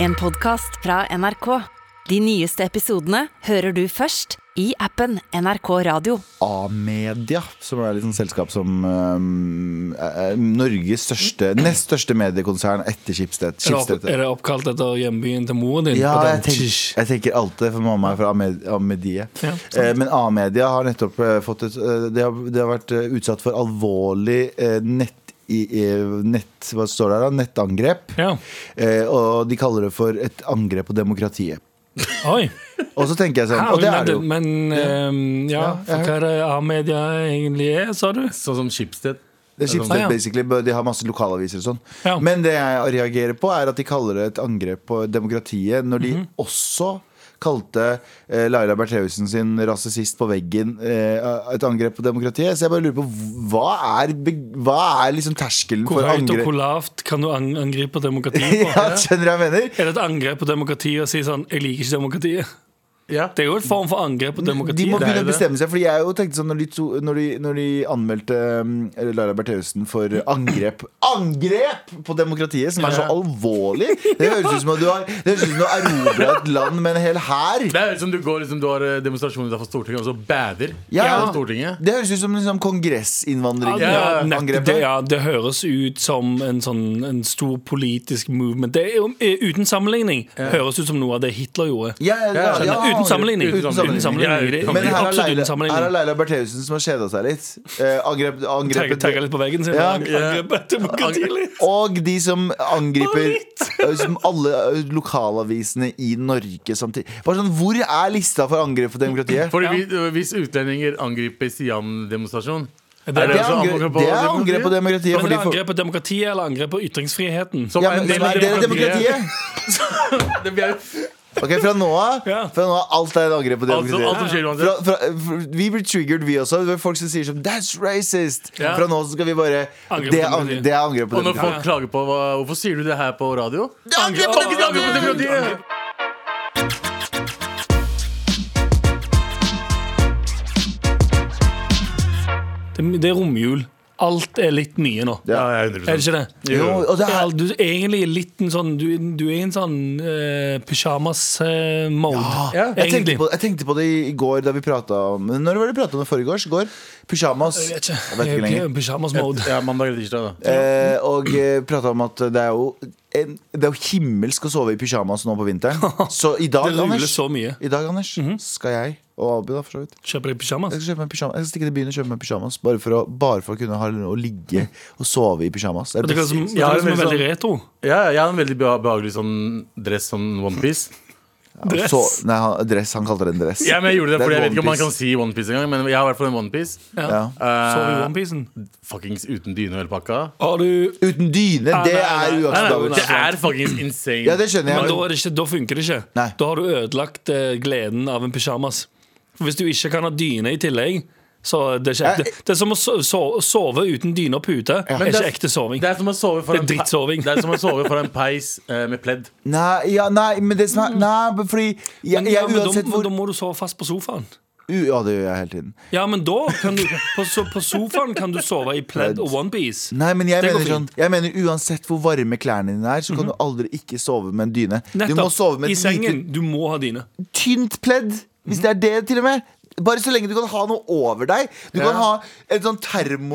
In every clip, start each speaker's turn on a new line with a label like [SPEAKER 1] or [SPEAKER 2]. [SPEAKER 1] En podcast fra NRK. De nyeste episodene hører du først i appen NRK Radio.
[SPEAKER 2] A-media, som er et sånn selskap som øhm, er Norges største, nest største mediekonsern etter Schibsted.
[SPEAKER 3] Er det, opp,
[SPEAKER 2] Schibsted.
[SPEAKER 3] er det oppkalt etter hjembyen til moren din?
[SPEAKER 2] Ja,
[SPEAKER 3] På den-
[SPEAKER 2] jeg tenker,
[SPEAKER 3] Tsh.
[SPEAKER 2] jeg tenker alltid det, for mamma er fra Amed- Amedie.
[SPEAKER 3] Ja,
[SPEAKER 2] Eh, men A-media har nettopp eh, fått et eh, det, har, det har vært eh, utsatt for alvorlig eh, nett, i, i- nett Hva står det her, da? Nettangrep.
[SPEAKER 3] ja.
[SPEAKER 2] Eh, og de kaller det for et angrep på demokratiet.
[SPEAKER 3] Oi.
[SPEAKER 2] Og så tenker jeg sånn, og det er det jo.
[SPEAKER 3] men, ehm, ja,
[SPEAKER 2] Ja, jeg
[SPEAKER 3] for hva er det A-media egentlig er, sa du?
[SPEAKER 4] Sånn som Schibsted.
[SPEAKER 2] Det er Schibsted,
[SPEAKER 3] Ah, ja.
[SPEAKER 2] basically. but De har masse lokalaviser og sånn.
[SPEAKER 3] Ja.
[SPEAKER 2] Men det jeg reagerer på, er at de kaller det et angrep på demokratiet, når de
[SPEAKER 3] Mhm.
[SPEAKER 2] også kalte eh, Laila Bertheussen sin rasist på veggen eh, et angrep på demokratiet. Så jeg bare lurer på hva er, beg- hva er liksom terskelen
[SPEAKER 3] Hvor
[SPEAKER 2] for
[SPEAKER 3] høyt og
[SPEAKER 2] angrep?
[SPEAKER 3] hvor lavt kan du ang angripe demokratiet på?
[SPEAKER 2] Ja, skjønner du hva jeg mener?
[SPEAKER 3] Er det et angrep på demokratiet å si sånn 'jeg liker ikke demokratiet'?
[SPEAKER 4] Ja.
[SPEAKER 3] Det er jo en form for angrep på
[SPEAKER 2] De må
[SPEAKER 3] demokratiet.
[SPEAKER 2] begynne
[SPEAKER 4] jo
[SPEAKER 2] å
[SPEAKER 4] det.
[SPEAKER 2] bestemme seg. Fordi jeg jo tenkte sånn Når de, to, når de, når de anmeldte um, Laila Bertheussen for angrep Angrep på demokratiet, som er så
[SPEAKER 4] Ja.
[SPEAKER 2] alvorlig! Det høres ut som at du har Det høres ut som du har erobra et land med en hel hær.
[SPEAKER 4] Det er som du går liksom, Du har eh, demonstrasjoner utenfor Stortinget, og så bader
[SPEAKER 2] Ja.
[SPEAKER 4] utenfor Stortinget.
[SPEAKER 2] Det høres ut som liksom kongressinnvandring.
[SPEAKER 3] Ja, nett- det,
[SPEAKER 2] angrepet.
[SPEAKER 3] ja, det høres ut som en, sånn, en stor politisk movement. Det er, jo- eh, uten sammenligning høres ut som noe av det Hitler gjorde.
[SPEAKER 2] Ja, ja, ja,
[SPEAKER 3] Skjønner.
[SPEAKER 2] ja.
[SPEAKER 3] uten sammenligning.
[SPEAKER 2] Uten sammenligning.
[SPEAKER 3] Det er
[SPEAKER 2] Men her er Leila,
[SPEAKER 3] absolutt uten
[SPEAKER 2] her er
[SPEAKER 3] sammenligning.
[SPEAKER 2] Leila Bertheussen som har kjeda seg litt. Eh, angrep,
[SPEAKER 3] Tagge
[SPEAKER 2] angrepet
[SPEAKER 3] tagge litt på veggen sin.
[SPEAKER 2] Ja.
[SPEAKER 3] og angripe demokratiet litt.
[SPEAKER 2] Og de som angriper
[SPEAKER 3] Bare
[SPEAKER 2] som alle eh, lokalavisene i Norge samtidig. Bare sånn, Hvor er lista for angrep for demokratiet?
[SPEAKER 4] Fordi vi- eh, Hvis utlendinger angriper Sian-demonstrasjon
[SPEAKER 3] Er
[SPEAKER 4] er
[SPEAKER 2] det er
[SPEAKER 4] også
[SPEAKER 2] angrep, det er angrep på demokratiet.
[SPEAKER 3] Men er
[SPEAKER 2] Fordi
[SPEAKER 3] det
[SPEAKER 2] for,
[SPEAKER 3] angrep på demokratiet eller angrep på ytringsfriheten?
[SPEAKER 4] Som
[SPEAKER 2] ja,
[SPEAKER 4] en
[SPEAKER 2] men,
[SPEAKER 4] del
[SPEAKER 2] som
[SPEAKER 4] av
[SPEAKER 2] er dere demokratiet?
[SPEAKER 4] Det blir-
[SPEAKER 2] Ok, Fra nå av
[SPEAKER 3] Ja.
[SPEAKER 2] fra nå av, alt er et angrep på
[SPEAKER 4] alt, som- alt som
[SPEAKER 2] demokratiet.
[SPEAKER 4] skjer
[SPEAKER 2] Fra,
[SPEAKER 4] uansett.
[SPEAKER 2] fra, for- vi blir triggered, vi også. Det er folk som sier sånn That's racist!
[SPEAKER 4] Ja.
[SPEAKER 2] Fra nå så skal vi bare
[SPEAKER 3] Angrep på
[SPEAKER 2] Det er ang-
[SPEAKER 3] demokratiet.
[SPEAKER 2] det er angrep på
[SPEAKER 4] Og når
[SPEAKER 2] demokratiet.
[SPEAKER 4] folk klager på hva, Hvorfor sier du det her på radio?
[SPEAKER 2] Det er angrep på
[SPEAKER 4] Angrep på demokratiet!
[SPEAKER 3] Det, det er romjul. Alt er litt nye nå.
[SPEAKER 2] Ja.
[SPEAKER 4] Ja, jeg er
[SPEAKER 3] Er det
[SPEAKER 4] 100
[SPEAKER 3] ikke det?
[SPEAKER 2] Jo, og det er
[SPEAKER 3] Al- Du er egentlig litt en sånn Du, du er i en sånn eh, uh, pysjamas-mode.
[SPEAKER 2] Ja, Ah, jeg, tenkte på, jeg tenkte på det i går da vi prata om Når var det vi prata om det forrige års? Går? Pyjamas.
[SPEAKER 3] Jeg vet ikke.
[SPEAKER 2] Jeg vet ikke
[SPEAKER 3] Jeg
[SPEAKER 2] lenger.
[SPEAKER 3] er i Pysjamas-mode.
[SPEAKER 4] Ja, mandag eller tirsdag, da.
[SPEAKER 2] Eh, og eh, prata om at det er jo en, Det er jo himmelsk å sove i pyjamas nå på vinteren. Så i dag,
[SPEAKER 3] Det ruller
[SPEAKER 2] Anders,
[SPEAKER 3] så Mhm. mye.
[SPEAKER 2] i dag, Anders skal jeg og Abu da, for så vidt
[SPEAKER 3] Kjøper deg
[SPEAKER 2] jeg
[SPEAKER 3] pysjamas?
[SPEAKER 2] skal, kjøpe meg pyjamas. jeg skal stikke til byen og kjøpe meg pyjamas. Bare for å, bare for å kunne ha noe å ligge og sove i pyjamas. Det er
[SPEAKER 3] Det
[SPEAKER 2] det
[SPEAKER 3] kan som,
[SPEAKER 2] beste.
[SPEAKER 3] det
[SPEAKER 4] Ja,
[SPEAKER 3] kan som
[SPEAKER 4] det er
[SPEAKER 3] er veldig
[SPEAKER 4] veldig
[SPEAKER 3] retro.
[SPEAKER 4] Ja, jeg har en veldig beha- behagelig sånn dress, sånn onepiece.
[SPEAKER 2] Ja,
[SPEAKER 3] Dress.
[SPEAKER 2] så- nei, han, dress. Han kalte det en dress.
[SPEAKER 4] Ja, men jeg gjorde det,
[SPEAKER 2] Det er
[SPEAKER 4] fordi jeg
[SPEAKER 2] et
[SPEAKER 4] vet ikke om man
[SPEAKER 2] onepiece.
[SPEAKER 4] kan si onepiece engang, men jeg har i hvert fall en onepiece.
[SPEAKER 3] Ja.
[SPEAKER 2] Ja.
[SPEAKER 3] Sover i
[SPEAKER 4] Uh,
[SPEAKER 3] onepiecen.
[SPEAKER 4] fuckings uten dyne og hele pakka.
[SPEAKER 3] Har du
[SPEAKER 2] Uten dyne!
[SPEAKER 3] Nei,
[SPEAKER 2] Det
[SPEAKER 3] Ah,
[SPEAKER 2] er
[SPEAKER 3] nei, nei.
[SPEAKER 2] uakseptabelt.
[SPEAKER 4] Det er sånn fuckings insane.
[SPEAKER 2] Ja, det skjønner jeg.
[SPEAKER 3] Men da, er det ikke, da funker det ikke.
[SPEAKER 2] Nei.
[SPEAKER 3] Da har du ødelagt eh, gleden av en pysjamas. For hvis du ikke kan ha dyne i tillegg så er det, er ikke ekte. det er som å so- so- sove uten dyne og pute. Er
[SPEAKER 4] Men det
[SPEAKER 3] ikke
[SPEAKER 4] er-
[SPEAKER 3] ekte soving.
[SPEAKER 4] Det er som å sove
[SPEAKER 3] Det
[SPEAKER 4] foran
[SPEAKER 3] er drittsoving.
[SPEAKER 4] Det er som å sove foran peis eh, med pledd.
[SPEAKER 2] Nei, ja, nei, men det som er Nei, men fordi jeg,
[SPEAKER 3] Mm. Men, ja,
[SPEAKER 2] jeg,
[SPEAKER 3] men da,
[SPEAKER 2] Uansett
[SPEAKER 3] men
[SPEAKER 2] hvor
[SPEAKER 3] da må du sove fast på sofaen.
[SPEAKER 2] u, Ja, det gjør jeg hele tiden.
[SPEAKER 3] Ja, men da kan du På, so- på sofaen kan du sove i pledd og onepiece.
[SPEAKER 2] Nei, men jeg
[SPEAKER 3] Det går
[SPEAKER 2] mener, sånn,
[SPEAKER 3] fint. Mhm.
[SPEAKER 2] jeg mener uansett hvor varme klærne dine er, så kan du aldri ikke sove med en dyne. Du må sove med
[SPEAKER 3] I
[SPEAKER 2] et lite,
[SPEAKER 3] sengen. Du må ha dyne.
[SPEAKER 2] tynt pledd, hvis det er det, til og med. Bare så lenge du kan ha noe over deg. Du kan ha en sånn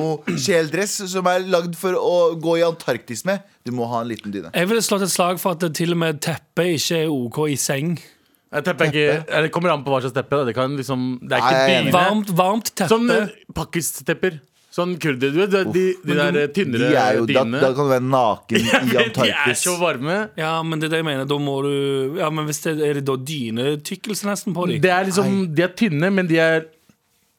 [SPEAKER 2] termokjeledress som er lagd for å gå i Antarktis med. Du må ha en liten dyne.
[SPEAKER 3] Jeg ville slått et slag for at det til og med teppet ikke er OK i seng.
[SPEAKER 4] Jeg tepper ikke, eller det kommer an på hva slags teppe. da. Det, kan liksom, det er
[SPEAKER 2] Nei,
[SPEAKER 4] ikke
[SPEAKER 2] jeg er enig.
[SPEAKER 4] dyne.
[SPEAKER 3] Varmt, varmt teppe.
[SPEAKER 4] Sånn eh, pakkistepper. Sånn kurder, du vet. De, de der
[SPEAKER 2] De
[SPEAKER 4] eh, tynnere
[SPEAKER 2] er jo, da,
[SPEAKER 4] dynene.
[SPEAKER 2] da kan du være naken i
[SPEAKER 4] de er
[SPEAKER 2] Antarktis.
[SPEAKER 4] så varme.
[SPEAKER 3] Ja, men det er det jeg mener. Da må du Ja, men hvis det er det da dynetykkelse nesten på dem?
[SPEAKER 4] Det er liksom, de er tynne, men de er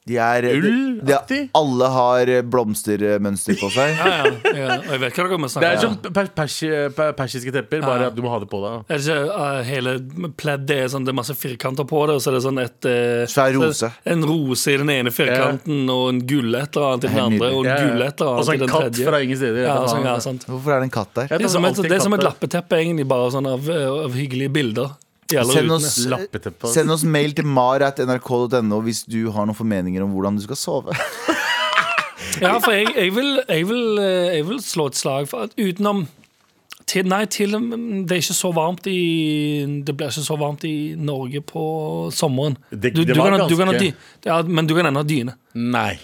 [SPEAKER 2] De er, de, de,
[SPEAKER 4] Ullaktig?
[SPEAKER 2] alle har eh, blomstermønster på seg.
[SPEAKER 3] Ja, ja, ja. Og Jeg vet hva dere må
[SPEAKER 4] Det
[SPEAKER 3] snakke
[SPEAKER 4] er
[SPEAKER 3] om.
[SPEAKER 4] som per, persi, per, persiske tepper, bare at du må ha det på deg. da.
[SPEAKER 3] Er det ikke eh, hele pleddet er sånn, det er masse firkanter på det, og så er det sånn et eh,
[SPEAKER 2] Så er det rose.
[SPEAKER 3] En rose i den ene firkanten, og en gull et eller annet i den
[SPEAKER 2] Helt
[SPEAKER 3] andre, og
[SPEAKER 4] Ja,
[SPEAKER 3] en
[SPEAKER 4] ja.
[SPEAKER 3] gull et eller
[SPEAKER 4] Og så
[SPEAKER 3] annet i
[SPEAKER 4] en
[SPEAKER 3] den
[SPEAKER 4] katt
[SPEAKER 3] tredje.
[SPEAKER 4] fra ingen steder.
[SPEAKER 3] Ja,
[SPEAKER 4] et eller
[SPEAKER 3] sånn, ja,
[SPEAKER 4] annet.
[SPEAKER 3] sant.
[SPEAKER 2] Hvorfor er det en katt der?
[SPEAKER 4] Jeg
[SPEAKER 3] Det er
[SPEAKER 4] tar
[SPEAKER 3] som et,
[SPEAKER 4] alltid
[SPEAKER 3] det er som et
[SPEAKER 4] katter.
[SPEAKER 3] lappeteppe, egentlig, bare sånn av, av hyggelige bilder. i alle
[SPEAKER 2] Send
[SPEAKER 3] rutene.
[SPEAKER 2] oss,
[SPEAKER 4] Lappeteppe.
[SPEAKER 2] send oss mail til mar.nrk.no hvis du har noen formeninger om hvordan du skal sove.
[SPEAKER 3] Ja, for jeg, jeg, vil, jeg, vil, eh, jeg vil slå et slag for at utenom Til, nei, til, det er ikke så varmt i Det blir ikke så varmt i Norge på sommeren.
[SPEAKER 4] Det-
[SPEAKER 3] du,
[SPEAKER 4] det
[SPEAKER 3] du
[SPEAKER 4] var
[SPEAKER 3] kan, ha- du kan ha
[SPEAKER 4] ganske-
[SPEAKER 3] dy, ja, men du kan ennå ha dyne.
[SPEAKER 4] sånn. Nei.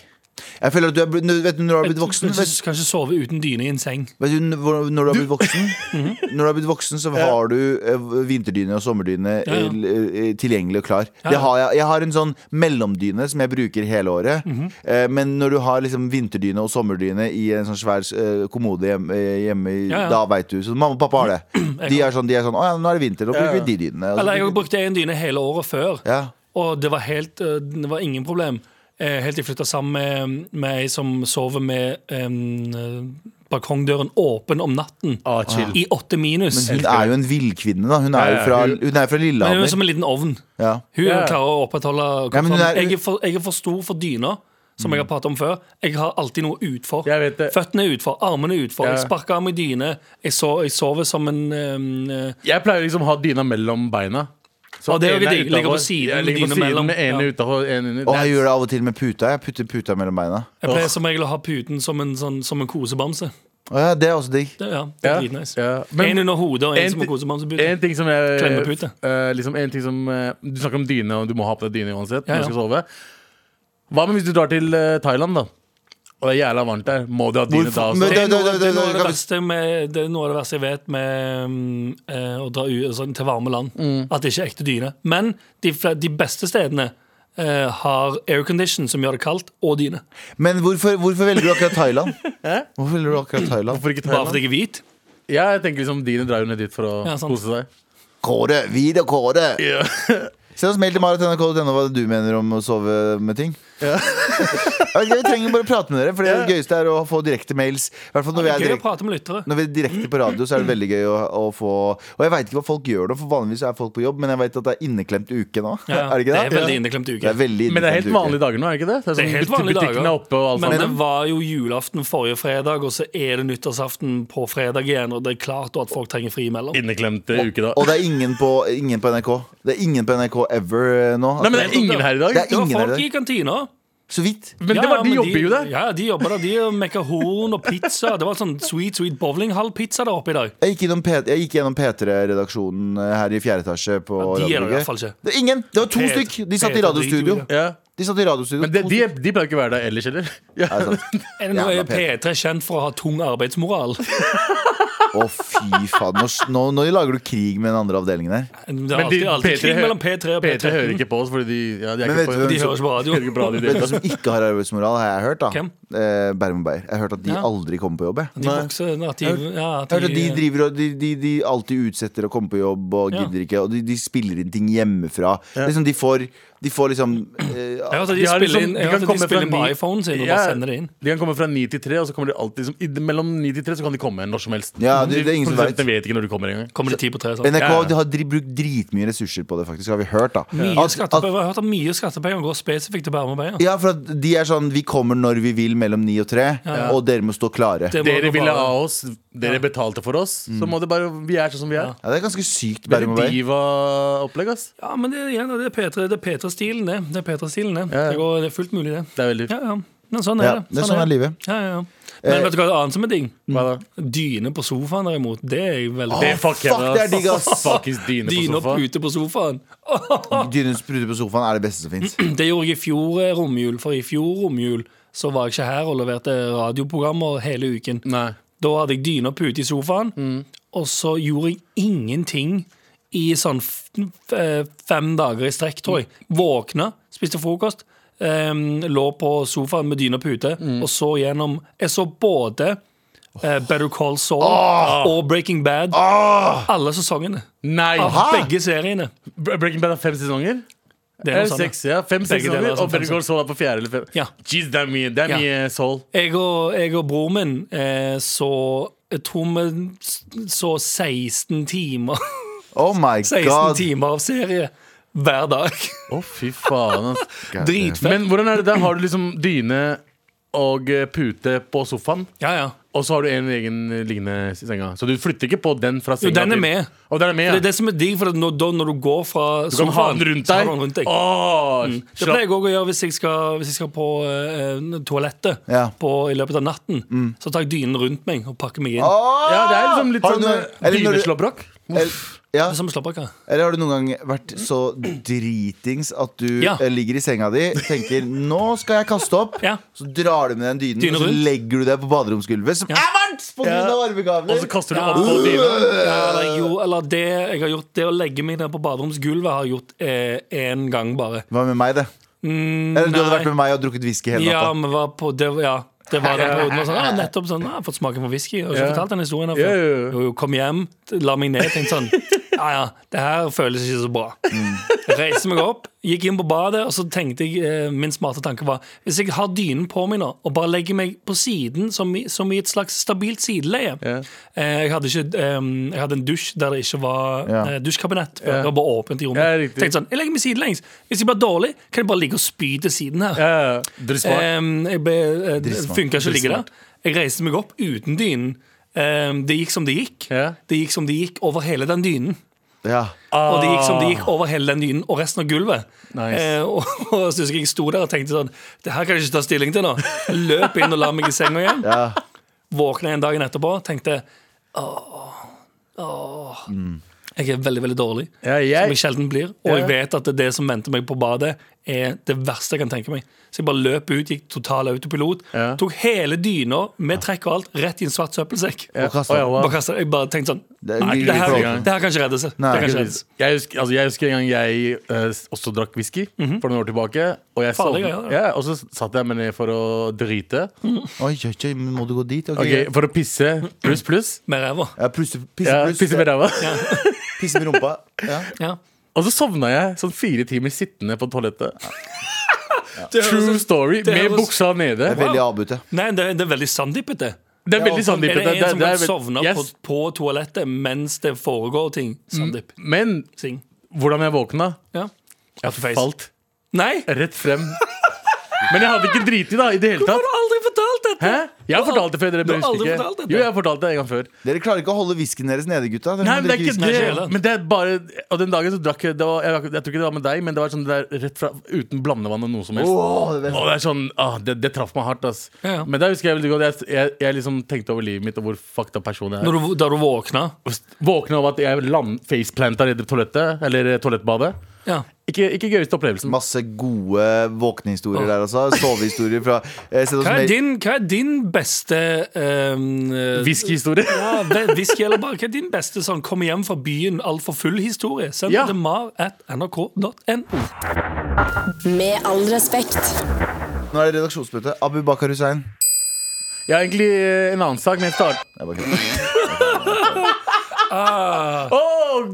[SPEAKER 2] Jeg føler at du er, blitt- når- vet du, Når du har blitt
[SPEAKER 3] Du
[SPEAKER 2] voksen vet,
[SPEAKER 3] kan ikke sove uten dyne i en seng.
[SPEAKER 4] Altså,
[SPEAKER 2] vet du, hvor- Når du har blitt voksen Når du har blitt voksen så har du eh, vinterdyne og sommerdyne
[SPEAKER 3] Ja, ja.
[SPEAKER 2] eh, eh, tilgjengelig og klar
[SPEAKER 3] Ja, ja.
[SPEAKER 2] Det har jeg, jeg har en sånn mellomdyne som jeg bruker hele året Eh, Men når du har liksom vinterdyne og sommerdyne I en sånn svær eh, kommode hjemme, eh, hjemme i-
[SPEAKER 3] Ja, ja.
[SPEAKER 2] Da vet du Så mamma og pappa har det De er sånn, de er sånn Åja, nå er det vinter, da bruker
[SPEAKER 4] Ja, ja.
[SPEAKER 2] vi de dynene Og så
[SPEAKER 3] Eller jeg
[SPEAKER 2] bruker-
[SPEAKER 3] brukte en dyne hele året før,
[SPEAKER 2] Ja.
[SPEAKER 3] og det var, helt, eh, det var ingen problem. Eh, Helt til jeg flytta sammen med, med ei som sover med em, eh, balkongdøren åpen om natten.
[SPEAKER 4] Ah, chill.
[SPEAKER 3] I åtte minus.
[SPEAKER 2] Hun er jo en villkvinne da Hun er
[SPEAKER 4] Ja,
[SPEAKER 2] jo
[SPEAKER 4] ja,
[SPEAKER 2] fra,
[SPEAKER 4] hun-
[SPEAKER 2] hun er fra
[SPEAKER 3] Men hun er
[SPEAKER 2] Lillehammer
[SPEAKER 3] som en liten ovn.
[SPEAKER 2] ja.
[SPEAKER 3] Hun
[SPEAKER 4] Ja.
[SPEAKER 3] klarer å opprettholde
[SPEAKER 2] Ja, men hun er-
[SPEAKER 3] jeg, er for, jeg er for stor for dyna,
[SPEAKER 4] Mm.
[SPEAKER 3] som jeg har pratet om før. Jeg har alltid noe utfor.
[SPEAKER 4] Jeg vet det.
[SPEAKER 3] Føttene er utfor, armene er utfor.
[SPEAKER 4] Ja.
[SPEAKER 3] Jeg sparker arm i dyne. Jeg, så, jeg sover som en em, eh,
[SPEAKER 4] Jeg pleier liksom å ha dyna mellom beina. Så
[SPEAKER 3] Ah, det er jo
[SPEAKER 4] ene
[SPEAKER 3] ikke digg. Ligger på siden,
[SPEAKER 4] utenfor. Jeg ligger
[SPEAKER 3] dyna
[SPEAKER 4] på siden
[SPEAKER 3] mellom.
[SPEAKER 4] med ene
[SPEAKER 3] Ja.
[SPEAKER 4] utenfor, ene inni.
[SPEAKER 2] Og jeg gjør det av og til med puta Jeg putter puta mellom beina
[SPEAKER 3] Jeg pleier som regel å ha puten som en, sånn, som en kosebamse.
[SPEAKER 2] Åja, det er også digg
[SPEAKER 3] Det, ja, det
[SPEAKER 4] Ja,
[SPEAKER 3] er dritnice.
[SPEAKER 4] ja.
[SPEAKER 3] en
[SPEAKER 4] Men
[SPEAKER 3] under hodet og en,
[SPEAKER 4] en
[SPEAKER 3] som en
[SPEAKER 4] ti-
[SPEAKER 3] kosebamsepute.
[SPEAKER 4] en ting som jeg
[SPEAKER 3] Klemmepute.
[SPEAKER 4] eh, liksom, en ting som, eh, Du snakker om dyne, og du må ha på deg dyne uansett.
[SPEAKER 3] Ja, ja.
[SPEAKER 4] når du skal sove Hva med hvis du drar til eh, Thailand, da? Og det er jævla varmt der. Må du ha dyne
[SPEAKER 2] Hvorfor-
[SPEAKER 4] da
[SPEAKER 2] men
[SPEAKER 4] også?
[SPEAKER 3] Det
[SPEAKER 2] Da, da,
[SPEAKER 3] er, noe,
[SPEAKER 2] da, da,
[SPEAKER 3] det, er noe av
[SPEAKER 2] da,
[SPEAKER 3] det,
[SPEAKER 2] da.
[SPEAKER 3] verste med, det er noe av det verste jeg vet med mm, eh, å dra u, sånn, til varme land.
[SPEAKER 4] Mm.
[SPEAKER 3] At det ikke er ekte dyne. Men de, fle- de beste stedene eh, har aircondition som gjør det kaldt, og dyne.
[SPEAKER 2] Men hvorfor, hvorfor velger du akkurat Thailand? Hvorfor velger du akkurat Thailand?
[SPEAKER 4] Hvorfor ikke
[SPEAKER 3] Bare fordi
[SPEAKER 4] Thailand?
[SPEAKER 3] jeg er hvit.
[SPEAKER 4] Ja, jeg tenker liksom Dyne drar jo ned dit for å
[SPEAKER 3] Ja, sant.
[SPEAKER 4] kose seg.
[SPEAKER 2] Kåre, vid og Kåre
[SPEAKER 4] Ja.
[SPEAKER 2] Send oss mail til maratnrk.no hva du mener om å sove med ting. Jeg vet ikke, vi trenger bare å prate med dere, for det gøyeste er å få direkte mails. I hvert fall når vi
[SPEAKER 3] Det
[SPEAKER 2] er
[SPEAKER 3] er gøy å
[SPEAKER 2] direkte
[SPEAKER 3] prate med lyttere.
[SPEAKER 2] når vi er direkte på radio, så er det veldig gøy å, å få Og jeg veit ikke hva folk gjør nå, for vanligvis er folk på jobb, men jeg veit at det er inneklemt uke nå.
[SPEAKER 3] Ja,
[SPEAKER 2] er det ikke det?
[SPEAKER 3] er veldig inneklemt
[SPEAKER 2] Det
[SPEAKER 3] uke.
[SPEAKER 2] er veldig
[SPEAKER 4] Men det
[SPEAKER 2] inneklemt
[SPEAKER 4] er helt
[SPEAKER 2] uke.
[SPEAKER 4] vanlige dager nå, er det ikke det?
[SPEAKER 3] Det
[SPEAKER 4] Det er,
[SPEAKER 3] er
[SPEAKER 4] sånn
[SPEAKER 3] helt
[SPEAKER 4] but-
[SPEAKER 3] vanlige
[SPEAKER 4] butikkene
[SPEAKER 3] dager.
[SPEAKER 4] er oppe og alt
[SPEAKER 3] Men
[SPEAKER 4] sånt.
[SPEAKER 3] det var jo julaften forrige fredag, og så er det nyttårsaften på fredag igjen. Og det er klart da at folk trenger fri imellom.
[SPEAKER 4] Inneklemte uke, da.
[SPEAKER 2] Og det er ingen på, ingen på NRK. Det er ingen på NRK ever eh, nå.
[SPEAKER 4] Nei, men det er ingen her i
[SPEAKER 2] Det er
[SPEAKER 4] dag.
[SPEAKER 2] ingen
[SPEAKER 3] Det var
[SPEAKER 2] her i
[SPEAKER 3] folk
[SPEAKER 2] dag.
[SPEAKER 3] i kantina.
[SPEAKER 2] Så vidt.
[SPEAKER 4] Men
[SPEAKER 3] Ja,
[SPEAKER 4] det var,
[SPEAKER 3] men
[SPEAKER 4] de jobber jo der.
[SPEAKER 3] Ja, de jobber der. De mekka horn og pizza. Det var sånn sweet, sweet bowlinghall-pizza der oppe i dag.
[SPEAKER 2] Jeg gikk, innom P- jeg gikk gjennom P3-redaksjonen eh, her i fjerde etasje. På
[SPEAKER 3] Ja, de er det i
[SPEAKER 2] Radionorge.
[SPEAKER 3] hvert fall ikke.
[SPEAKER 2] Det er ingen! Det var to
[SPEAKER 3] P3
[SPEAKER 2] stykk! De satt i
[SPEAKER 3] P3
[SPEAKER 2] radiostudio.
[SPEAKER 3] driter
[SPEAKER 4] Ja.
[SPEAKER 2] De satt i radiostudio
[SPEAKER 4] Men det,
[SPEAKER 2] to
[SPEAKER 4] de,
[SPEAKER 2] stykk.
[SPEAKER 4] de pleier ikke å være der ellers heller. Ja.
[SPEAKER 2] Er det sant?
[SPEAKER 3] Er det noe
[SPEAKER 2] Jævla
[SPEAKER 3] er P3 kjent for å ha tung arbeidsmoral?
[SPEAKER 2] Å, fy faen. Nå, nå, nå lager du krig med den andre avdelingen her.
[SPEAKER 3] Det er
[SPEAKER 4] Men de-
[SPEAKER 3] alltid, alltid
[SPEAKER 4] P3
[SPEAKER 3] krig
[SPEAKER 4] hø-
[SPEAKER 3] mellom P3 og
[SPEAKER 4] P3 hører
[SPEAKER 3] P13.
[SPEAKER 4] ikke på oss, fordi de, ja, de er
[SPEAKER 2] Men
[SPEAKER 4] ikke
[SPEAKER 2] vet du
[SPEAKER 4] på
[SPEAKER 2] hvem
[SPEAKER 3] De hører ikke på radio.
[SPEAKER 4] hører ikke på radio. i
[SPEAKER 2] Vet du
[SPEAKER 4] det
[SPEAKER 2] hvem
[SPEAKER 4] hele
[SPEAKER 2] som ikke har arbeidsmoral, har jeg hørt. da
[SPEAKER 3] Hvem?
[SPEAKER 2] Eh, Bærum og Beyer. Jeg har hørt at de
[SPEAKER 3] Ja.
[SPEAKER 2] aldri kommer på jobb. Jeg.
[SPEAKER 3] De vokser, at de, ja, at
[SPEAKER 2] Jeg har hørt at de,
[SPEAKER 3] de,
[SPEAKER 2] driver, og- de, de, de alltid utsetter å komme på jobb og
[SPEAKER 3] Ja.
[SPEAKER 2] gidder ikke. Og de, de spiller inn ting hjemmefra. Liksom, de får, de får liksom eh,
[SPEAKER 3] jeg har hørt at de
[SPEAKER 4] De har
[SPEAKER 3] spiller
[SPEAKER 4] liksom-
[SPEAKER 3] inn,
[SPEAKER 4] de
[SPEAKER 3] jeg har
[SPEAKER 4] kan
[SPEAKER 3] hørt at de
[SPEAKER 4] komme fra
[SPEAKER 3] spiller inn på
[SPEAKER 4] ni-
[SPEAKER 3] iPhonen sin og
[SPEAKER 4] Ja.
[SPEAKER 3] bare sender det inn.
[SPEAKER 4] De kan komme fra 9 til 3, og så kommer de alltid liksom, i- mellom 9 til 3 så kan de komme når som helst.
[SPEAKER 2] Ja, det- det er ingen som
[SPEAKER 4] Produsentene vet ikke når du kommer engang.
[SPEAKER 3] Kommer de ti på tre? sånn.
[SPEAKER 2] NRK
[SPEAKER 4] Ja, ja.
[SPEAKER 2] de har dri, brukt dritmye ressurser på det, faktisk, har vi hørt. da
[SPEAKER 3] Mye
[SPEAKER 2] At- at-
[SPEAKER 3] skattepenger, jeg har hørt at mye skattepenger går spesifikt til Bærum og Beyer.
[SPEAKER 2] Ja, for at de er sånn Vi kommer når vi vil mellom ni og tre, og dere må stå klare.
[SPEAKER 3] Det må
[SPEAKER 4] Dere
[SPEAKER 3] gå
[SPEAKER 4] ville
[SPEAKER 3] bare-
[SPEAKER 4] av oss, dere betalte for oss, så må det bare Vi er sånn som vi er.
[SPEAKER 2] Ja, det er ganske sykt.
[SPEAKER 4] Det er
[SPEAKER 2] Mm. Bærum og Beyer.
[SPEAKER 4] diva-opplegg, ass.
[SPEAKER 3] Ja, men det, er igjen, det er P3 det er P3-stilen, det. Det er P3-stilen, det.
[SPEAKER 4] Ja.
[SPEAKER 3] Det, går, det er fullt mulig, det.
[SPEAKER 4] Det er veldig
[SPEAKER 3] Ja, ja. Men sånn er
[SPEAKER 2] Ja,
[SPEAKER 3] det.
[SPEAKER 2] det er sånn er livet.
[SPEAKER 3] Ja, ja, ja. Men vet du hva det annet som er digg?
[SPEAKER 4] Hva da?
[SPEAKER 3] Dyne på sofaen, derimot. Det er jeg veldig
[SPEAKER 4] Det fucker jeg
[SPEAKER 2] fuck,
[SPEAKER 4] med,
[SPEAKER 2] det er digg, ass.
[SPEAKER 4] Fuckings dyne på
[SPEAKER 3] Dyne og
[SPEAKER 4] sofa.
[SPEAKER 3] pute på sofaen.
[SPEAKER 2] Dyne spruter på sofaen er det beste som fins.
[SPEAKER 3] Det gjorde jeg i fjor eh, romjul, for i fjor romjul så var jeg ikke her og leverte radioprogrammer hele uken.
[SPEAKER 4] Nei.
[SPEAKER 3] Da hadde jeg dyne og pute i sofaen, og så gjorde jeg ingenting i sånn f f eh, fem dager i strekk, tror jeg. Våkna, spiste frokost, em, lå på sofaen med dyne og pute, og så gjennom Jeg så både eh, Better Call Saul og Breaking Bad. Alle sesongene.
[SPEAKER 4] Nei.
[SPEAKER 3] Av
[SPEAKER 2] Aha.
[SPEAKER 3] begge seriene.
[SPEAKER 4] Bre- Breaking Bad har fem sesonger?
[SPEAKER 3] Det er noe
[SPEAKER 4] Eller
[SPEAKER 3] sånt, ja.
[SPEAKER 4] seks, ja. Fem
[SPEAKER 3] Begge deler er
[SPEAKER 4] sesonger, og
[SPEAKER 3] sånn
[SPEAKER 4] Better
[SPEAKER 3] fem
[SPEAKER 4] Call Saul er på fjerde eller fem.
[SPEAKER 3] Ja.
[SPEAKER 4] Jeez, det er mye, det er
[SPEAKER 3] Ja.
[SPEAKER 4] mye soul.
[SPEAKER 3] Jeg og, jeg og broren min eh, så Jeg tror vi s- så 16 timer
[SPEAKER 2] Oh my
[SPEAKER 3] 16
[SPEAKER 2] god.
[SPEAKER 3] timer av serie hver dag.
[SPEAKER 4] Å, fy faen, ass.
[SPEAKER 3] Dritfett.
[SPEAKER 4] Men hvordan er det der? Har du liksom dyne og eh, pute på sofaen?
[SPEAKER 3] Ja, ja.
[SPEAKER 4] Og så har du en egen liggende i senga. Så du flytter ikke på den fra
[SPEAKER 3] Jo,
[SPEAKER 4] senga.
[SPEAKER 3] den er
[SPEAKER 4] til-
[SPEAKER 3] med.
[SPEAKER 4] Og den er med,
[SPEAKER 3] Det
[SPEAKER 4] ja.
[SPEAKER 3] er det som er digg, for at når, da, når du går fra
[SPEAKER 4] Du kan ha den rundt
[SPEAKER 3] så har
[SPEAKER 4] deg.
[SPEAKER 3] du den rundt deg. Mm.
[SPEAKER 4] Åh,
[SPEAKER 3] Det
[SPEAKER 4] slapp-
[SPEAKER 3] pleier jeg òg å gjøre hvis jeg skal, hvis jeg skal på eh, toalettet
[SPEAKER 2] Ja.
[SPEAKER 3] på, i løpet av natten. Så tar jeg dynen rundt meg og pakker meg inn.
[SPEAKER 2] Åh!
[SPEAKER 4] Ja, det er liksom litt
[SPEAKER 2] Har du
[SPEAKER 4] sånn
[SPEAKER 2] noe-
[SPEAKER 4] eh,
[SPEAKER 2] eller når du-
[SPEAKER 4] dyneslåbrok.
[SPEAKER 2] Eller, ja.
[SPEAKER 3] Det er som slappbakker.
[SPEAKER 2] Eller har du noen gang vært så dritings at du
[SPEAKER 3] Ja.
[SPEAKER 2] eh, ligger i senga di tenker 'nå skal jeg kaste opp',
[SPEAKER 3] Ja.
[SPEAKER 2] så drar du med den dynen,
[SPEAKER 3] Dyna
[SPEAKER 2] og så
[SPEAKER 3] rundt.
[SPEAKER 2] legger du deg på baderomsgulvet, som er varmt! På grunn av varmegavler.
[SPEAKER 4] Og så kaster du
[SPEAKER 3] Ja.
[SPEAKER 4] opp på dyna.
[SPEAKER 3] Ja, eller, jo, eller det jeg har gjort Det å legge meg ned på baderomsgulvet har jeg gjort én gang bare.
[SPEAKER 2] Hva med meg, det? Eller du hadde
[SPEAKER 3] nei.
[SPEAKER 2] vært med meg og drukket whisky hele
[SPEAKER 3] Ja,
[SPEAKER 2] natta.
[SPEAKER 3] vi var på det, Ja, det var den perioden. hvor Sånn, ah, nettopp sånn, ah, jeg har fått smake på whisky. Og så
[SPEAKER 4] Ja.
[SPEAKER 3] fortalte han historien. her
[SPEAKER 4] Ja,
[SPEAKER 3] før.
[SPEAKER 4] ja, ja.
[SPEAKER 3] Jo, jo, kom hjem, la meg ned. Tenkte sånn Ja, ja, det her føles ikke så bra.
[SPEAKER 4] Mm.
[SPEAKER 3] Reiste meg opp, gikk inn på badet, og så tenkte jeg eh, Min smarte tanke var hvis jeg har dynen på meg nå, og bare legger meg på siden, som i, som i et slags stabilt sideleie
[SPEAKER 4] Ja.
[SPEAKER 3] eh, jeg, hadde ikke, eh, jeg hadde en dusj der det ikke var
[SPEAKER 2] Ja.
[SPEAKER 3] eh, dusjkabinett.
[SPEAKER 4] Ja.
[SPEAKER 3] Det var bare åpent i rommet.
[SPEAKER 4] Ja, riktig.
[SPEAKER 3] tenkte sånn, jeg legger meg sidelengs. Hvis jeg blir dårlig, kan jeg bare ligge og spy til siden her.
[SPEAKER 4] Ja, ja. Drissmart.
[SPEAKER 3] Um, jeg ble, eh, det
[SPEAKER 2] Dritsmart.
[SPEAKER 3] funka ikke å ligge der. Jeg reiste meg opp uten dynen. Ehm, det gikk som det gikk.
[SPEAKER 4] Ja.
[SPEAKER 3] Det gikk som det gikk over hele den dynen.
[SPEAKER 2] Ja.
[SPEAKER 4] Ah.
[SPEAKER 3] Og det gikk som det gikk over hele den dynen og resten av gulvet.
[SPEAKER 4] Nice.
[SPEAKER 3] Eh, og, og så husker jeg jeg sto der og tenkte sånn Det her kan jeg ikke ta stilling til nå. Løp inn og la meg i senga igjen.
[SPEAKER 2] ja.
[SPEAKER 3] Våkna en dagen etterpå tenkte åh, åh, Jeg er veldig, veldig dårlig.
[SPEAKER 4] Mm. Ja,
[SPEAKER 3] Som
[SPEAKER 4] jeg,
[SPEAKER 3] jeg sjelden blir. Og
[SPEAKER 4] Ja.
[SPEAKER 3] jeg vet at det, det som venter meg på badet, er det verste jeg kan tenke meg. Så jeg bare løp ut, gikk total autopilot.
[SPEAKER 4] Ja.
[SPEAKER 3] Tok hele dyna med trekk og alt rett i en svart søppelsekk.
[SPEAKER 4] ja.
[SPEAKER 2] Og kastet.
[SPEAKER 4] Å, ja, wow.
[SPEAKER 3] Bare kastet, jeg bare tenkte sånn
[SPEAKER 2] Det er
[SPEAKER 3] Nei,
[SPEAKER 2] mye
[SPEAKER 3] det her,
[SPEAKER 2] i
[SPEAKER 4] forhold.
[SPEAKER 3] det her kan ikke reddes.
[SPEAKER 2] Nei.
[SPEAKER 3] det kan ikke reddes.
[SPEAKER 4] Jeg husker, altså jeg husker en gang jeg eh, s- også drakk whisky
[SPEAKER 3] Mhm.
[SPEAKER 4] for noen år tilbake. Og, jeg
[SPEAKER 3] Farlig
[SPEAKER 4] sovnet-
[SPEAKER 3] greier, det.
[SPEAKER 4] ja, og så satt jeg meg ned for å drite.
[SPEAKER 3] Mhm.
[SPEAKER 2] Oi, oi, oi, men må du gå dit? Ok,
[SPEAKER 4] Ok, For å pisse. Pluss, pluss.
[SPEAKER 3] Med ræva.
[SPEAKER 2] Ja, plusse, pisse,
[SPEAKER 4] Ja,
[SPEAKER 2] pluss.
[SPEAKER 4] pisse med ræva.
[SPEAKER 2] Pisse med rumpa. Ja.
[SPEAKER 3] Ja.
[SPEAKER 4] Og så sovna jeg sånn fire timer sittende på toalettet. True story.
[SPEAKER 3] altså- det
[SPEAKER 4] Med
[SPEAKER 3] høres-
[SPEAKER 4] buksa nede.
[SPEAKER 2] Det er veldig avbute.
[SPEAKER 3] Nei, det, det er veldig sanndipete.
[SPEAKER 4] Det er veldig
[SPEAKER 3] Er
[SPEAKER 4] sanddippete.
[SPEAKER 3] det en
[SPEAKER 4] Det-
[SPEAKER 3] som
[SPEAKER 4] det er
[SPEAKER 3] kan
[SPEAKER 4] veld-
[SPEAKER 3] sovne på,
[SPEAKER 4] Yes. Mm.
[SPEAKER 3] på toalettet mens det foregår ting? Sanddipp.
[SPEAKER 4] Men
[SPEAKER 3] Sing.
[SPEAKER 4] hvordan jeg våkna?
[SPEAKER 3] Ja.
[SPEAKER 4] Jeg
[SPEAKER 3] Face.
[SPEAKER 4] falt
[SPEAKER 3] Nei!
[SPEAKER 4] rett frem. Men jeg hadde ikke driti, da. I det hele
[SPEAKER 3] Hvorfor har
[SPEAKER 4] tatt.
[SPEAKER 3] du aldri fortalt dette?
[SPEAKER 4] Hæ? Jeg
[SPEAKER 3] Du har
[SPEAKER 4] har fortalt det før. Dere
[SPEAKER 3] du har
[SPEAKER 4] bare husker
[SPEAKER 3] aldri
[SPEAKER 4] ikke.
[SPEAKER 3] fortalt dette.
[SPEAKER 4] Jo, jeg har fortalt det en gang før.
[SPEAKER 2] Dere klarer ikke å holde whiskyen deres nede, gutta. Dere
[SPEAKER 4] Nei,
[SPEAKER 2] må
[SPEAKER 4] men det er
[SPEAKER 2] drikke
[SPEAKER 4] ikke
[SPEAKER 3] Nei, ikke
[SPEAKER 4] det.
[SPEAKER 3] heller.
[SPEAKER 4] Men det er bare Og den dagen så drakk jeg det var, jeg, jeg tror ikke det var med deg, men det var sånn det der rett fra uten blandevann og noe som helst.
[SPEAKER 2] Åh, det er-
[SPEAKER 4] Og det er sånn ah, det, det traff meg hardt, ass.
[SPEAKER 3] Ja, ja.
[SPEAKER 4] Men der husker jeg veldig godt jeg, jeg, jeg liksom tenkte over livet mitt og hvor fucked up person jeg er.
[SPEAKER 3] Når du, da du våkna?
[SPEAKER 4] Våkna av at jeg land faceplanta i det toalettet, eller eh, toalettbadet.
[SPEAKER 3] Ja.
[SPEAKER 4] Ikke, ikke gøyeste opplevelsen.
[SPEAKER 2] Masse gode våknehistorier der, altså. Sovehistorier fra eh, sett oss
[SPEAKER 3] Hva
[SPEAKER 2] ned-
[SPEAKER 3] er din, hva er din beste ehm, eh,
[SPEAKER 4] Whiskyhistorie.
[SPEAKER 3] Ja, ve- whisky eller bare Hva er din beste sånn kom hjem fra byen altfor full historie? Send
[SPEAKER 4] Ja.
[SPEAKER 3] det til mar at nrk.no.
[SPEAKER 5] Med all respekt.
[SPEAKER 2] Nå er det redaksjonsmøte. Abu Bakar Hussein.
[SPEAKER 4] Jeg har egentlig eh, en annen sak, men jeg starter
[SPEAKER 2] Nei, bare kødd.
[SPEAKER 4] Å,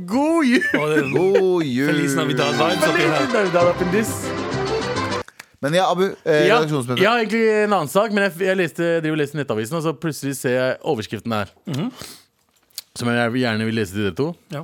[SPEAKER 4] god jul!
[SPEAKER 3] Og det er
[SPEAKER 2] God
[SPEAKER 3] Feliz Navidad
[SPEAKER 2] jul!
[SPEAKER 3] vibes oppi her.
[SPEAKER 4] Navidad up in this.
[SPEAKER 2] Men ja, Abu. Eh,
[SPEAKER 4] Ja,
[SPEAKER 2] redaksjonsmøte.
[SPEAKER 4] ja, egentlig en annen sak, men jeg, jeg, leste, jeg driver og leser Nettavisen, og så plutselig ser jeg overskriften her.
[SPEAKER 3] Mhm.
[SPEAKER 4] Som jeg gjerne vil lese til dere to.
[SPEAKER 3] Ja.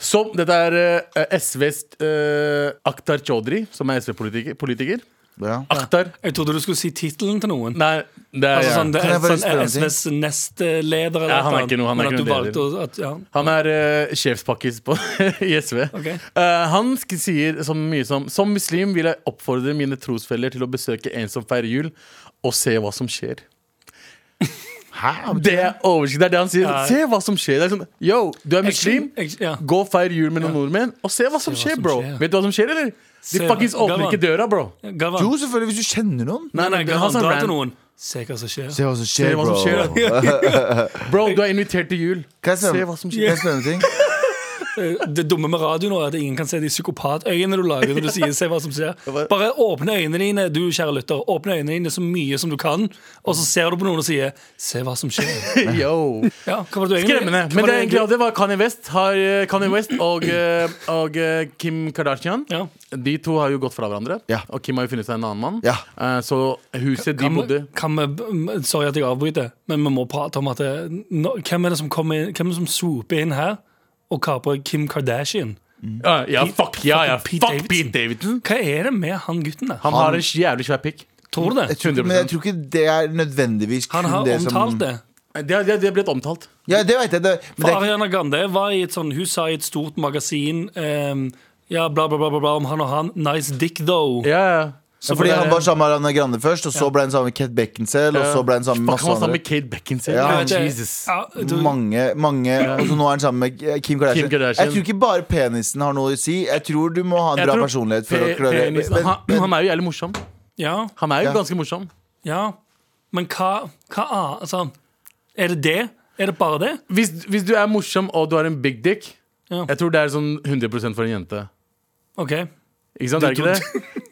[SPEAKER 4] Som, dette er eh, SVs eh, Akhtar Chaudhry, som er SV-politiker. politiker.
[SPEAKER 2] Ja.
[SPEAKER 4] Akhtar
[SPEAKER 3] Jeg trodde du skulle si tittelen til noen.
[SPEAKER 4] Nei, det er
[SPEAKER 3] Altså sånn, det
[SPEAKER 2] Kan
[SPEAKER 3] er
[SPEAKER 2] jeg bare
[SPEAKER 3] sånn
[SPEAKER 2] spørre om ting?
[SPEAKER 3] SVs nestleder eller
[SPEAKER 4] Ja, han er
[SPEAKER 3] noe
[SPEAKER 4] ikke noe- han er
[SPEAKER 3] men
[SPEAKER 4] ikke
[SPEAKER 3] at du
[SPEAKER 4] noe
[SPEAKER 3] valgte å at, ja.
[SPEAKER 4] Han er uh, sjefspakkis på, i SV.
[SPEAKER 3] Ok.
[SPEAKER 4] Eh, han sk sier så mye som Som muslim vil jeg oppfordre mine trosfeller til å besøke en som feirer jul, og se hva som skjer.
[SPEAKER 2] Hæ?
[SPEAKER 4] Det er overskrift, det er det han sier.
[SPEAKER 3] Ja.
[SPEAKER 4] Se hva som skjer. Det er sånn, Yo, du er muslim.
[SPEAKER 3] Jeg- jeg- ja.
[SPEAKER 4] Gå og feir jul med noen nordmenn, og se hva som
[SPEAKER 3] hva
[SPEAKER 4] skjer,
[SPEAKER 3] som
[SPEAKER 4] bro.
[SPEAKER 3] skjer.
[SPEAKER 4] Vet du hva som skjer, eller?
[SPEAKER 3] Se
[SPEAKER 4] De
[SPEAKER 3] hva-
[SPEAKER 4] fuckings åpner
[SPEAKER 3] Galvan.
[SPEAKER 4] ikke døra, bro.
[SPEAKER 3] Galvan.
[SPEAKER 2] Jo, selvfølgelig, hvis du kjenner noen.
[SPEAKER 3] Nei, nei,
[SPEAKER 4] det er
[SPEAKER 3] Galvan,
[SPEAKER 4] han som
[SPEAKER 3] dra
[SPEAKER 4] ran.
[SPEAKER 3] til noen. Se hva som skjer.
[SPEAKER 2] Se hva som skjer,
[SPEAKER 4] hva som
[SPEAKER 2] bro.
[SPEAKER 4] skjer, Bro, du er invitert til jul.
[SPEAKER 2] Kan jeg
[SPEAKER 4] Se
[SPEAKER 2] spørre
[SPEAKER 4] hva som
[SPEAKER 2] kan
[SPEAKER 4] skjer.
[SPEAKER 2] jeg spørre om en ting?
[SPEAKER 3] Eh, Det dumme med radio nå er at ingen kan se de psykopatøyene du lager når du sier 'se hva som skjer'. Bare åpne øynene dine, du kjære lytter, åpne øynene dine så mye som du kan, og så ser du på noen og sier 'se hva som skjer'.
[SPEAKER 4] Yo.
[SPEAKER 3] Ja, hva var det du egentlig-
[SPEAKER 4] Skremmende.
[SPEAKER 3] hva
[SPEAKER 4] Men
[SPEAKER 3] var
[SPEAKER 4] det er egentlig det var Kanye West, har, eh, Kanye West og, eh, og eh, Kim Kardashian.
[SPEAKER 3] Ja.
[SPEAKER 4] De to har jo gått fra hverandre.
[SPEAKER 2] Ja.
[SPEAKER 4] Og Kim har jo funnet seg en annen mann.
[SPEAKER 2] Ja.
[SPEAKER 4] Eh, så huset de
[SPEAKER 3] Kan vi-
[SPEAKER 4] bodde
[SPEAKER 3] kan vi- Sorry at jeg avbryter, men vi må prate om at det, nå- Hvem er det som kommer inn- Hvem er det som swooper inn her og kaprer Kim Kardashian?
[SPEAKER 4] Ja, ja, fuck, ja, ja.
[SPEAKER 3] Pete
[SPEAKER 4] fuck
[SPEAKER 3] Davidson.
[SPEAKER 4] Pete Davidson.
[SPEAKER 3] Hva er det med han gutten der?
[SPEAKER 4] Han har en jævlig svær pikk.
[SPEAKER 3] Tror du
[SPEAKER 2] Jeg
[SPEAKER 3] det?
[SPEAKER 2] tror, ikke- men jeg tror ikke det er nødvendigvis kun
[SPEAKER 3] Han har
[SPEAKER 2] det som
[SPEAKER 3] omtalt Eh, det.
[SPEAKER 4] Det, har- det, det har blitt omtalt.
[SPEAKER 2] Ja, det vet jeg. Det, men
[SPEAKER 3] For
[SPEAKER 2] det er ikke,
[SPEAKER 3] Ariana Grande var i et sånn, hun sa i et stort magasin ehm, Ja, bla, bla, bla, bla, bla om han og han. Nice dick, though.
[SPEAKER 4] Ja, ja.
[SPEAKER 2] ja, fordi
[SPEAKER 3] ble-
[SPEAKER 2] han var sammen med Ariana Grande først, og så ble han sammen med Ket Beckinsale, og så ble han sammen med masse
[SPEAKER 4] Fuck, han var sammen
[SPEAKER 2] andre.
[SPEAKER 4] med Kate Beckinsale.
[SPEAKER 2] Ja,
[SPEAKER 3] Jeg vet det.
[SPEAKER 4] Jesus.
[SPEAKER 3] Ja, du,
[SPEAKER 2] Mange, mange Og så nå er han sammen med Kim Kardashian.
[SPEAKER 4] Kim Kardashian.
[SPEAKER 2] Jeg tror ikke bare penisen har noe å si. Jeg tror du må ha en
[SPEAKER 4] Jeg
[SPEAKER 2] bra
[SPEAKER 4] tror
[SPEAKER 2] personlighet for
[SPEAKER 4] pe-
[SPEAKER 2] å klare
[SPEAKER 4] penisen-
[SPEAKER 2] Men-
[SPEAKER 4] han, han er jo jævlig morsom.
[SPEAKER 3] ja,
[SPEAKER 4] Han er jo
[SPEAKER 2] Ja.
[SPEAKER 4] ganske morsom.
[SPEAKER 3] ja. Men hva, hva annet? Altså, er det det? Er det bare det?
[SPEAKER 4] Hvis, hvis du er morsom og du har en big dick,
[SPEAKER 3] Ja.
[SPEAKER 4] jeg tror det er sånn 100 for en jente.
[SPEAKER 3] OK.
[SPEAKER 4] Ikke sant? Det er ikke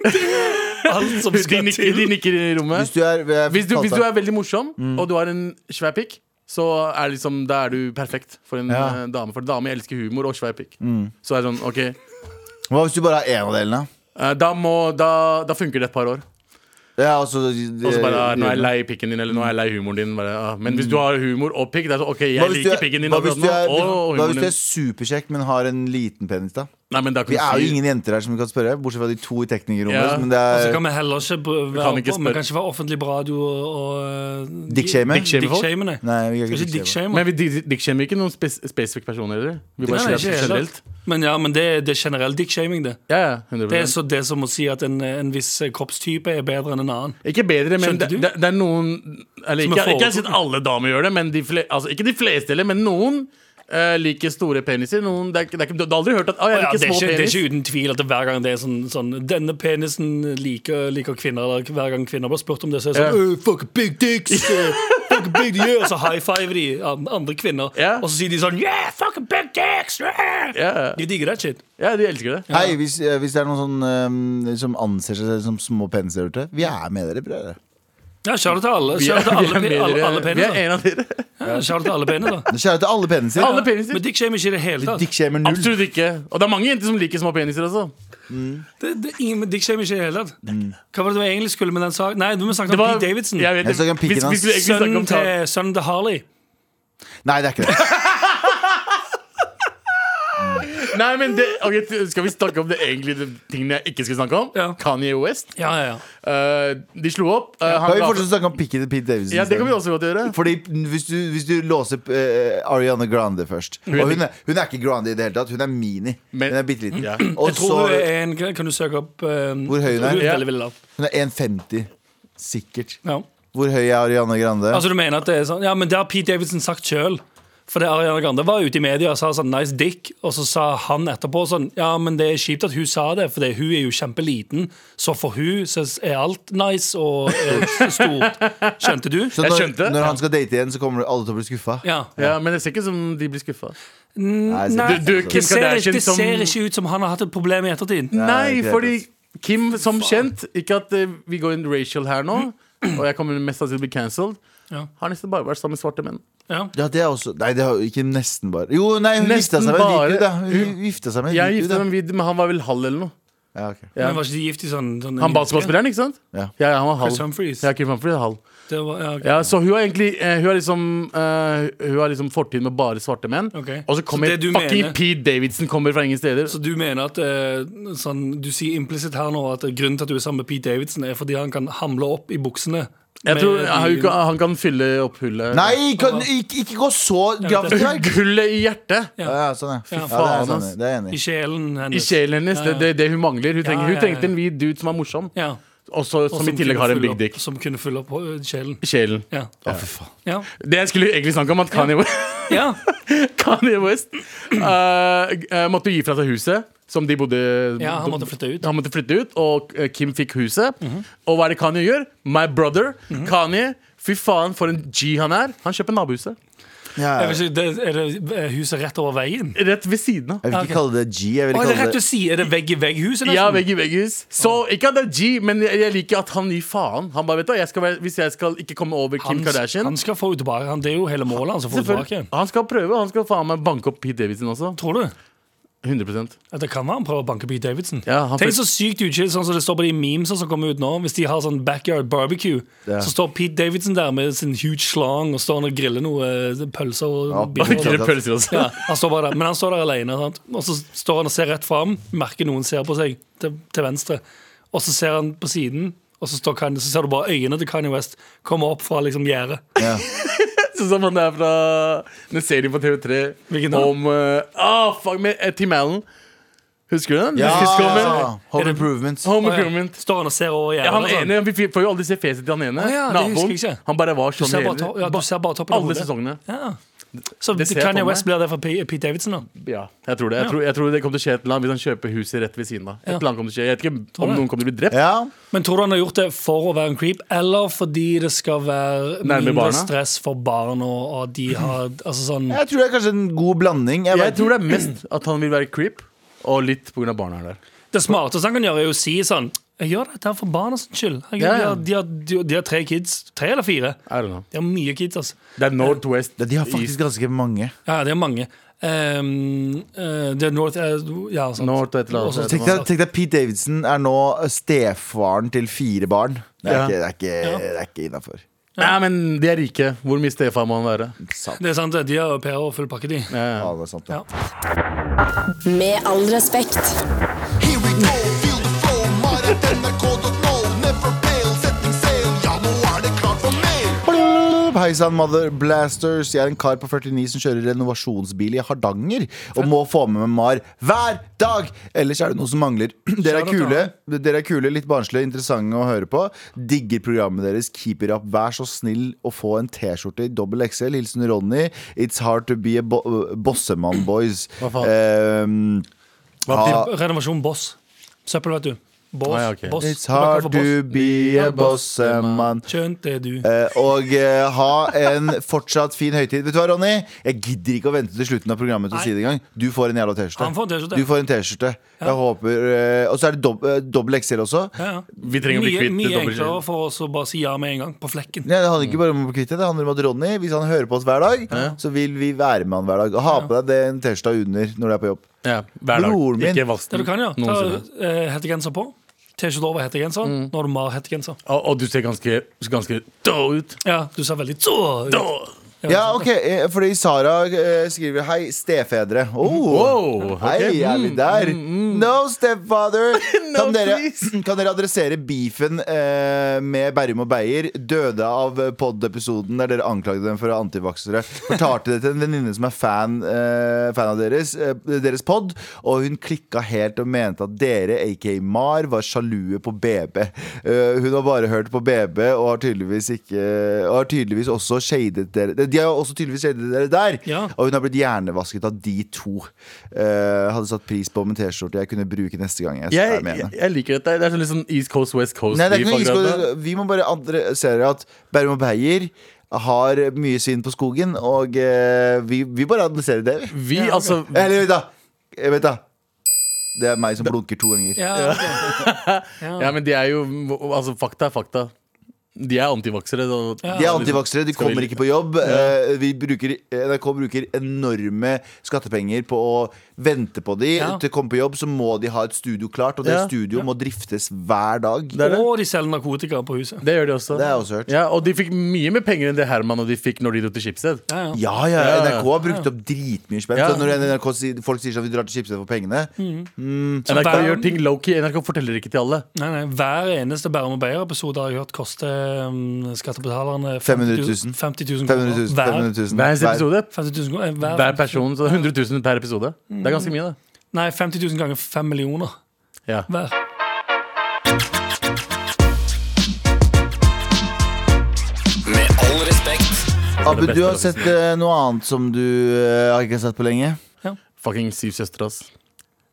[SPEAKER 4] det?
[SPEAKER 3] Alt som
[SPEAKER 4] De
[SPEAKER 3] skal
[SPEAKER 4] nikker,
[SPEAKER 3] til.
[SPEAKER 4] de nikker i rommet.
[SPEAKER 2] Hvis du er, Mm. jeg
[SPEAKER 4] Hvis du, hvis
[SPEAKER 2] fortalte-
[SPEAKER 4] du er veldig morsom, og du har en svær pikk, så er, det liksom, da er du perfekt for en
[SPEAKER 2] Ja. Mm.
[SPEAKER 4] eh, dame. For dame elsker humor og svær pikk. Så er det sånn, ok
[SPEAKER 2] Hva hvis du bare har én av delene?
[SPEAKER 4] eh, da, må, da, da funker det et par år.
[SPEAKER 2] Ja, altså,
[SPEAKER 4] Og så bare, ah, Nå er jeg lei pikken din, eller nå er jeg lei humoren din. Bare, ah. Men hvis du har humor og pikk, det er sånn OK,
[SPEAKER 2] Mm. Hva
[SPEAKER 4] jeg
[SPEAKER 2] hvis du
[SPEAKER 4] liker
[SPEAKER 2] er,
[SPEAKER 4] pikken din
[SPEAKER 2] hva hvis
[SPEAKER 4] akkurat
[SPEAKER 2] du er,
[SPEAKER 4] nå, og
[SPEAKER 2] hva
[SPEAKER 4] humoren
[SPEAKER 2] hvis du
[SPEAKER 4] din.
[SPEAKER 2] er superkjekk, men har en liten penis, da?
[SPEAKER 4] Nei, men da kan
[SPEAKER 2] Vi
[SPEAKER 4] du
[SPEAKER 2] er jo
[SPEAKER 4] si-
[SPEAKER 2] ingen jenter her som vi kan spørre, bortsett fra de to i teknikerrommet.
[SPEAKER 4] Ja.
[SPEAKER 2] Men det
[SPEAKER 3] Og så
[SPEAKER 2] er
[SPEAKER 3] kan vi heller ikke br- være
[SPEAKER 4] ikke
[SPEAKER 3] på, vi
[SPEAKER 4] spørre.
[SPEAKER 3] kan ikke være offentlig på radio og, eh, og
[SPEAKER 2] Dickshame?
[SPEAKER 4] Dick shame. Dickshame folk?
[SPEAKER 3] Dickshamene.
[SPEAKER 2] Nei, vi kan ikke
[SPEAKER 3] Skal ikke
[SPEAKER 2] dickshame.
[SPEAKER 3] dickshame.
[SPEAKER 4] Men vi dik- dikkshamer ikke noen spes spesifikk person heller. Vi bare
[SPEAKER 3] Nei, nei, ikke
[SPEAKER 4] sier at
[SPEAKER 3] i det hele
[SPEAKER 4] generelt.
[SPEAKER 3] tatt. Men ja, men det, det er generell dickshaming, det.
[SPEAKER 4] Ja, ja, 100%.
[SPEAKER 3] Det er så det som å si at en, en viss kroppstype er bedre enn en annen.
[SPEAKER 4] Ikke bedre,
[SPEAKER 3] Skjønte
[SPEAKER 4] men det,
[SPEAKER 3] du?
[SPEAKER 4] det, det er noen Eller
[SPEAKER 3] Som
[SPEAKER 4] ikke,
[SPEAKER 3] er
[SPEAKER 4] ikke jeg
[SPEAKER 3] foretrukket.
[SPEAKER 4] sier at alle damer gjør det, men de fle, altså, ikke de fleste heller, men noen eh, liker store peniser. Noen, det er, ikke- det er, ikke- du har aldri hørt at «Å, jeg
[SPEAKER 3] Ja,
[SPEAKER 4] liker
[SPEAKER 3] det, er
[SPEAKER 4] små
[SPEAKER 3] ikke, det er
[SPEAKER 4] penis.
[SPEAKER 3] ikke uten tvil at det hver gang det er sånn, sånn Denne penisen liker, liker kvinner Eller hver gang kvinner blir spurt om det Så er det sånn
[SPEAKER 4] Ja.
[SPEAKER 3] «Øh, Fuck big dicks øh, Fuck big dicks øh», Og så high five de an- andre kvinner
[SPEAKER 4] Ja.
[SPEAKER 3] Og så sier de sånn Yeah, fuck big dicks yeah!»
[SPEAKER 4] Ja.
[SPEAKER 3] De digger that shit
[SPEAKER 4] Ja, de elsker det.
[SPEAKER 2] Hei, hvis, eh, hvis det er noen sånn, eh, som anser seg selv som små peniser der ute, vi er med dere, brødre.
[SPEAKER 3] Ja, kjære til alle
[SPEAKER 4] Vi er,
[SPEAKER 3] Kjære til alle,
[SPEAKER 4] vi
[SPEAKER 3] pe-
[SPEAKER 4] er, med
[SPEAKER 3] alle,
[SPEAKER 4] dere.
[SPEAKER 3] alle
[SPEAKER 4] vi er
[SPEAKER 3] peniser
[SPEAKER 4] en av dere.
[SPEAKER 3] ja, Kjære til alle peniser
[SPEAKER 2] Kjære til alle peniser.
[SPEAKER 4] Alle peniser.
[SPEAKER 3] Men dick shame er ikke i det hele tatt
[SPEAKER 2] Dickshamer null.
[SPEAKER 4] Absolutt ikke. Og det er mange jenter som liker små peniser også.
[SPEAKER 3] det, det, ingen, men dick shame er ikke i det hele tatt Hva var det du egentlig skulle med den saken? Nei, du må snakke om
[SPEAKER 4] Mm. var-
[SPEAKER 3] Pete Davidson
[SPEAKER 4] Jeg vet,
[SPEAKER 2] Jeg snakker om pikken
[SPEAKER 4] vi- vi
[SPEAKER 2] hans.
[SPEAKER 4] skulle egentlig snakke
[SPEAKER 3] Sønnen
[SPEAKER 4] om ta-
[SPEAKER 3] til, sønnen til Harley
[SPEAKER 2] Nei, det er ikke det.
[SPEAKER 4] Nei, men det, ok, Skal vi snakke om det egentlig de tingene jeg ikke skal snakke om?
[SPEAKER 3] Ja.
[SPEAKER 4] Kanye West.
[SPEAKER 3] Ja, ja, ja
[SPEAKER 4] Eh, de slo opp. Eh, han
[SPEAKER 2] Da vil vi
[SPEAKER 4] la-
[SPEAKER 2] fortsatt snakke om pikken til Pete Davidson.
[SPEAKER 4] ja, det kan vi også godt gjøre.
[SPEAKER 2] Fordi hvis du, hvis du låser opp eh, Ariana Grande først Og hun er, hun er ikke Grande i det hele tatt. Hun er mini.
[SPEAKER 4] Men-
[SPEAKER 2] hun er bitte liten.
[SPEAKER 3] Jeg
[SPEAKER 2] Og så
[SPEAKER 3] tror hun er en Kan du søke opp eh,
[SPEAKER 2] Hvor høy hun er?
[SPEAKER 3] veldig,
[SPEAKER 4] Ja.
[SPEAKER 3] veldig lav.
[SPEAKER 2] Hun er 1,50. Sikkert.
[SPEAKER 3] Ja.
[SPEAKER 2] Hvor høy er Ariana Grande?
[SPEAKER 3] Altså du mener at det er sånn Ja, men det har Pete Davidson sagt sjøl. For det Ariana Grande var ute i media og sa sånn 'nice dick', og så sa han etterpå sånn 'ja, men det er kjipt at hun sa det, for det- hun er jo kjempeliten', så for hun så er alt nice og eh, stort. Skjønte du?
[SPEAKER 2] så
[SPEAKER 4] jeg
[SPEAKER 2] når,
[SPEAKER 4] skjønte.
[SPEAKER 2] når han skal date igjen, så kommer alle til å bli skuffa.
[SPEAKER 3] Ja.
[SPEAKER 4] Ja, Men det ser ikke ut som de blir skuffa.
[SPEAKER 2] Nei,
[SPEAKER 3] Nei,
[SPEAKER 2] sikkert.
[SPEAKER 4] Du- du-
[SPEAKER 3] det, ser,
[SPEAKER 4] Kardashian
[SPEAKER 3] det ser
[SPEAKER 4] som-
[SPEAKER 3] ikke ut som han har hatt et problem i ettertid.
[SPEAKER 4] Nei,
[SPEAKER 2] ikke helt
[SPEAKER 4] fordi Kim, som kjent Ikke at eh, vi går inn racial her nå, og jeg kommer mest sannsynlig bli cancelled,
[SPEAKER 3] Ja.
[SPEAKER 4] har nesten bare vært sammen med svarte menn.
[SPEAKER 3] Ja.
[SPEAKER 2] Ja, det er også Nei, det har ikke nesten bare Jo, nei, hun gifta
[SPEAKER 4] Nesten
[SPEAKER 2] seg med en
[SPEAKER 4] bare.
[SPEAKER 2] lik ut, da. Hun gifta seg med en
[SPEAKER 4] Jeg
[SPEAKER 2] lik ut,
[SPEAKER 4] gifta
[SPEAKER 2] da.
[SPEAKER 4] meg med men han var vel halv eller noe.
[SPEAKER 2] Ja, ok.
[SPEAKER 4] Ja.
[SPEAKER 3] Men var ikke de gift i sånn, sånn
[SPEAKER 4] Han basketballspilleren, ikke sant?
[SPEAKER 2] Ja.
[SPEAKER 4] ja, han var
[SPEAKER 3] Chris
[SPEAKER 4] halv.
[SPEAKER 3] Humphries.
[SPEAKER 4] Ja, Kim Humphrey er halv.
[SPEAKER 3] Det var, ja, ok.
[SPEAKER 4] Ja, så hun har egentlig eh, Hun har liksom, eh, hun har liksom fortid med bare svarte menn.
[SPEAKER 3] Ok.
[SPEAKER 4] Og så kommer
[SPEAKER 3] Så det du
[SPEAKER 4] fucking
[SPEAKER 3] mener-
[SPEAKER 4] Pete Davidson kommer fra ingen steder.
[SPEAKER 3] Så du mener at eh, sånn, Du sier implisitt her nå at grunnen til at du er sammen med Pete Davidson, er fordi han kan hamle opp i buksene?
[SPEAKER 4] jeg
[SPEAKER 3] med
[SPEAKER 4] tror
[SPEAKER 3] de-
[SPEAKER 4] han kan, han kan fylle opp hullet.
[SPEAKER 2] Nei, kan, ikke, ikke gå så gravt til verks!
[SPEAKER 4] Hullet i hjertet!
[SPEAKER 2] Ja, ja, sånn, ja. Fy
[SPEAKER 3] Ja.
[SPEAKER 2] faen, det er
[SPEAKER 4] Faen,
[SPEAKER 2] sånn,
[SPEAKER 4] ass.
[SPEAKER 2] det er jeg enig
[SPEAKER 3] I
[SPEAKER 2] i.
[SPEAKER 3] sjelen
[SPEAKER 4] I
[SPEAKER 3] hennes.
[SPEAKER 4] sjelen hennes.
[SPEAKER 3] Ja, ja.
[SPEAKER 4] Det, det er det hun mangler. Hun, trenger,
[SPEAKER 3] Ja, ja,
[SPEAKER 4] hun trengte
[SPEAKER 3] ja.
[SPEAKER 4] en hvit dude som er morsom,
[SPEAKER 3] Ja.
[SPEAKER 4] også,
[SPEAKER 3] Og
[SPEAKER 4] som i
[SPEAKER 3] kunne
[SPEAKER 4] tillegg har en
[SPEAKER 3] fylle
[SPEAKER 4] big
[SPEAKER 3] opp-
[SPEAKER 4] dick.
[SPEAKER 3] Som kunne fylle opp eh, sjelen.
[SPEAKER 4] Sjelen.
[SPEAKER 3] Ja. ja.
[SPEAKER 4] Det jeg skulle egentlig snakke om, at Kanye West,
[SPEAKER 3] ja.
[SPEAKER 4] Kanye West eh, eh, måtte gi fra seg huset som de bodde
[SPEAKER 3] Ja, han måtte flytte ut. Mhm.
[SPEAKER 4] Han måtte flytte ut, og eh, Kim fikk huset. Og hva er det Kanye gjør? My brother, Kanye. Fy faen, for en G han er. Han kjøper nabohuset.
[SPEAKER 2] Ja,
[SPEAKER 3] Jeg
[SPEAKER 2] jeg
[SPEAKER 3] vet ikke, det, er det eh, huset rett over veien?
[SPEAKER 4] Rett ved siden av.
[SPEAKER 2] vil
[SPEAKER 3] ok.
[SPEAKER 2] ikke kalle det G. Jeg vil
[SPEAKER 3] Å, er det
[SPEAKER 2] kalle
[SPEAKER 3] rett
[SPEAKER 2] det
[SPEAKER 3] å si? Er det vegg i vegg-huset? nesten?
[SPEAKER 4] Ja, vegg i vegghus. Så ikke at det er G, men jeg, jeg liker at han gir faen. Han bare, vet du, hva, jeg skal være, Hvis jeg skal ikke komme over Kim
[SPEAKER 3] Han-
[SPEAKER 4] Kardashian
[SPEAKER 3] Han skal få henne tilbake. Han, det er jo hele målet hans å få henne tilbake
[SPEAKER 4] Selvfølgelig.
[SPEAKER 3] igjen.
[SPEAKER 4] Han skal prøve. Han skal faen meg banke opp Pete Davidson også.
[SPEAKER 3] Tror du?
[SPEAKER 4] 100
[SPEAKER 3] At det kan være han prøver å banke Pete Davidson.
[SPEAKER 4] Ja, han
[SPEAKER 3] Tenk
[SPEAKER 4] fikk-
[SPEAKER 3] så sykt uchill, sånn som det står på de memesene som kommer ut nå. Hvis de har sånn backyard barbecue,
[SPEAKER 2] Ja.
[SPEAKER 3] så står Pete Davidson der med sin huge slong og står han og griller noe eh, pølser og
[SPEAKER 2] Ja,
[SPEAKER 3] bier.
[SPEAKER 2] pølser.
[SPEAKER 4] Griller pølser også.
[SPEAKER 3] Ja, han står bare der. Men han står der alene, sant? og så står han og ser rett fram. Merker noen ser på seg til, til venstre. Og så ser han på siden, og så, står Kanye, så ser du bare øynene til Kanye West komme opp fra liksom gjerdet.
[SPEAKER 2] ja.
[SPEAKER 4] Sånn som han der fra den serien på TV3
[SPEAKER 3] Hvilken da?
[SPEAKER 4] om eh, ah, fuck, med eh, Tim Allen. Husker du den?
[SPEAKER 2] Ja,
[SPEAKER 4] Sitcomen.
[SPEAKER 2] Home Improvement.
[SPEAKER 4] Home
[SPEAKER 3] Å, ja.
[SPEAKER 4] Improvement.
[SPEAKER 3] Står han og ser over
[SPEAKER 4] Ja,
[SPEAKER 3] gjerdet?
[SPEAKER 4] han
[SPEAKER 3] og sånn.
[SPEAKER 4] ene, Vi fikk- får jo aldri se fjeset til han ene.
[SPEAKER 3] Å ja, det husker
[SPEAKER 4] naboen.
[SPEAKER 3] jeg ikke.
[SPEAKER 4] Han bare var
[SPEAKER 3] Du
[SPEAKER 4] sånn
[SPEAKER 3] ser bare,
[SPEAKER 4] hele-
[SPEAKER 3] to ja, du ser bare toppen av
[SPEAKER 4] alle
[SPEAKER 3] hodet.
[SPEAKER 4] sesongene.
[SPEAKER 3] Ja. Så
[SPEAKER 4] Det ser jeg
[SPEAKER 3] Kanye
[SPEAKER 4] for meg.
[SPEAKER 3] West blir det for P- Pete Davidson, da?
[SPEAKER 4] Ja, jeg tror det. Jeg tror, jeg tror det kommer til å skje et eller annet hvis han kjøper huset rett ved siden av. Et
[SPEAKER 3] Ja.
[SPEAKER 4] eller annet kommer til å skje. Jeg vet ikke om
[SPEAKER 3] det.
[SPEAKER 4] noen kommer til å bli drept.
[SPEAKER 2] Ja.
[SPEAKER 3] Men tror du han har gjort det for å være en creep, eller fordi det skal være
[SPEAKER 4] Nærme
[SPEAKER 3] mindre
[SPEAKER 4] barna?
[SPEAKER 3] stress for barn, og, og de har altså sånn
[SPEAKER 2] Jeg tror det er kanskje en god blanding. Jeg,
[SPEAKER 4] Jeg
[SPEAKER 2] vet-
[SPEAKER 4] tror det er mest at han vil være creep, og litt pga. barna er der.
[SPEAKER 3] Det smarteste han kan gjøre, er å si sånn Jeg gjør dette her for barna sin skyld. Jeg,
[SPEAKER 4] Ja, ja.
[SPEAKER 3] De, har, de, har, de har tre kids. Tre eller fire?
[SPEAKER 4] I don't know.
[SPEAKER 3] De har mye kids, altså.
[SPEAKER 4] Det er Northwest.
[SPEAKER 2] Ja, de har faktisk ganske mange.
[SPEAKER 3] Ja, de har mange. Ehm, eh, det er North eh, Ja,
[SPEAKER 4] East-
[SPEAKER 3] sant.
[SPEAKER 4] North et eller annet.
[SPEAKER 3] Også-
[SPEAKER 4] sted.
[SPEAKER 2] Tenk deg, tenk deg Pete Davidson er nå stefaren til fire barn. Det er
[SPEAKER 4] Ja.
[SPEAKER 2] ikke, det er ikke, det er ikke innafor.
[SPEAKER 4] Nei, men de er rike. Hvor mye stefar må han være?
[SPEAKER 2] Sant.
[SPEAKER 3] Det er sant, det. de har au pair og full pakke, de.
[SPEAKER 4] Ja,
[SPEAKER 2] Ja,
[SPEAKER 4] ja.
[SPEAKER 2] det er sant, ja.
[SPEAKER 3] Ja.
[SPEAKER 5] Med all respekt.
[SPEAKER 6] Here we go, feel the flow. Marit.nrk.no. Never fail, setting sail. Ja, nå er det klart for mer.
[SPEAKER 2] Hei sann, Mother Blasters. Jeg er en kar på 49 som kjører renovasjonsbil i Hardanger. Og må få med meg MAR hver dag! Ellers er det noe som mangler. Dere er
[SPEAKER 3] Shout out
[SPEAKER 2] kule, dere er kule litt barnslige, interessante å høre på. Digger programmet deres. Keep it up. Vær så snill å få en T-skjorte i dobbel XL. Hilsen Ronny. It's hard to be a bo bossemann, boys.
[SPEAKER 4] Hva faen?
[SPEAKER 2] Ehm,
[SPEAKER 4] Hva-
[SPEAKER 2] ha-
[SPEAKER 3] Renovasjon Boss. Søppel, vet du. Boss.
[SPEAKER 4] Ah, ja, ok.
[SPEAKER 3] boss.
[SPEAKER 2] It's hard to be a bossemann.
[SPEAKER 3] Skjønt det, du.
[SPEAKER 2] Eh, Og eh, ha en fortsatt fin høytid. Vet du hva, Ronny? Jeg gidder ikke å vente til slutten av programmet til å si det engang. Du får en jævla
[SPEAKER 3] Han får en
[SPEAKER 2] T-skjorte.
[SPEAKER 3] T-skjorte.
[SPEAKER 2] Du får en T-skjorte. Jeg håper eh, Og så er det dob eh, dobbel XL også.
[SPEAKER 3] Ja, ja.
[SPEAKER 4] Vi trenger å bli
[SPEAKER 3] mye,
[SPEAKER 4] kvitt
[SPEAKER 3] Mye
[SPEAKER 4] dobbelt-
[SPEAKER 3] enklere for oss å bare si ja med en gang. På flekken.
[SPEAKER 2] Nei, det handler ikke bare om å bli kvitt det, det handler om at Ronny, hvis han hører på oss hver dag, så vil vi være med han hver dag. Og ha på deg den T-skjorta under når du er på jobb.
[SPEAKER 4] Ja, hver dag.
[SPEAKER 2] Broren min.
[SPEAKER 4] Ikke vask
[SPEAKER 3] Det du
[SPEAKER 4] den
[SPEAKER 3] kan gjøre,
[SPEAKER 4] noensinne.
[SPEAKER 3] ta eh, hettegenser på. T-skjorte over hettegenser. Nå har du mer hettegenser.
[SPEAKER 4] Og, og du ser ganske, ganske død ut.
[SPEAKER 3] Ja, du ser veldig så ut.
[SPEAKER 4] Død.
[SPEAKER 2] Ja, ok, eh, fordi Sara eh, skriver Hei, stefedre. Oh.
[SPEAKER 4] Wow, ok. Mm,
[SPEAKER 2] Hei, er vi der? No, stepfather!
[SPEAKER 4] No,
[SPEAKER 2] kan, dere,
[SPEAKER 4] please.
[SPEAKER 2] kan dere adressere beefen eh, med Berrum og Beyer? Døde av pod-episoden der dere anklagde dem for å være antivaksere. Fortalte det til en venninne som er fan, eh, fan av deres, eh, deres pod, og hun klikka helt og mente at dere, aka Mar, var sjalue på BB. Eh, hun har bare hørt på BB og har tydeligvis ikke Og har tydeligvis også shadet dere De har også tydeligvis shadet dere der!
[SPEAKER 3] Ja.
[SPEAKER 2] Og hun har blitt hjernevasket av de to. Eh, hadde satt pris på om en T-skjorte jeg kunne bruke neste gang jeg
[SPEAKER 4] Jeg,
[SPEAKER 2] er med
[SPEAKER 4] jeg,
[SPEAKER 2] henne.
[SPEAKER 4] jeg liker dette. Det er sånn litt sånn East Coast, West Coast.
[SPEAKER 2] Nei, det er
[SPEAKER 4] i
[SPEAKER 2] ikke noe
[SPEAKER 4] bakgrunnen.
[SPEAKER 2] iskode. Vi må bare adressere at Bærum og Beyer har mye svin på skogen, og eh, vi, vi bare adresserer det. vi.
[SPEAKER 4] Vi, altså
[SPEAKER 2] Eller vent, da. Eh, Vent, da. Det er meg som blunker to ganger.
[SPEAKER 3] Ja, ok.
[SPEAKER 4] Ja, men de er jo Altså, fakta er fakta. De er antivaksere. så-
[SPEAKER 3] Ja.
[SPEAKER 2] De er antivaksere, de kommer ikke på jobb. Eh, Vi bruker, NRK bruker enorme skattepenger på å vente på de.
[SPEAKER 3] Ja.
[SPEAKER 2] Til å komme på jobb så må de ha et studio klart, og det
[SPEAKER 4] Ja.
[SPEAKER 2] studioet må driftes hver dag.
[SPEAKER 4] Det er det.
[SPEAKER 3] Og de selger narkotika på huset.
[SPEAKER 4] Det gjør de også.
[SPEAKER 2] Det har jeg også hørt.
[SPEAKER 4] Ja, og de fikk mye mer penger enn det Herman og de fikk når de dro til Schibsted.
[SPEAKER 3] Ja, ja.
[SPEAKER 2] Ja, ja,
[SPEAKER 4] Ja, ja.
[SPEAKER 2] NRK har brukt opp dritmye spenn.
[SPEAKER 4] Ja.
[SPEAKER 2] Så når NRK sier, folk sier sånn vi drar til Schibsted for pengene
[SPEAKER 4] NRK
[SPEAKER 3] Bærum-
[SPEAKER 4] gjør ting low-key. NRK forteller ikke til alle.
[SPEAKER 3] Nei, nei, Hver eneste Bærum og Beyer-episode har jeg hørt koster um, skattebetalerne
[SPEAKER 2] 500 000.
[SPEAKER 3] 50 000 kroner.
[SPEAKER 2] 500 000.
[SPEAKER 3] Hver-
[SPEAKER 2] 500 000.
[SPEAKER 4] Hver eneste episode.
[SPEAKER 3] 50 000 kroner. eh, Hver,
[SPEAKER 4] Hver person. Så 100 000 per episode. Det er ganske mye, det.
[SPEAKER 3] Nei, 50 000 ganger 5 millioner
[SPEAKER 4] Ja.
[SPEAKER 3] hver.
[SPEAKER 6] Med all respekt.
[SPEAKER 2] Abu, du har sett eh, noe annet som du eh, har ikke har sett på lenge.
[SPEAKER 4] Fucking Syv søstre, ass.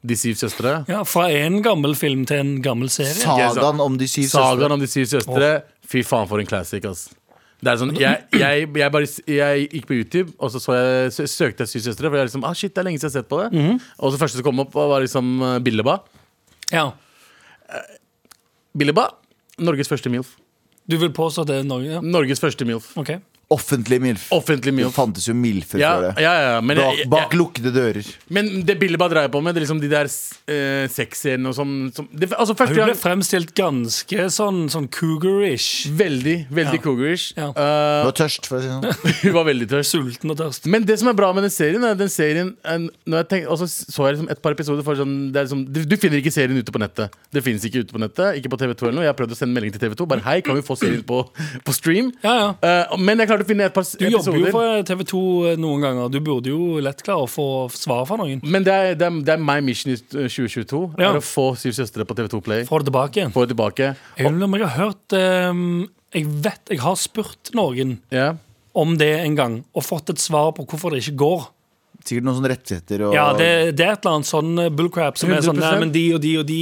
[SPEAKER 4] De syv søstre.
[SPEAKER 3] Ja, Fra en gammel film til en gammel serie.
[SPEAKER 2] Sagaen om de syv søstre.
[SPEAKER 4] Sagaen om de syv søstre. Fy faen, for en classic, ass. Det er sånn, jeg, jeg, jeg, bare, jeg gikk på YouTube, og så, så jeg, sø- søkte jeg Syv søstre. For jeg liksom, ah, shit, det er lenge siden jeg har sett på det
[SPEAKER 2] Mhm.
[SPEAKER 4] Og så første som kom opp, var liksom eh, Billeba.
[SPEAKER 3] Ja,
[SPEAKER 4] Billeba, Norges første MILF.
[SPEAKER 3] Du vil påstå at det er Norge? Ja.
[SPEAKER 4] Norges første MILF.
[SPEAKER 3] Ok.
[SPEAKER 2] Offentlig milf.
[SPEAKER 4] Offentlig
[SPEAKER 2] Det
[SPEAKER 4] MILF.
[SPEAKER 2] fantes jo milfer
[SPEAKER 4] Ja,
[SPEAKER 2] før det.
[SPEAKER 4] ja, ja, men,
[SPEAKER 2] Bak,
[SPEAKER 4] jeg-
[SPEAKER 2] bak
[SPEAKER 4] jeg-
[SPEAKER 2] lukkede dører.
[SPEAKER 4] men det Billeba dreier på med, det er liksom de der eh, sexscenene og sånn som, det, altså, første
[SPEAKER 3] Hun ble
[SPEAKER 4] gang,
[SPEAKER 3] fremstilt ganske sånn, sånn cougar-ish.
[SPEAKER 4] Veldig, veldig cougarish.
[SPEAKER 3] Ja.
[SPEAKER 2] Du
[SPEAKER 4] Eh,
[SPEAKER 2] var tørst, for å si det sånn.
[SPEAKER 4] hun var veldig tørst.
[SPEAKER 3] Sulten og tørst.
[SPEAKER 4] Men det som er bra med den serien, er at den serien eh, når jeg tenk, Og så så jeg liksom et par episoder for sånn, det er liksom, du, du finner ikke serien ute på nettet. Det finnes ikke ute på nettet, ikke på TV2 eller noe. Jeg har prøvd å sende melding til TV2. Bare hei, kan vi få serien på, på stream?
[SPEAKER 3] Ja, ja.
[SPEAKER 4] Eh, men jeg klarte klart å finne et par s-
[SPEAKER 3] Du jobber jo
[SPEAKER 4] episoder.
[SPEAKER 3] for eh, TV 2 noen ganger. Du burde jo lett klare å få svar fra noen.
[SPEAKER 4] Men det er, det, er, det er my mission i 2022.
[SPEAKER 3] Ja.
[SPEAKER 4] Er å få Syv søstre på TV2 Play.
[SPEAKER 3] Få det tilbake igjen.
[SPEAKER 4] Få det tilbake.
[SPEAKER 3] Jeg lurer om jeg har hørt ehm, Jeg vet jeg har spurt noen
[SPEAKER 4] Ja.
[SPEAKER 3] om det en gang, og fått et svar på hvorfor det ikke går.
[SPEAKER 2] Sikkert noen sånne rettigheter og
[SPEAKER 3] Ja, det, det er et eller annet sånn eh, bullcrap som er sånn Nei,
[SPEAKER 4] 100%.
[SPEAKER 3] men de og de og de,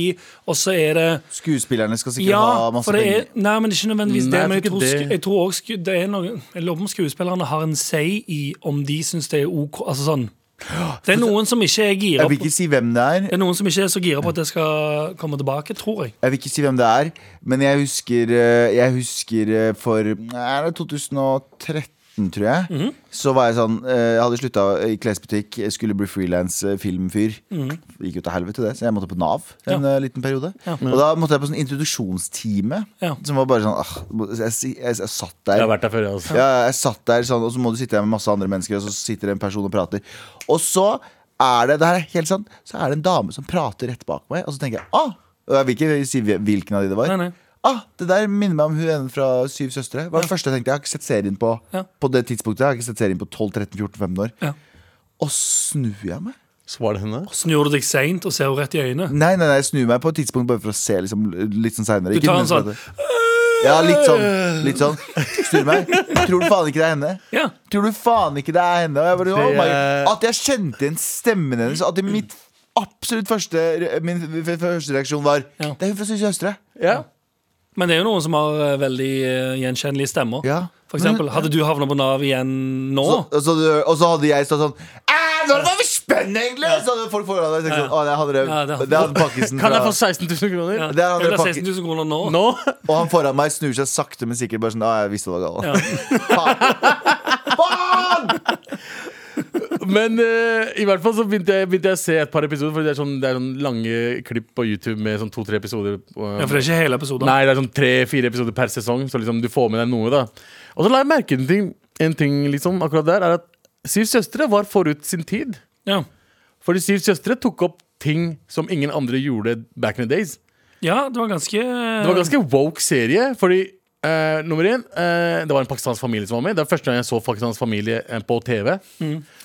[SPEAKER 3] og så er det
[SPEAKER 2] Skuespillerne skal sikkert
[SPEAKER 3] Ja,
[SPEAKER 2] ha
[SPEAKER 3] for
[SPEAKER 2] masse
[SPEAKER 3] det
[SPEAKER 2] penger.
[SPEAKER 3] er Nei, men det er ikke nødvendigvis
[SPEAKER 4] Nei,
[SPEAKER 3] det.
[SPEAKER 4] jeg
[SPEAKER 3] Men jeg
[SPEAKER 4] tror
[SPEAKER 3] tror,
[SPEAKER 4] ikke
[SPEAKER 3] sk-
[SPEAKER 4] det.
[SPEAKER 3] jeg tror også sku- det er noe Jeg lurer på om skuespillerne har en say i om de syns det er OK. Altså sånn. Det er noen som ikke er gira
[SPEAKER 2] Jeg vil
[SPEAKER 3] på
[SPEAKER 2] ikke si hvem det er,
[SPEAKER 3] det er noen som ikke er så gira på at det skal komme tilbake, tror jeg.
[SPEAKER 2] Jeg vil ikke si hvem det er, men jeg husker, eh, jeg husker eh, for nei, er det 2013, tror jeg. Så var jeg sånn eh, Jeg hadde slutta i klesbutikk, jeg skulle bli frilans filmfyr. Det Gikk jo til helvete, det, så jeg måtte på Nav en eh, liten periode. Og da måtte jeg på sånn introduksjonstime,
[SPEAKER 3] Ja.
[SPEAKER 2] som var bare sånn ah, jeg, jeg, jeg, jeg satt der.
[SPEAKER 4] Jeg har vært der før, jeg altså. også.
[SPEAKER 2] Ja, jeg satt der sånn, og så må du sitte der med masse andre mennesker, og så sitter det en person og prater. Og så er det, det her er helt sant, så er det en dame som prater rett bak meg, og så tenker jeg ah! Og jeg vil ikke si hvil- hvilken av de det var.
[SPEAKER 3] Nei, nei.
[SPEAKER 2] Ah, det der minner meg om hun ene fra Syv søstre. Det var det første jeg tenkte. Jeg har ikke sett serien på
[SPEAKER 3] Ja.
[SPEAKER 2] På det tidspunktet. Jeg har ikke sett serien på 12-13-14-15 år.
[SPEAKER 3] Ja.
[SPEAKER 2] Og snur jeg meg?
[SPEAKER 4] Så var det henne.
[SPEAKER 3] Snur du deg seint og ser henne rett i øynene?
[SPEAKER 2] Nei, nei, nei, jeg snur meg på et tidspunkt bare for å se liksom, litt sånn seinere.
[SPEAKER 3] Du tar en sånn
[SPEAKER 2] Ja, litt sånn. Litt sånn. Snur meg. Tror du faen ikke det er henne?
[SPEAKER 3] Ja.
[SPEAKER 2] Tror du faen ikke det er henne? Og jeg bare, oh
[SPEAKER 4] Det
[SPEAKER 2] my.
[SPEAKER 4] er-
[SPEAKER 2] At jeg kjente igjen stemmen hennes. At i mitt absolutt første Min f- f- første reaksjon var
[SPEAKER 3] Ja.
[SPEAKER 2] Det er hun fra Syv søstre.
[SPEAKER 4] Ja.
[SPEAKER 3] Men det er jo noen som har eh, veldig eh, gjenkjennelige stemmer.
[SPEAKER 2] Ja.
[SPEAKER 3] For eksempel, hadde du havna på Nav igjen nå?
[SPEAKER 2] Så, og, så, og så hadde jeg stått sånn «Æ, Når var vi spennende, egentlig? Så hadde folk foran deg tenkt sånn Å, det er han Rød.
[SPEAKER 3] Ja, det er han.
[SPEAKER 2] Det er han Pakkisen
[SPEAKER 4] Kan jeg få
[SPEAKER 2] fra
[SPEAKER 4] 16 000 kroner?
[SPEAKER 3] Ja.
[SPEAKER 2] det er han
[SPEAKER 3] Jeg vil ha
[SPEAKER 2] pakke-
[SPEAKER 3] 16 000 kroner nå.
[SPEAKER 4] Nå?
[SPEAKER 2] Og han foran meg snur seg sakte, men sikkert bare sånn Å, jeg visste det var galt. Faen! Faen!
[SPEAKER 4] Men eh, i hvert fall så begynte jeg, begynte jeg å se et par episoder, Fordi det er sånn, det er sånn lange klipp på YouTube med sånn to-tre episoder. eh,
[SPEAKER 3] Ja, for det er ikke hele episoden.
[SPEAKER 4] Nei, det er sånn tre-fire episoder per sesong, så liksom du får med deg noe. da Og så la jeg merke en ting, en ting liksom, akkurat der, er at Syv søstre var forut sin tid.
[SPEAKER 3] Ja.
[SPEAKER 4] Fordi Syv søstre tok opp ting som ingen andre gjorde back in the days.
[SPEAKER 3] ja, det var ganske
[SPEAKER 4] Det var en ganske woke serie. Fordi eh, nummer én, eh, det var en pakistansk familie som var med. Det var første gang jeg så pakistansk familie eh, på TV.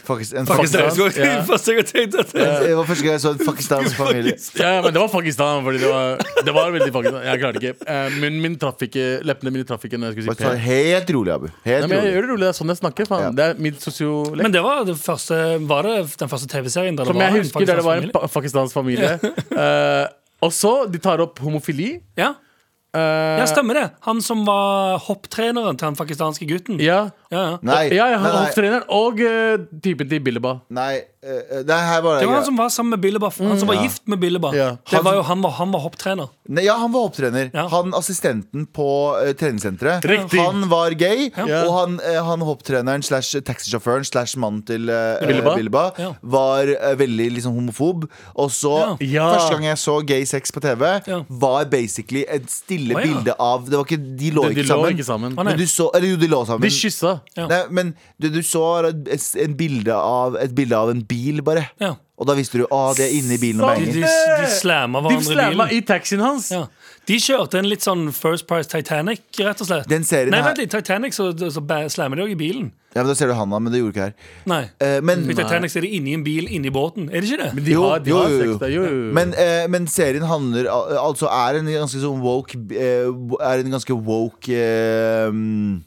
[SPEAKER 2] Faktisk, en
[SPEAKER 3] Faktisk,
[SPEAKER 2] Pakistan.
[SPEAKER 3] det var-
[SPEAKER 4] Ja.
[SPEAKER 3] Første gang jeg tenkte at
[SPEAKER 2] Det var første gang jeg så en pakistansk familie.
[SPEAKER 4] Ja, men det var Pakistan. Fordi det var, det var veldig Pakistan. Jeg klarte ikke. Eh, munnen min traff ikke, leppene mine traff ikke når jeg skulle
[SPEAKER 2] Bare
[SPEAKER 4] si
[SPEAKER 2] ta
[SPEAKER 4] P.
[SPEAKER 2] Helt rolig, Abu.
[SPEAKER 4] Nei,
[SPEAKER 2] Helt
[SPEAKER 4] men jeg
[SPEAKER 2] rolig.
[SPEAKER 4] gjør det rolig. Det er sånn jeg snakker. Faen.
[SPEAKER 2] Ja.
[SPEAKER 4] Det er min sosiolekt.
[SPEAKER 3] Men det var, det første, var det den første TV-serien der
[SPEAKER 4] Som
[SPEAKER 3] det var
[SPEAKER 4] jeg husker der det var en
[SPEAKER 3] pakistansk
[SPEAKER 4] pa pakistansk familie. Eh, og så de tar opp homofili.
[SPEAKER 3] familie? ja.
[SPEAKER 4] Eh,
[SPEAKER 3] ja, stemmer det. Han som var hopptreneren til den pakistanske gutten.
[SPEAKER 4] ja.
[SPEAKER 3] Ja, ja.
[SPEAKER 2] Nei,
[SPEAKER 4] ja, ja, han
[SPEAKER 2] nei, nei,
[SPEAKER 4] hofftrенeren og eh, typen til Billeba.
[SPEAKER 2] nei, eh, nei, her var
[SPEAKER 3] Det
[SPEAKER 2] det
[SPEAKER 3] var han som var sammen med Billeba. Han
[SPEAKER 2] Mm.
[SPEAKER 3] som var gift med Billeba.
[SPEAKER 4] Ja.
[SPEAKER 3] Det var jo, han, var, han var hopptrener.
[SPEAKER 2] Nei, Ja, han var hopptrener.
[SPEAKER 3] Ja.
[SPEAKER 2] Han assistenten på eh, treningssenteret.
[SPEAKER 4] Riktig.
[SPEAKER 2] Han var gay,
[SPEAKER 4] Ja.
[SPEAKER 2] og han, eh, han hopptreneren slash taxisjåføren slash mannen til uh,
[SPEAKER 4] Billeba.
[SPEAKER 2] Billeba,
[SPEAKER 3] Ja.
[SPEAKER 2] var eh, veldig liksom homofob. Og så,
[SPEAKER 4] Ja. Ja.
[SPEAKER 2] første gang jeg så gay sex på TV,
[SPEAKER 3] Ja. var
[SPEAKER 2] var basically et stille
[SPEAKER 3] Å, ja.
[SPEAKER 2] bilde av Det var ikke, De lå
[SPEAKER 4] De- de
[SPEAKER 2] ikke
[SPEAKER 4] lå
[SPEAKER 2] sammen.
[SPEAKER 4] ikke sammen.
[SPEAKER 3] Å, nei.
[SPEAKER 2] Men du så, eller jo, de lå sammen.
[SPEAKER 4] De kyssa.
[SPEAKER 3] Ja.
[SPEAKER 2] Nei, men du, du så et, en bilde av, et bilde av en bil, bare.
[SPEAKER 3] Ja.
[SPEAKER 2] Og da visste du at de er inne i bilen og
[SPEAKER 3] De,
[SPEAKER 2] banger.
[SPEAKER 3] de, de slamma
[SPEAKER 4] De
[SPEAKER 3] hverandre i
[SPEAKER 4] slamma
[SPEAKER 3] bilen.
[SPEAKER 4] i taxien hans.
[SPEAKER 3] Ja. De kjørte en litt sånn First Price Titanic, rett og slett.
[SPEAKER 2] Den serien
[SPEAKER 3] Nei,
[SPEAKER 2] her-
[SPEAKER 3] vent litt. Titanic, så, så ba- slammer de òg i bilen.
[SPEAKER 2] Ja, men Da ser du han, da, men det gjorde ikke her.
[SPEAKER 3] Nei.
[SPEAKER 2] Eh, men,
[SPEAKER 3] I Titanic så er de inni en bil, inni båten. Er det ikke det?
[SPEAKER 4] De
[SPEAKER 2] Jo,
[SPEAKER 4] har, de
[SPEAKER 2] jo,
[SPEAKER 4] har
[SPEAKER 2] jo, jo.
[SPEAKER 4] sex der. Jo, jo. jo.
[SPEAKER 2] men, eh, men serien handler al- Altså er en ganske sånn woke eh, Er en ganske woke eh, mm,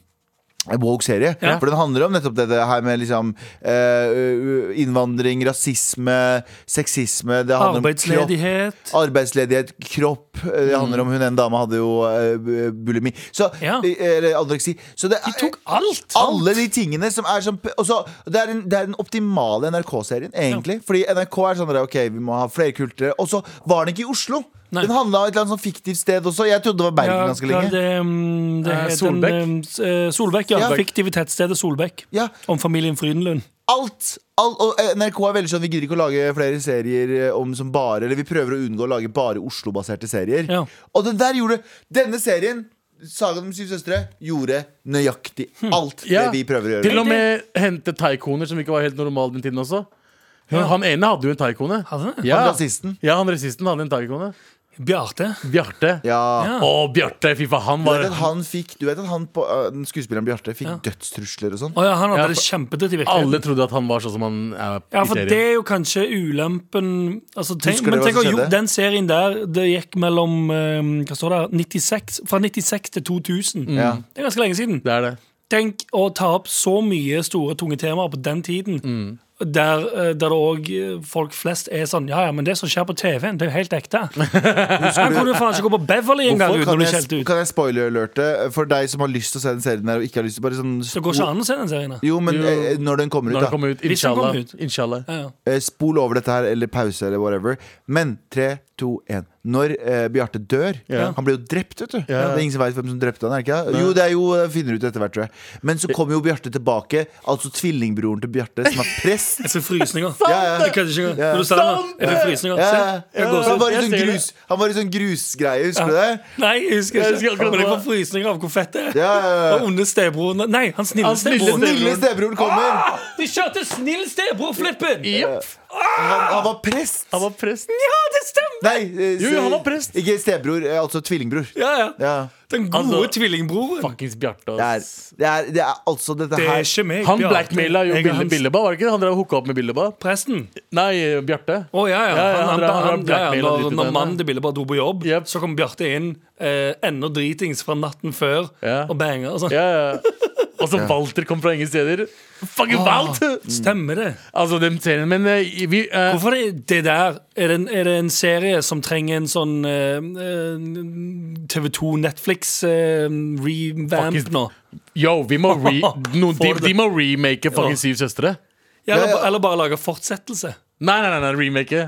[SPEAKER 2] Woke serie
[SPEAKER 3] Ja.
[SPEAKER 2] For den handler om nettopp dette her med liksom eh, Innvandring, rasisme Seksisme Det handler om kropp
[SPEAKER 3] Arbeidsledighet. Mm.
[SPEAKER 2] Arbeidsledighet, kropp eh, Det handler om hun en dame hadde jo eh, bu- bulimi Så,
[SPEAKER 3] Ja.
[SPEAKER 2] eh, eller anoreksi Så det
[SPEAKER 3] De tok alt!
[SPEAKER 2] alle de tingene som er sånn og så- det, er den- det er den optimale NRK-serien, egentlig. Fordi NRK er sånn der, Ok, vi må ha flerkulturelle. Og så var den ikke i Oslo!
[SPEAKER 3] Nei.
[SPEAKER 2] Den handla om et eller annet sånn fiktivt sted også. Jeg trodde det var Bergen
[SPEAKER 3] Ja,
[SPEAKER 2] ganske
[SPEAKER 3] hva
[SPEAKER 2] lenge.
[SPEAKER 3] Det, mm, det
[SPEAKER 4] Eh,
[SPEAKER 3] het
[SPEAKER 4] Solbekk.
[SPEAKER 3] en, mm, s- eh, Solbekk, ja.
[SPEAKER 2] Ja.
[SPEAKER 3] Fiktive tettstedet Solbekk.
[SPEAKER 2] Ja.
[SPEAKER 3] Om familien Frydenlund.
[SPEAKER 2] Alt, alt og eh, NRK er veldig sånn Vi gidder ikke å lage flere serier eh, om som bare Eller vi prøver å unngå å lage bare Oslo-baserte serier.
[SPEAKER 3] Ja.
[SPEAKER 2] Og den der gjorde Denne serien, 'Sagaen om syv søstre', gjorde nøyaktig
[SPEAKER 3] Hm.
[SPEAKER 2] alt
[SPEAKER 4] Ja.
[SPEAKER 2] det vi prøver å gjøre.
[SPEAKER 4] Til og med hente taikoner som ikke var helt normale den tiden også. Hun, Han ene hadde jo en taikone.
[SPEAKER 3] Hadde han det?
[SPEAKER 4] Ja.
[SPEAKER 2] Han rasisten.
[SPEAKER 4] Ja, han rasisten hadde en taikone.
[SPEAKER 3] Bjarte.
[SPEAKER 4] Bjarte.
[SPEAKER 2] Ja.
[SPEAKER 3] Ja.
[SPEAKER 4] Å, Bjarte! Fy faen, han
[SPEAKER 2] Du
[SPEAKER 4] var
[SPEAKER 2] vet at han fikk Du vet at han på, øh, den skuespilleren Bjarte fikk dødstrusler og sånn?
[SPEAKER 3] Å ja, han hadde
[SPEAKER 4] Ja,
[SPEAKER 3] det
[SPEAKER 4] for-
[SPEAKER 3] kjempedritt i virkeligheten.
[SPEAKER 4] Alle trodde at han var sånn som han er
[SPEAKER 3] Ja, for
[SPEAKER 4] i
[SPEAKER 3] det
[SPEAKER 4] serien.
[SPEAKER 3] er jo kanskje ulempen altså, tenk,
[SPEAKER 2] Husker du
[SPEAKER 3] Men
[SPEAKER 2] hva
[SPEAKER 3] tenk å
[SPEAKER 2] som
[SPEAKER 3] jo,
[SPEAKER 2] skjedde?
[SPEAKER 3] den serien der Det gikk mellom eh, hva står det, her? 96, fra 96 til 2000.
[SPEAKER 2] Ja.
[SPEAKER 3] Det er ganske lenge siden.
[SPEAKER 4] Det er det.
[SPEAKER 3] Tenk å ta opp så mye store, tunge temaer på den tiden.
[SPEAKER 2] Mm.
[SPEAKER 3] Der, eh, der det òg folk flest er sånn Ja, ja, men det som skjer på TV-en, det er jo helt ekte. Her kan du faen ikke gå på Beverly engang
[SPEAKER 2] Hvorfor
[SPEAKER 3] uten å
[SPEAKER 2] kan
[SPEAKER 3] bli
[SPEAKER 2] jeg,
[SPEAKER 3] skjelt ut.
[SPEAKER 2] kan jeg spoiler-alerte for deg som har lyst til å se den serien der og ikke har lyst til bare sånn
[SPEAKER 3] Det går ikke an å se den serien. her.
[SPEAKER 2] Jo, men
[SPEAKER 4] Jo.
[SPEAKER 2] eh, når den kommer ut,
[SPEAKER 4] Når
[SPEAKER 2] da.
[SPEAKER 4] han kommer ut.
[SPEAKER 3] Hvis han
[SPEAKER 4] Inshallah.
[SPEAKER 3] kommer ut.
[SPEAKER 4] Inshallah.
[SPEAKER 3] Ja, ja.
[SPEAKER 2] Eh, Spol over dette her, eller pause, eller whatever. Men tre, to, én. Når eh, Bjarte dør
[SPEAKER 4] Ja.
[SPEAKER 2] Han blir jo drept, vet du.
[SPEAKER 4] Ja.
[SPEAKER 2] Det er ingen som vet hvem som drepte han, er det ikke? det? Jo, det er jo det finner ut etter hvert, tror jeg. Men så kommer jo Bjarte tilbake, altså tvillingbroren til Bjarte, som er prest.
[SPEAKER 3] Jeg får frysninger.
[SPEAKER 2] Ja, ja. Sånn!
[SPEAKER 3] Jeg kødder ikke engang. Når du ser den, her, jeg får frysninger.
[SPEAKER 2] Ja,
[SPEAKER 3] Se,
[SPEAKER 2] ja.
[SPEAKER 3] jeg går
[SPEAKER 2] han, var i
[SPEAKER 4] Jeg
[SPEAKER 2] sånn
[SPEAKER 4] ser det.
[SPEAKER 2] grus, han var i sånn grusgreie, husker du det?
[SPEAKER 3] Nei, jeg husker
[SPEAKER 4] Jeg
[SPEAKER 3] ikke.
[SPEAKER 4] husker akkurat
[SPEAKER 3] men jeg
[SPEAKER 4] hva-
[SPEAKER 3] får frysninger av hvor fett det er.
[SPEAKER 2] Ja, ja, ja.
[SPEAKER 3] Og onde stebroren Nei, han snille
[SPEAKER 4] Han snille
[SPEAKER 3] stebroren.
[SPEAKER 4] stebroren.
[SPEAKER 2] Snille stebroren kommer!
[SPEAKER 3] Ah, de kjørte snill stebror-flippen!
[SPEAKER 4] Jepp.
[SPEAKER 2] Han, han var prest!
[SPEAKER 4] Han var prest.
[SPEAKER 3] Ja, det stemmer!
[SPEAKER 2] Nei, eh,
[SPEAKER 4] Jo, jo, han
[SPEAKER 2] se-
[SPEAKER 4] var prest.
[SPEAKER 2] Ikke stebror, eh, altså tvillingbror.
[SPEAKER 3] Ja, ja.
[SPEAKER 2] Ja.
[SPEAKER 3] Den gode
[SPEAKER 4] Altså,
[SPEAKER 3] tvillingbroren.
[SPEAKER 4] Fuckings Bjarte.
[SPEAKER 2] Det er,
[SPEAKER 4] ass.
[SPEAKER 2] det er, det er altså dette
[SPEAKER 3] Det er
[SPEAKER 2] her
[SPEAKER 3] ikke meg.
[SPEAKER 4] Han
[SPEAKER 3] Bjarte.
[SPEAKER 4] blackmaila jo
[SPEAKER 3] Jeg er
[SPEAKER 4] Bille,
[SPEAKER 3] hans-
[SPEAKER 4] Billeba, var det ikke? Han drev og hooka opp med Billeba.
[SPEAKER 3] Presten.
[SPEAKER 4] Nei, Bjarte.
[SPEAKER 3] Å ja, ja.
[SPEAKER 4] Ja, ja,
[SPEAKER 3] Han,
[SPEAKER 4] han
[SPEAKER 3] han,
[SPEAKER 4] dra-
[SPEAKER 3] han, ja,
[SPEAKER 4] han
[SPEAKER 3] ja.
[SPEAKER 4] blackmailet
[SPEAKER 3] Når,
[SPEAKER 4] litt i
[SPEAKER 3] når
[SPEAKER 4] den,
[SPEAKER 3] mannen
[SPEAKER 4] ja.
[SPEAKER 3] til Bille bare dro på jobb,
[SPEAKER 4] Jep.
[SPEAKER 3] så kom Bjarte inn eh, ennå dritings fra natten før
[SPEAKER 4] Ja.
[SPEAKER 3] og banga og sånn.
[SPEAKER 4] Ja, ja. Og så Walter kom fra ingen steder. Fucking
[SPEAKER 3] Ah.
[SPEAKER 4] Walter!
[SPEAKER 3] Stemmer det?
[SPEAKER 4] Altså, den serien, men eh, vi eh,
[SPEAKER 3] Hvorfor det, det der? Er det, en, er det en serie som trenger en sånn eh, TV2 Netflix-revamp
[SPEAKER 4] Fuckings-
[SPEAKER 3] eh, nå?
[SPEAKER 4] Yo, vi må re no, de, de må remake
[SPEAKER 3] Ja.
[SPEAKER 4] fucking Syv søstre.
[SPEAKER 2] Ja,
[SPEAKER 3] Ja, eller,
[SPEAKER 2] ja.
[SPEAKER 3] eller bare lage fortsettelse?
[SPEAKER 4] Nei, nei, nei, nei remake.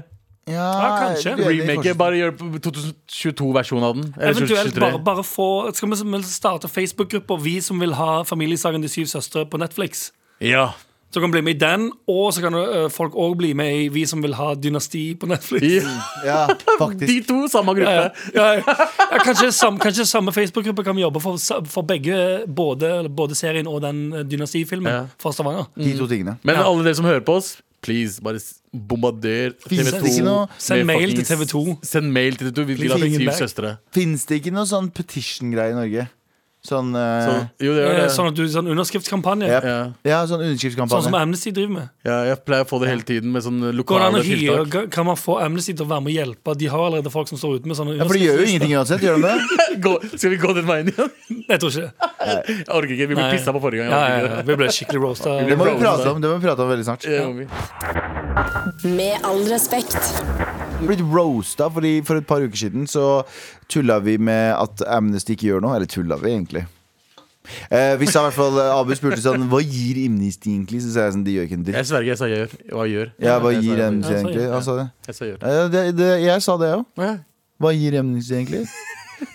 [SPEAKER 2] ja,
[SPEAKER 3] kanskje.
[SPEAKER 2] jeg er uenig,
[SPEAKER 4] Remake,
[SPEAKER 2] kanskje.
[SPEAKER 4] Bare gjør 2022-versjonen av den. Eller
[SPEAKER 3] Eventuelt bare,
[SPEAKER 4] 2023.
[SPEAKER 3] bare få Skal vi som- starte Facebook-grupper, vi som vil ha Familiesagen De syv søstre på Netflix?
[SPEAKER 4] Ja.
[SPEAKER 3] Så kan du bli med i den, og så kan eh, folk òg bli med i Vi som vil ha Dynasti på Netflix.
[SPEAKER 4] I,
[SPEAKER 2] Ja, faktisk.
[SPEAKER 4] de to, samme gruppe.
[SPEAKER 3] Ja, ja, ja, kanskje, sam, kanskje samme Facebook-gruppe kan vi jobbe for, for begge, både, både serien og den eh, Dynasti-filmen
[SPEAKER 4] Ja.
[SPEAKER 3] fra Stavanger.
[SPEAKER 2] De to tingene.
[SPEAKER 4] Men
[SPEAKER 3] Ja.
[SPEAKER 4] alle dere som hører på oss, please, bare s- bombarder TV2.
[SPEAKER 2] Fins det ikke noe-
[SPEAKER 3] Send
[SPEAKER 4] med
[SPEAKER 3] mail til
[SPEAKER 4] fuckings-
[SPEAKER 3] TV2.
[SPEAKER 4] Send mail til TV2. Vi vil ha
[SPEAKER 3] Please.
[SPEAKER 4] Syv
[SPEAKER 3] Back.
[SPEAKER 4] søstre.
[SPEAKER 2] Fins det ikke noe sånn petition-greie i Norge? Sånn, eh,
[SPEAKER 4] Så, jo, det gjør
[SPEAKER 3] Eh,
[SPEAKER 4] det.
[SPEAKER 3] Sånn at du sånn underskriftskampanje.
[SPEAKER 2] Yep.
[SPEAKER 4] Ja.
[SPEAKER 2] Ja, sånn
[SPEAKER 3] Sånn
[SPEAKER 2] underskriftskampanje.
[SPEAKER 3] som Amnesty driver med.
[SPEAKER 4] Ja, jeg pleier å få det hele tiden med sånne
[SPEAKER 3] Går det an
[SPEAKER 4] lokale
[SPEAKER 3] å hyre,
[SPEAKER 4] tiltak.
[SPEAKER 3] kan- Kan man få Amnesty til å være med og hjelpe? De har allerede folk som står ute med sånne
[SPEAKER 2] ja, for de gjør jo
[SPEAKER 3] underskriftslister.
[SPEAKER 2] ingenting uansett, gjør de det?
[SPEAKER 4] Gå, skal vi gå den veien igjen?
[SPEAKER 3] Jeg tror ikke det.
[SPEAKER 4] Jeg orker ikke. Vi ble
[SPEAKER 3] Nei.
[SPEAKER 4] pissa på forrige gang.
[SPEAKER 3] Ja,
[SPEAKER 4] Jeg
[SPEAKER 3] ja,
[SPEAKER 4] orker
[SPEAKER 3] ja.
[SPEAKER 4] ikke
[SPEAKER 3] Vi ble skikkelig roasta.
[SPEAKER 4] Vi
[SPEAKER 2] Det må vi
[SPEAKER 4] Bro,
[SPEAKER 2] prate
[SPEAKER 4] det.
[SPEAKER 2] om, det må vi prate om veldig snart.
[SPEAKER 4] det. Ja, vi-
[SPEAKER 5] Med all respekt.
[SPEAKER 2] Blitt roasta, fordi for et par uker siden så tulla vi med at Amnesty ikke gjør noe. Eller tulla vi, egentlig. Eh, vi sa i hvert fall eh, Abu spurte sånn Hva gir Amnesty egentlig? Så sa jeg sånn De gjør ikke en dritt.
[SPEAKER 4] Jeg sverger, jeg sa gjør. Hva gjør?
[SPEAKER 2] Ja, hva
[SPEAKER 4] Jeg sa
[SPEAKER 2] gir
[SPEAKER 4] gjør.
[SPEAKER 2] Amnesty
[SPEAKER 3] Ja, så-
[SPEAKER 2] egentlig? Han sa det.
[SPEAKER 4] Jeg sa gjør.
[SPEAKER 2] Eh, det, det jeg sa det òg.
[SPEAKER 4] Ja.
[SPEAKER 2] Hva gir Amnesty egentlig?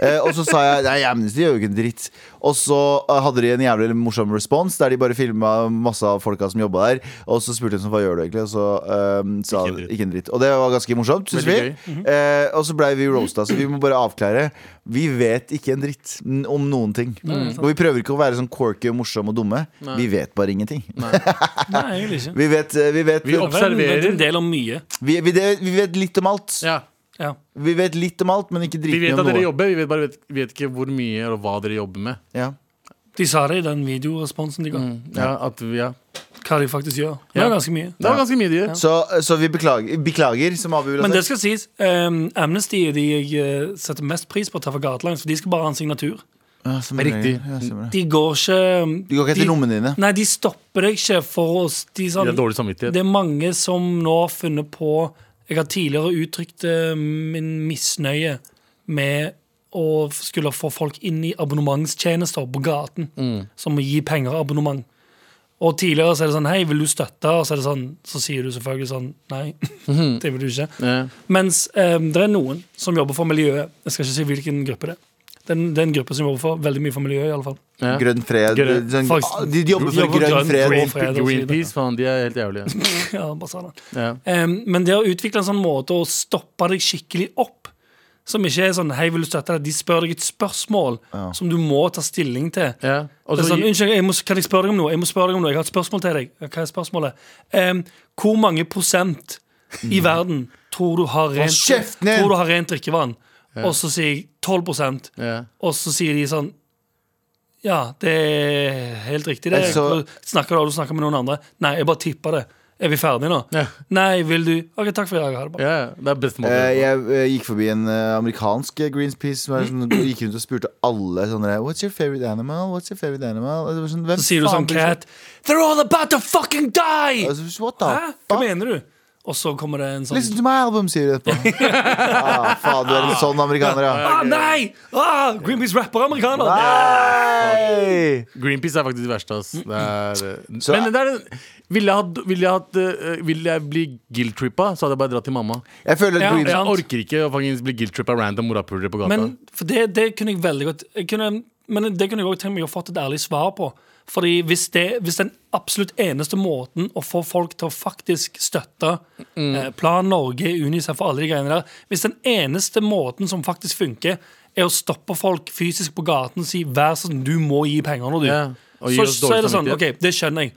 [SPEAKER 2] Eh, og så sa jeg nei, Amnesty gjør jo ikke en dritt. Og så eh, hadde de en jævlig morsom respons der de bare filma masse av folka som jobba der. Og så spurte de sånn, hva gjør du egentlig, og så eh, sa de
[SPEAKER 4] Ikke en dritt.
[SPEAKER 2] ikke en dritt. Og det var ganske morsomt, syns vi.
[SPEAKER 4] Veldig Mhm.
[SPEAKER 2] eh, og så blei vi roasta, så vi må bare avklare. Vi vet ikke en dritt n- om noen ting. Og vi prøver ikke å være sånn quirky og morsom og dumme. Vi vet bare ingenting.
[SPEAKER 3] Nei, egentlig ikke.
[SPEAKER 2] Vi vet, eh, vi vet,
[SPEAKER 4] Vi
[SPEAKER 2] vi,
[SPEAKER 4] opp- observerer.
[SPEAKER 3] Men en del om mye.
[SPEAKER 2] vi, det- vi vet litt om alt.
[SPEAKER 4] Ja.
[SPEAKER 3] Ja.
[SPEAKER 2] Vi vet litt om alt, men ikke
[SPEAKER 4] Vi
[SPEAKER 2] dritmye
[SPEAKER 4] vet
[SPEAKER 2] om
[SPEAKER 4] at
[SPEAKER 2] noe.
[SPEAKER 4] dere jobber, vi vet bare vet, vet ikke hvor mye eller hva dere jobber med.
[SPEAKER 2] Ja.
[SPEAKER 3] De sa det i den videoresponsen de ga.
[SPEAKER 4] Mm. Ja, at vi, ja.
[SPEAKER 3] Hva de faktisk gjør. Det
[SPEAKER 4] Ja.
[SPEAKER 3] er ganske mye.
[SPEAKER 4] Det var ganske mye de gjør.
[SPEAKER 2] Så, så vi beklager, beklager som Abu vil ha
[SPEAKER 3] Men det
[SPEAKER 2] sagt.
[SPEAKER 3] skal sies, ehm, Amnesty er de jeg eh, setter mest pris på å ta for gatelangs, for de skal bare ha en signatur.
[SPEAKER 2] Ja, stemmer det.
[SPEAKER 4] Riktig.
[SPEAKER 2] Ja, stemmer det.
[SPEAKER 3] De går ikke ehm,
[SPEAKER 2] Du går ikke etter
[SPEAKER 3] de-
[SPEAKER 2] lommene dine.
[SPEAKER 3] Nei, de stopper deg ikke for oss. De
[SPEAKER 4] De
[SPEAKER 3] sånn,
[SPEAKER 4] har dårlig samvittighet.
[SPEAKER 3] Det er mange som nå har funnet på Jeg har tidligere uttrykt eh, min misnøye med å skulle få folk inn i abonnementstjenester på gaten,
[SPEAKER 4] Mm.
[SPEAKER 3] som å gi penger og abonnement. Og tidligere så er det sånn Hei, vil du støtte? Og så, er det sånn, så sier du selvfølgelig sånn Nei, det vil du ikke.
[SPEAKER 4] Ja.
[SPEAKER 3] Mens eh, det er noen som jobber for miljøet. Jeg skal ikke si hvilken gruppe det er. Det er en- det er en gruppe som jobber for veldig mye for miljøet, i alle fall.
[SPEAKER 4] Ja.
[SPEAKER 2] Grønn fred.
[SPEAKER 4] Grønn-
[SPEAKER 2] Sånn,
[SPEAKER 3] Faktisk-
[SPEAKER 2] de jobber for
[SPEAKER 3] Jobber
[SPEAKER 2] grønn,
[SPEAKER 3] grønn
[SPEAKER 2] fred. Eh,
[SPEAKER 3] green- fred og så videre.
[SPEAKER 4] Greenpeace, faen, de er helt jævlige.
[SPEAKER 3] ja, bare sa det.
[SPEAKER 4] Ja.
[SPEAKER 3] Em, men det å utvikle en sånn måte å stoppe deg skikkelig opp, som ikke er sånn Hei, vil du støtte deg? De spør deg et spørsmål som du må ta stilling til.
[SPEAKER 4] Ja. Og
[SPEAKER 3] Det er
[SPEAKER 4] så
[SPEAKER 3] sånn, Unnskyld, jeg må, kan jeg spørre deg om noe? Jeg må spørre deg om noe, jeg har et spørsmål til deg. Hva er spørsmålet? Em, hvor
[SPEAKER 4] Mm.
[SPEAKER 3] mange prosent i verden tror du har rent,
[SPEAKER 2] kjeften din!
[SPEAKER 3] tror du har rent drikkevann? og så sier jeg 12
[SPEAKER 4] Ja.
[SPEAKER 3] og så sier de sånn Ja, det er helt riktig. Det.
[SPEAKER 2] Altså-
[SPEAKER 3] snakker du, og du snakker med noen andre? Nei, jeg bare tippa det. Er vi ferdige nå?
[SPEAKER 4] Ja.
[SPEAKER 3] Nei, vil du OK, takk for i dag. Ha det bra.
[SPEAKER 4] Ja, ja. det er beste måten.
[SPEAKER 2] Eh, jeg eh, gikk forbi en eh, amerikansk eh, Greenpeace som er sånn, gikk rundt og spurte alle sånn der, What's your favorite animal? What's your favorite animal? Og det var Sånn, Hvem
[SPEAKER 3] Så sier du
[SPEAKER 2] faen
[SPEAKER 3] sånn
[SPEAKER 2] bryr seg?
[SPEAKER 3] Cat They're all about to fucking die!
[SPEAKER 2] Altså, What the
[SPEAKER 3] Hæ? Hva
[SPEAKER 2] fuck?
[SPEAKER 3] mener du? Og så kommer det en sånn
[SPEAKER 2] Listen to my album, sier de etterpå. ah, faen, du er en sånn amerikaner, ja.
[SPEAKER 3] Ah, nei! Ah, Greenpeace rapper amerikaner!
[SPEAKER 2] Nei!
[SPEAKER 4] Greenpeace er faktisk det verste. Ass. Det er,
[SPEAKER 2] Så-
[SPEAKER 4] men det er, ville jeg, hatt, ville, jeg hatt, eh, ville jeg bli guilt-trippa, så hadde jeg bare dratt til mamma.
[SPEAKER 2] Jeg føler
[SPEAKER 3] Ja,
[SPEAKER 2] Green...
[SPEAKER 3] ja.
[SPEAKER 4] Jeg orker ikke å faktisk bli guilt-trippa random morapulere på gata.
[SPEAKER 3] Men for det, det kunne jeg veldig godt jeg kunne, Men det kunne jeg også tenkt meg å fått et ærlig svar på. Fordi hvis, det, hvis den absolutt eneste måten å få folk til å faktisk støtte
[SPEAKER 4] Mm.
[SPEAKER 3] eh, Plan Norge, Unicef og alle de greiene der Hvis den eneste måten som faktisk funker, er å stoppe folk fysisk på gaten og si 'vær sånn, du må gi penger nå, du',
[SPEAKER 4] Ja, og gi
[SPEAKER 3] så,
[SPEAKER 4] oss
[SPEAKER 3] så
[SPEAKER 4] dårlig
[SPEAKER 3] er det sånn. OK,
[SPEAKER 4] samvittighet.
[SPEAKER 3] det skjønner jeg.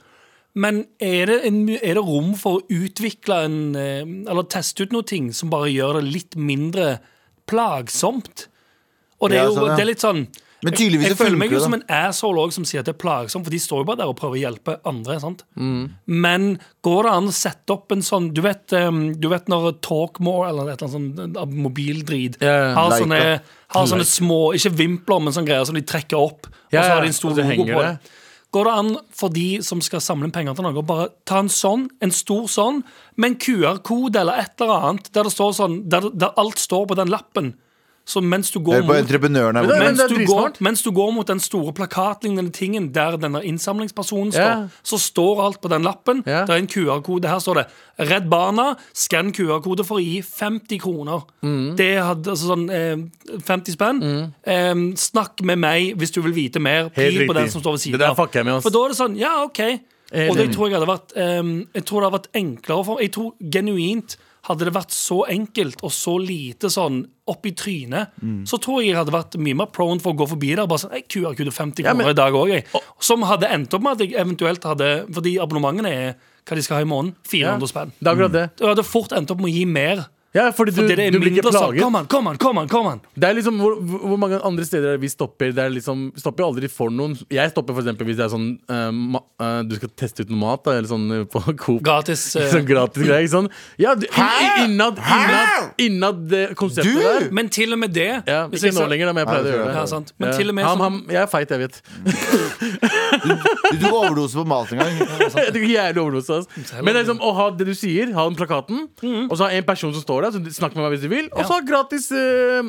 [SPEAKER 3] Men er det, en, er det rom for å utvikle en eh, Eller teste ut noen ting som bare gjør det litt mindre plagsomt? Og det er
[SPEAKER 2] Ja,
[SPEAKER 3] jo
[SPEAKER 2] sånn, ja.
[SPEAKER 3] det er litt sånn
[SPEAKER 2] Men tydeligvis
[SPEAKER 3] Jeg, jeg
[SPEAKER 2] så
[SPEAKER 3] føler meg
[SPEAKER 2] funker
[SPEAKER 3] jo
[SPEAKER 2] det,
[SPEAKER 3] som en asshole også, som sier at det er plagsomt, for de står jo bare der og prøver å hjelpe andre. sant? Men går det an å sette opp en sånn Du vet, um, du vet når Talkmore eller et eller annet sånn uh, mobildrit
[SPEAKER 4] Ja, ja.
[SPEAKER 3] har
[SPEAKER 2] Leica.
[SPEAKER 3] sånne, har sånne
[SPEAKER 4] Leica.
[SPEAKER 3] små Ikke vimpler, men sånne greier som de trekker opp,
[SPEAKER 4] Ja,
[SPEAKER 3] og så
[SPEAKER 4] ja,
[SPEAKER 3] har de en stor
[SPEAKER 4] og så
[SPEAKER 3] logo
[SPEAKER 4] henger
[SPEAKER 3] på
[SPEAKER 4] det.
[SPEAKER 3] det. Går det an for de som skal samle inn penger til noe, å bare ta en sånn, en stor sånn, med en QR-kode eller et eller annet, der det står sånn, der, der alt står på den lappen, så mens du
[SPEAKER 2] Hør
[SPEAKER 3] går
[SPEAKER 2] på
[SPEAKER 3] mot
[SPEAKER 2] entreprenøren her
[SPEAKER 4] Men det-
[SPEAKER 2] borte.
[SPEAKER 3] mens
[SPEAKER 4] er
[SPEAKER 3] du, går,
[SPEAKER 4] dritsmart.
[SPEAKER 3] mens du går mot den store plakatlignende tingen der denne innsamlingspersonen står,
[SPEAKER 4] Ja.
[SPEAKER 3] så står alt på den lappen.
[SPEAKER 4] Ja.
[SPEAKER 3] Det er en QR-kode. Her står det 'Redd Barna'. Skann QR-kode for å gi 50 kroner.
[SPEAKER 4] Mm.
[SPEAKER 3] Det hadde altså sånn eh, 50 spenn. Eh, snakk med meg hvis du vil vite mer.
[SPEAKER 4] Helt
[SPEAKER 3] Pil på
[SPEAKER 4] riktig.
[SPEAKER 3] den som står ved
[SPEAKER 4] Det
[SPEAKER 3] siden
[SPEAKER 4] der fucker jeg med, ass.
[SPEAKER 3] For da er det sånn, ja, ok.
[SPEAKER 4] Helt
[SPEAKER 3] Og det
[SPEAKER 4] enig.
[SPEAKER 3] tror jeg hadde vært eh, Jeg tror det hadde vært enklere for Jeg tror genuint hadde det vært så enkelt og så lite sånn opp i trynet,
[SPEAKER 4] Mm.
[SPEAKER 3] så tror jeg jeg hadde vært mye mer prone for å gå forbi der. og Bare sånn, jeg QRQD 50
[SPEAKER 4] Ja, men-
[SPEAKER 3] kroner i dag òg, jeg. Som hadde endt opp med at jeg eventuelt hadde Fordi abonnementene er hva de skal ha i måneden. 400 spenn.
[SPEAKER 4] Det er akkurat det.
[SPEAKER 3] Jeg hadde fort endt opp med å gi mer.
[SPEAKER 4] Ja, fordi du,
[SPEAKER 3] Fordi det er
[SPEAKER 4] du blir ikke
[SPEAKER 3] mindre sånn
[SPEAKER 4] plaget.
[SPEAKER 3] Kom an, kom an, kom an! Kom an.
[SPEAKER 4] Det er liksom, hvor, hvor hvor mange andre steder er det vi stopper? Det er liksom, vi stopper jo aldri for noen. Jeg stopper for eksempel hvis det er sånn eh, ma, eh, Du skal teste ut noe mat, da, eller sånn eh, på Coop.
[SPEAKER 3] Gratis. eh,
[SPEAKER 4] Sånn gratis greier. ikke sant? Ja, du- i- innad, innad, innad det konseptet
[SPEAKER 2] Du?
[SPEAKER 4] der.
[SPEAKER 3] Men til og med det
[SPEAKER 4] Ja,
[SPEAKER 3] hvis jeg
[SPEAKER 4] ikke nå
[SPEAKER 3] sa-
[SPEAKER 4] lenger, da, men jeg
[SPEAKER 2] Nei,
[SPEAKER 4] pleide
[SPEAKER 2] det
[SPEAKER 4] å
[SPEAKER 2] tror
[SPEAKER 4] gjøre det.
[SPEAKER 3] Ja, sant. Men til og med
[SPEAKER 4] ham,
[SPEAKER 3] sånn-
[SPEAKER 4] ham, jeg er feit, jeg vet.
[SPEAKER 2] Du tok overdose på mat en gang.
[SPEAKER 4] Jeg tok jævlig overdose. ass. Men det er liksom, å ha det du sier, ha den plakaten,
[SPEAKER 3] Mm.
[SPEAKER 4] og så ha en person som står der, så du- snakk med meg hvis du vil, og så ha gratis eh,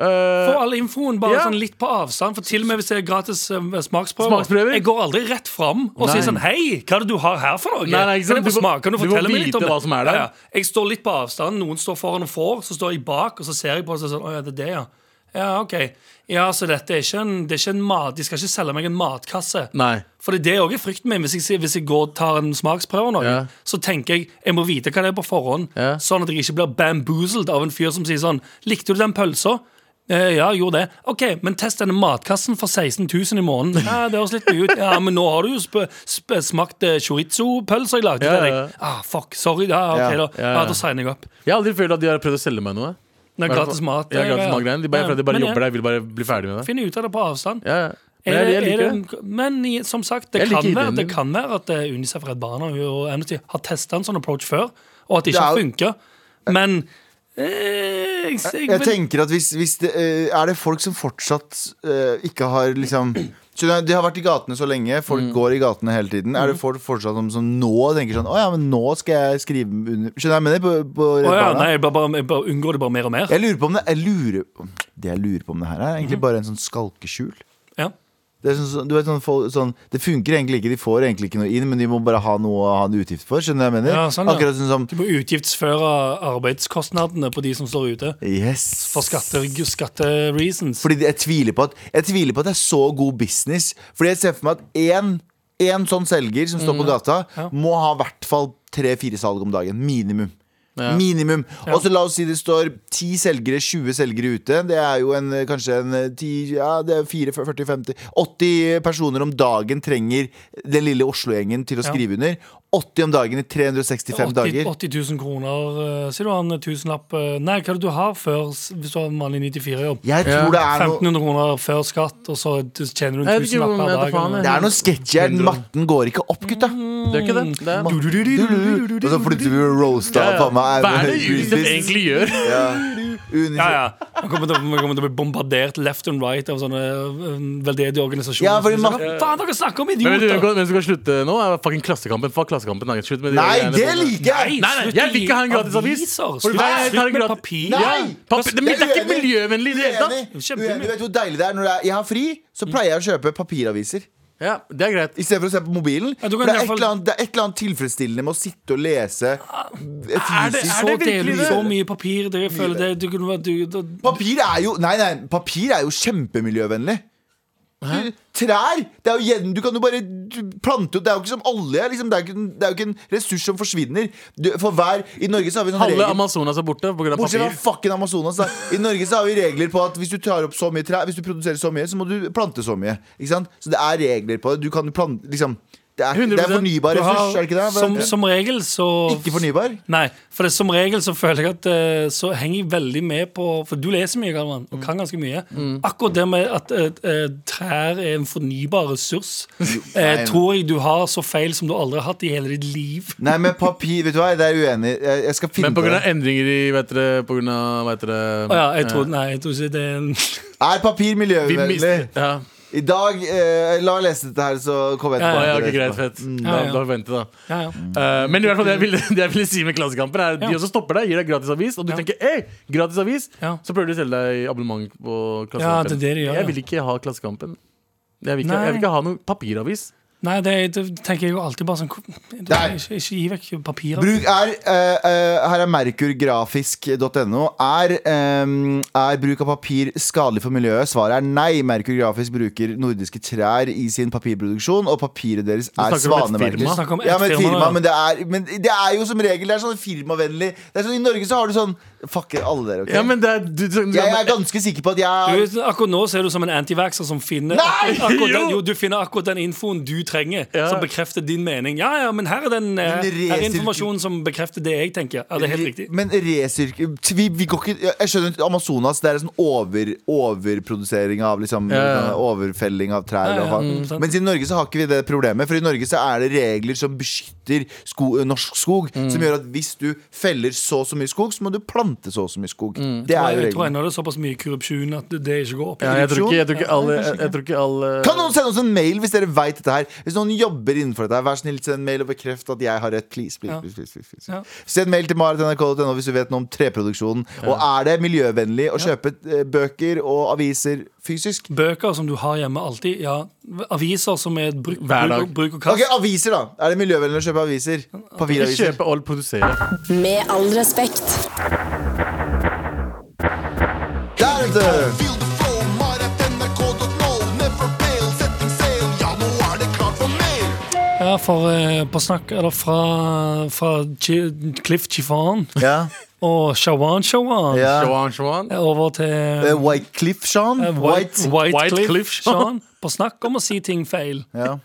[SPEAKER 4] eh,
[SPEAKER 3] Få all infoen bare
[SPEAKER 4] Ja.
[SPEAKER 3] sånn litt på avstand. For til og med hvis det er gratis eh, smaksprøver,
[SPEAKER 4] Smaksprøver.
[SPEAKER 3] Jeg går aldri rett fram og
[SPEAKER 4] Nei.
[SPEAKER 3] sier sånn Hei, hva er det du har her for noe?
[SPEAKER 4] Nei, nei, ikke sant?
[SPEAKER 3] Kan jeg
[SPEAKER 4] Du
[SPEAKER 3] få
[SPEAKER 4] må-
[SPEAKER 3] smake? Kan du
[SPEAKER 4] du må
[SPEAKER 3] fortelle meg litt
[SPEAKER 4] vite
[SPEAKER 3] om det?
[SPEAKER 4] hva som er der.
[SPEAKER 3] Ja, ja. Jeg står litt på avstand. Noen står foran og får, så står jeg bak, og så ser jeg på det og så er det sånn Å ja, det er det, ja. Ja, OK. Ja, så dette er ikke en, det er ikke en mat De skal ikke selge meg en matkasse.
[SPEAKER 4] Nei.
[SPEAKER 3] For det er òg frykten min. Hvis jeg, sier- hvis jeg går og tar en smaksprøve, av noe,
[SPEAKER 4] Ja.
[SPEAKER 3] så tenker jeg jeg må vite hva det er på forhånd,
[SPEAKER 4] Ja.
[SPEAKER 3] sånn at jeg ikke blir bamboozled av en fyr som sier sånn Likte du den pølsa? Eh, ja, jeg gjorde det. Ok, men test denne matkassen for 16 000 i måneden. Ja, det høres litt mye ut. Ja, men nå har du jo sp sp smakt eh, chorizo-pølser jeg lagde
[SPEAKER 4] Ja,
[SPEAKER 3] til
[SPEAKER 4] ja.
[SPEAKER 3] deg. Ah, fuck. Sorry. Ja, ok,
[SPEAKER 2] Ja,
[SPEAKER 3] da. Ja,
[SPEAKER 4] ja.
[SPEAKER 3] da signer jeg opp.
[SPEAKER 4] Jeg har aldri følt at de har prøvd å selge meg noe.
[SPEAKER 3] Det er gratis mat.
[SPEAKER 4] Ja, gratis matgreiene. De bare, jeg føler at de bare
[SPEAKER 3] Men
[SPEAKER 4] jobber
[SPEAKER 3] jeg
[SPEAKER 4] der, vil bare bli ferdig med det.
[SPEAKER 3] Finner ut av det på avstand.
[SPEAKER 4] Ja, ja. Men
[SPEAKER 3] Er
[SPEAKER 4] jeg,
[SPEAKER 3] det,
[SPEAKER 4] jeg liker
[SPEAKER 3] er
[SPEAKER 4] det.
[SPEAKER 3] det, men i- som sagt, det
[SPEAKER 4] Jeg
[SPEAKER 3] kan,
[SPEAKER 4] liker
[SPEAKER 3] være,
[SPEAKER 4] ideen
[SPEAKER 3] det
[SPEAKER 4] din.
[SPEAKER 3] kan være at eh, Unicef, Redd Barna og Amnesty har testa en sånn approach før, og at det ikke
[SPEAKER 2] Ja.
[SPEAKER 3] funker. Men eh, jeg, jeg,
[SPEAKER 2] Jeg
[SPEAKER 3] vil-
[SPEAKER 2] tenker at hvis, hvis det, eh, Er det folk som fortsatt eh, ikke har liksom Skjønner du, De har vært i gatene så lenge, folk
[SPEAKER 3] Mm.
[SPEAKER 2] går i gatene hele tiden. Er det folk fortsatt som, som nå tenker sånn Å ja, men nå skal jeg skrive under Skjønner jeg, men det på, på Redd
[SPEAKER 3] Å ja,
[SPEAKER 2] Barna?
[SPEAKER 3] nei, jeg, bare, bare, jeg bare unngår det bare mer og mer.
[SPEAKER 2] Jeg lurer på om det jeg lurer, Det jeg lurer på om det her er
[SPEAKER 3] Mm.
[SPEAKER 2] egentlig bare en sånn skalkeskjul.
[SPEAKER 3] Ja.
[SPEAKER 2] Det, er sånn- sånn, du vet, sånn, folk- sånn, det funker egentlig ikke, de får egentlig ikke noe inn, men de må bare ha noe å ha en utgift for. Skjønner du hva jeg mener?
[SPEAKER 3] Ja, sånn, ja.
[SPEAKER 2] Akkurat sånn som
[SPEAKER 3] Du må utgiftsføre arbeidskostnadene på de som står ute,
[SPEAKER 2] Yes!
[SPEAKER 3] for skatte- skattereasons.
[SPEAKER 2] Fordi jeg tviler på at Jeg tviler på at det er så god business. Fordi jeg ser for meg at én en sånn selger som står på gata, må ha i hvert fall tre-fire salg om dagen. Minimum. Minimum. Og så la oss si det står ti selgere, 20 selgere ute. Det er jo en, eh, kanskje en eh, 10, ja, det er 4, 40, 50 80 personer om dagen trenger den lille Oslo-gjengen til å skrive under. 80 om dagen i 365
[SPEAKER 3] 80,
[SPEAKER 2] dager.
[SPEAKER 3] 80 000 kroner. eh, Sier du har en tusenlapp eh, Nei, hva er det du har før s- hvis du har en vanlig 94-jobb?
[SPEAKER 2] Jeg tror det er noe
[SPEAKER 3] 1500 kroner før skatt, og så t- tjener du en
[SPEAKER 4] Jeg vet ikke
[SPEAKER 3] tusenlapp
[SPEAKER 4] om
[SPEAKER 3] per
[SPEAKER 4] jeg vet
[SPEAKER 3] dag.
[SPEAKER 4] faen,
[SPEAKER 3] eller
[SPEAKER 4] jeg.
[SPEAKER 2] det er noe sketchy her. Matten går ikke opp, gutta.
[SPEAKER 4] Det er ikke det. det er.
[SPEAKER 2] Du-du-du-du-du. Og så flytter vi og roaster
[SPEAKER 4] Ja, ja.
[SPEAKER 2] faen meg
[SPEAKER 4] Hva er det
[SPEAKER 2] Business.
[SPEAKER 4] Unicef egentlig gjør?
[SPEAKER 2] Ja.
[SPEAKER 3] Ja,
[SPEAKER 2] Unicef.
[SPEAKER 3] ja. Man kommer, til, å- man kommer til å bli bombardert left and right av sånne eh, veldedige organisasjoner.
[SPEAKER 2] Ja, fordi
[SPEAKER 3] som
[SPEAKER 2] man-
[SPEAKER 3] sier, Faen, dere snakker om
[SPEAKER 4] Men vet du hvem
[SPEAKER 3] idioter!
[SPEAKER 4] hvem som kan slutte nå? Er fucking Klassekampen. Fuck Klassekampen. Nei, slutt med de
[SPEAKER 2] Nei,
[SPEAKER 4] greiene.
[SPEAKER 2] det liker jeg!
[SPEAKER 4] Nei, nei, jeg vil ikke ha en gratis avis.
[SPEAKER 3] Aviser.
[SPEAKER 4] For
[SPEAKER 3] Slutt,
[SPEAKER 4] hver- jeg tar en
[SPEAKER 3] slutt med
[SPEAKER 4] gratis-
[SPEAKER 3] papir.
[SPEAKER 2] Nei!
[SPEAKER 4] Ja, papir, det, men det er ikke
[SPEAKER 2] Uenig.
[SPEAKER 4] miljøvennlig i det hele
[SPEAKER 2] Uenig.
[SPEAKER 4] tatt. Mm.
[SPEAKER 3] Kjempemye.
[SPEAKER 2] Uenig. Vet du hvor deilig det er når det er, jeg har fri, så pleier jeg å kjøpe papiraviser.
[SPEAKER 4] Ja, det er greit.
[SPEAKER 2] I stedet for å se på mobilen.
[SPEAKER 3] Ja, du
[SPEAKER 2] for det, er
[SPEAKER 3] kan i hvert
[SPEAKER 2] et
[SPEAKER 3] fall-
[SPEAKER 2] eller annet, det er et eller annet tilfredsstillende med å sitte og lese
[SPEAKER 4] Er det,
[SPEAKER 2] fysisk.
[SPEAKER 4] er det
[SPEAKER 3] Så deler
[SPEAKER 4] virkelig
[SPEAKER 3] du
[SPEAKER 4] det?
[SPEAKER 3] så mye papir. Det, jeg føler det, du kunne vært du, du,
[SPEAKER 2] Papir er jo Nei, nei, papir er jo kjempemiljøvennlig. Trær! Det er jo gjen, du kan jo bare plante opp. Det er jo ikke som olje. Liksom. Det, er jo ikke, en- det er jo ikke en ressurs som forsvinner. Du, for hver I Norge så har vi en sånn
[SPEAKER 4] Halve
[SPEAKER 2] regel
[SPEAKER 4] Amazonas er borte pga.
[SPEAKER 2] Bortsett fra
[SPEAKER 4] papir.
[SPEAKER 2] fucking Amazonas. Da. I Norge så har vi regler på at hvis du tar opp så mye trær, Hvis du produserer så mye, så må du plante så mye. Ikke sant? Så det er regler på det. Du kan plante liksom, det, er, det er
[SPEAKER 4] 100%.
[SPEAKER 2] fornybar
[SPEAKER 3] du
[SPEAKER 2] ressurs, er det ikke det?
[SPEAKER 3] som,
[SPEAKER 2] Ja.
[SPEAKER 3] som regel så
[SPEAKER 2] ikke fornybar?
[SPEAKER 3] Nei, for det, som regel så føler jeg at eh, Så henger jeg veldig med på For du leser mye, Galvan, og kan ganske mye. Akkurat det med at eh, eh, trær er en fornybar ressurs, eh,
[SPEAKER 2] nei.
[SPEAKER 3] tror jeg du har så feil som du aldri har hatt i hele ditt liv.
[SPEAKER 2] Nei, men papir Vet du hva, det er jeg uenig. i. Jeg, jeg skal finne
[SPEAKER 4] Men
[SPEAKER 2] på
[SPEAKER 4] pga.
[SPEAKER 2] det.
[SPEAKER 4] endringer i vet dere, på grunn av, vet dere,
[SPEAKER 3] Å ja, jeg tror, nei, jeg tror ikke det er en
[SPEAKER 2] Er papir
[SPEAKER 4] Vi
[SPEAKER 2] miljøvennlig?
[SPEAKER 4] mister ja.
[SPEAKER 2] I dag eh, La meg lese dette her, så kommer jeg
[SPEAKER 3] Ja,
[SPEAKER 4] Å,
[SPEAKER 2] tilbake.
[SPEAKER 4] ja, ok,
[SPEAKER 2] til det
[SPEAKER 4] greit,
[SPEAKER 2] etterpå.
[SPEAKER 4] fett. Da,
[SPEAKER 3] Ja, ja.
[SPEAKER 4] da får vi vente, da.
[SPEAKER 3] ja, ja.
[SPEAKER 4] Eh, men i hvert fall det jeg, ville, det jeg ville si med Klassekamper, er at de
[SPEAKER 3] Ja.
[SPEAKER 4] også stopper deg, gir deg gratis avis, og du
[SPEAKER 3] Ja.
[SPEAKER 4] tenker ei, gratis avis,
[SPEAKER 3] Ja.
[SPEAKER 4] så prøver de å selge deg abonnement på Klassekampen.
[SPEAKER 3] Ja, det er det de gjør, ja.
[SPEAKER 4] Jeg vil ikke ha Klassekampen. Jeg vil ikke,
[SPEAKER 3] Nei.
[SPEAKER 4] jeg vil ikke ha noen papiravis.
[SPEAKER 3] Nei, det, det tenker jeg jo alltid bare sånn
[SPEAKER 2] Nei.
[SPEAKER 3] Ikke, ikke gi vekk papirer.
[SPEAKER 2] Bruk er, eh, eh, her er merkurgrafisk.no. Er, ehm, er bruk av papir skadelig for miljøet? Svaret er nei. Merkurgrafisk bruker nordiske trær i sin papirproduksjon, og papiret deres er
[SPEAKER 4] snakker om et
[SPEAKER 2] svanemerket.
[SPEAKER 4] firma.
[SPEAKER 3] Du snakker om et
[SPEAKER 2] Ja, men et
[SPEAKER 3] firma,
[SPEAKER 2] firma,
[SPEAKER 3] ja.
[SPEAKER 2] men, det er, men det er jo som regel Det er sånn firmavennlig. Det er sånn, I Norge så har du sånn Fuck alle dere, ok?
[SPEAKER 4] Ja, men det er, du, du, du,
[SPEAKER 2] jeg er ganske sikker på at jeg
[SPEAKER 3] Du, akkurat nå ser du som en antivaxer som finner
[SPEAKER 2] Nei!
[SPEAKER 3] akkurat, akkurat, den,
[SPEAKER 4] Jo!
[SPEAKER 3] jo, du finner akkurat den infoen du trenger,
[SPEAKER 4] Ja.
[SPEAKER 3] som bekrefter din mening. Ja, ja, men her er den eh,
[SPEAKER 2] Men
[SPEAKER 3] her er
[SPEAKER 2] resirku-
[SPEAKER 3] informasjonen som bekrefter det jeg tenker. Ja, det er helt riktig.
[SPEAKER 2] Men resirk... Vi, vi går ikke Jeg skjønner at Amazonas det er en sånn over, overprodusering av liksom,
[SPEAKER 4] Ja, ja.
[SPEAKER 2] Overfelling av trær.
[SPEAKER 3] Ja, ja,
[SPEAKER 2] og hva-
[SPEAKER 3] mm, sant.
[SPEAKER 2] Mens i Norge så har ikke vi det problemet. For i Norge så er det regler som beskytter sko, norsk skog.
[SPEAKER 3] Mm.
[SPEAKER 2] Som gjør at hvis du feller så og så mye skog, så må du plante så og så mye skog. Det er jo
[SPEAKER 3] Jeg Mm. tror
[SPEAKER 2] reglene.
[SPEAKER 3] ennå det er såpass mye korrupsjon at det- det ikke går opp.
[SPEAKER 4] ja, jeg, tror ikke, jeg tror ikke alle, jeg, jeg tror ikke alle
[SPEAKER 2] Kan noen sende oss en mail hvis dere veit dette her? Hvis noen jobber innenfor dette her, vær snill, send en mail og bekreft at jeg har rett. Please, please,
[SPEAKER 3] Ja.
[SPEAKER 2] please, please, please, please.
[SPEAKER 3] Ja.
[SPEAKER 2] Send mail til marit.nrk.no hvis du vet noe om treproduksjonen. Og er det miljøvennlig å kjøpe eh, bøker og aviser fysisk?
[SPEAKER 3] Bøker som du har hjemme alltid. Ja. Aviser som er bruk,
[SPEAKER 4] Hver
[SPEAKER 3] bruk,
[SPEAKER 4] dag.
[SPEAKER 3] og- bruk og
[SPEAKER 2] Ok,
[SPEAKER 3] kast.
[SPEAKER 2] aviser, da. Er det miljøvennlig å kjøpe aviser?
[SPEAKER 4] ikke
[SPEAKER 2] Papiraviser.
[SPEAKER 4] kjøpe og produsere.
[SPEAKER 5] Med all respekt.
[SPEAKER 2] Der, vet du!
[SPEAKER 6] Feel the flow, marit.nrk.no. Never fail, setting sail. Ja, nå er det klart for mer.
[SPEAKER 3] Ja, for eh, på snakk Eller fra, fra Chi- Cliff Chiffon
[SPEAKER 2] Ja.
[SPEAKER 3] og Shawan Shawan
[SPEAKER 2] ja.
[SPEAKER 4] Johan, Johan.
[SPEAKER 3] over til
[SPEAKER 2] Eh, White Cliff, Sean?
[SPEAKER 3] Eh, White,
[SPEAKER 2] White.
[SPEAKER 3] White,
[SPEAKER 4] White
[SPEAKER 3] Cliff,
[SPEAKER 4] Cliff, Sean.
[SPEAKER 3] Sean. På snakk om å si ting feil.
[SPEAKER 2] Ja.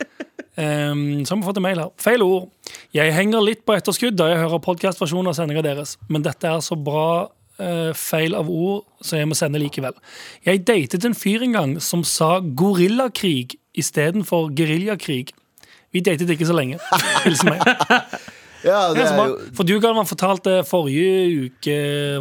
[SPEAKER 3] Um, så har vi fått en mail her. Feil ord. Jeg henger litt på etterskudd da jeg hører podkastversjonen av sendinga deres, men dette er så bra eh, feil av ord, så jeg må sende likevel. Jeg datet en fyr en gang som sa gorillakrig istedenfor geriljakrig. Vi datet ikke så lenge. Hilsen meg.
[SPEAKER 2] ja,
[SPEAKER 3] Ja,
[SPEAKER 2] det
[SPEAKER 3] så
[SPEAKER 2] er
[SPEAKER 3] bra.
[SPEAKER 2] jo
[SPEAKER 3] For du, Galvan, fortalte forrige uke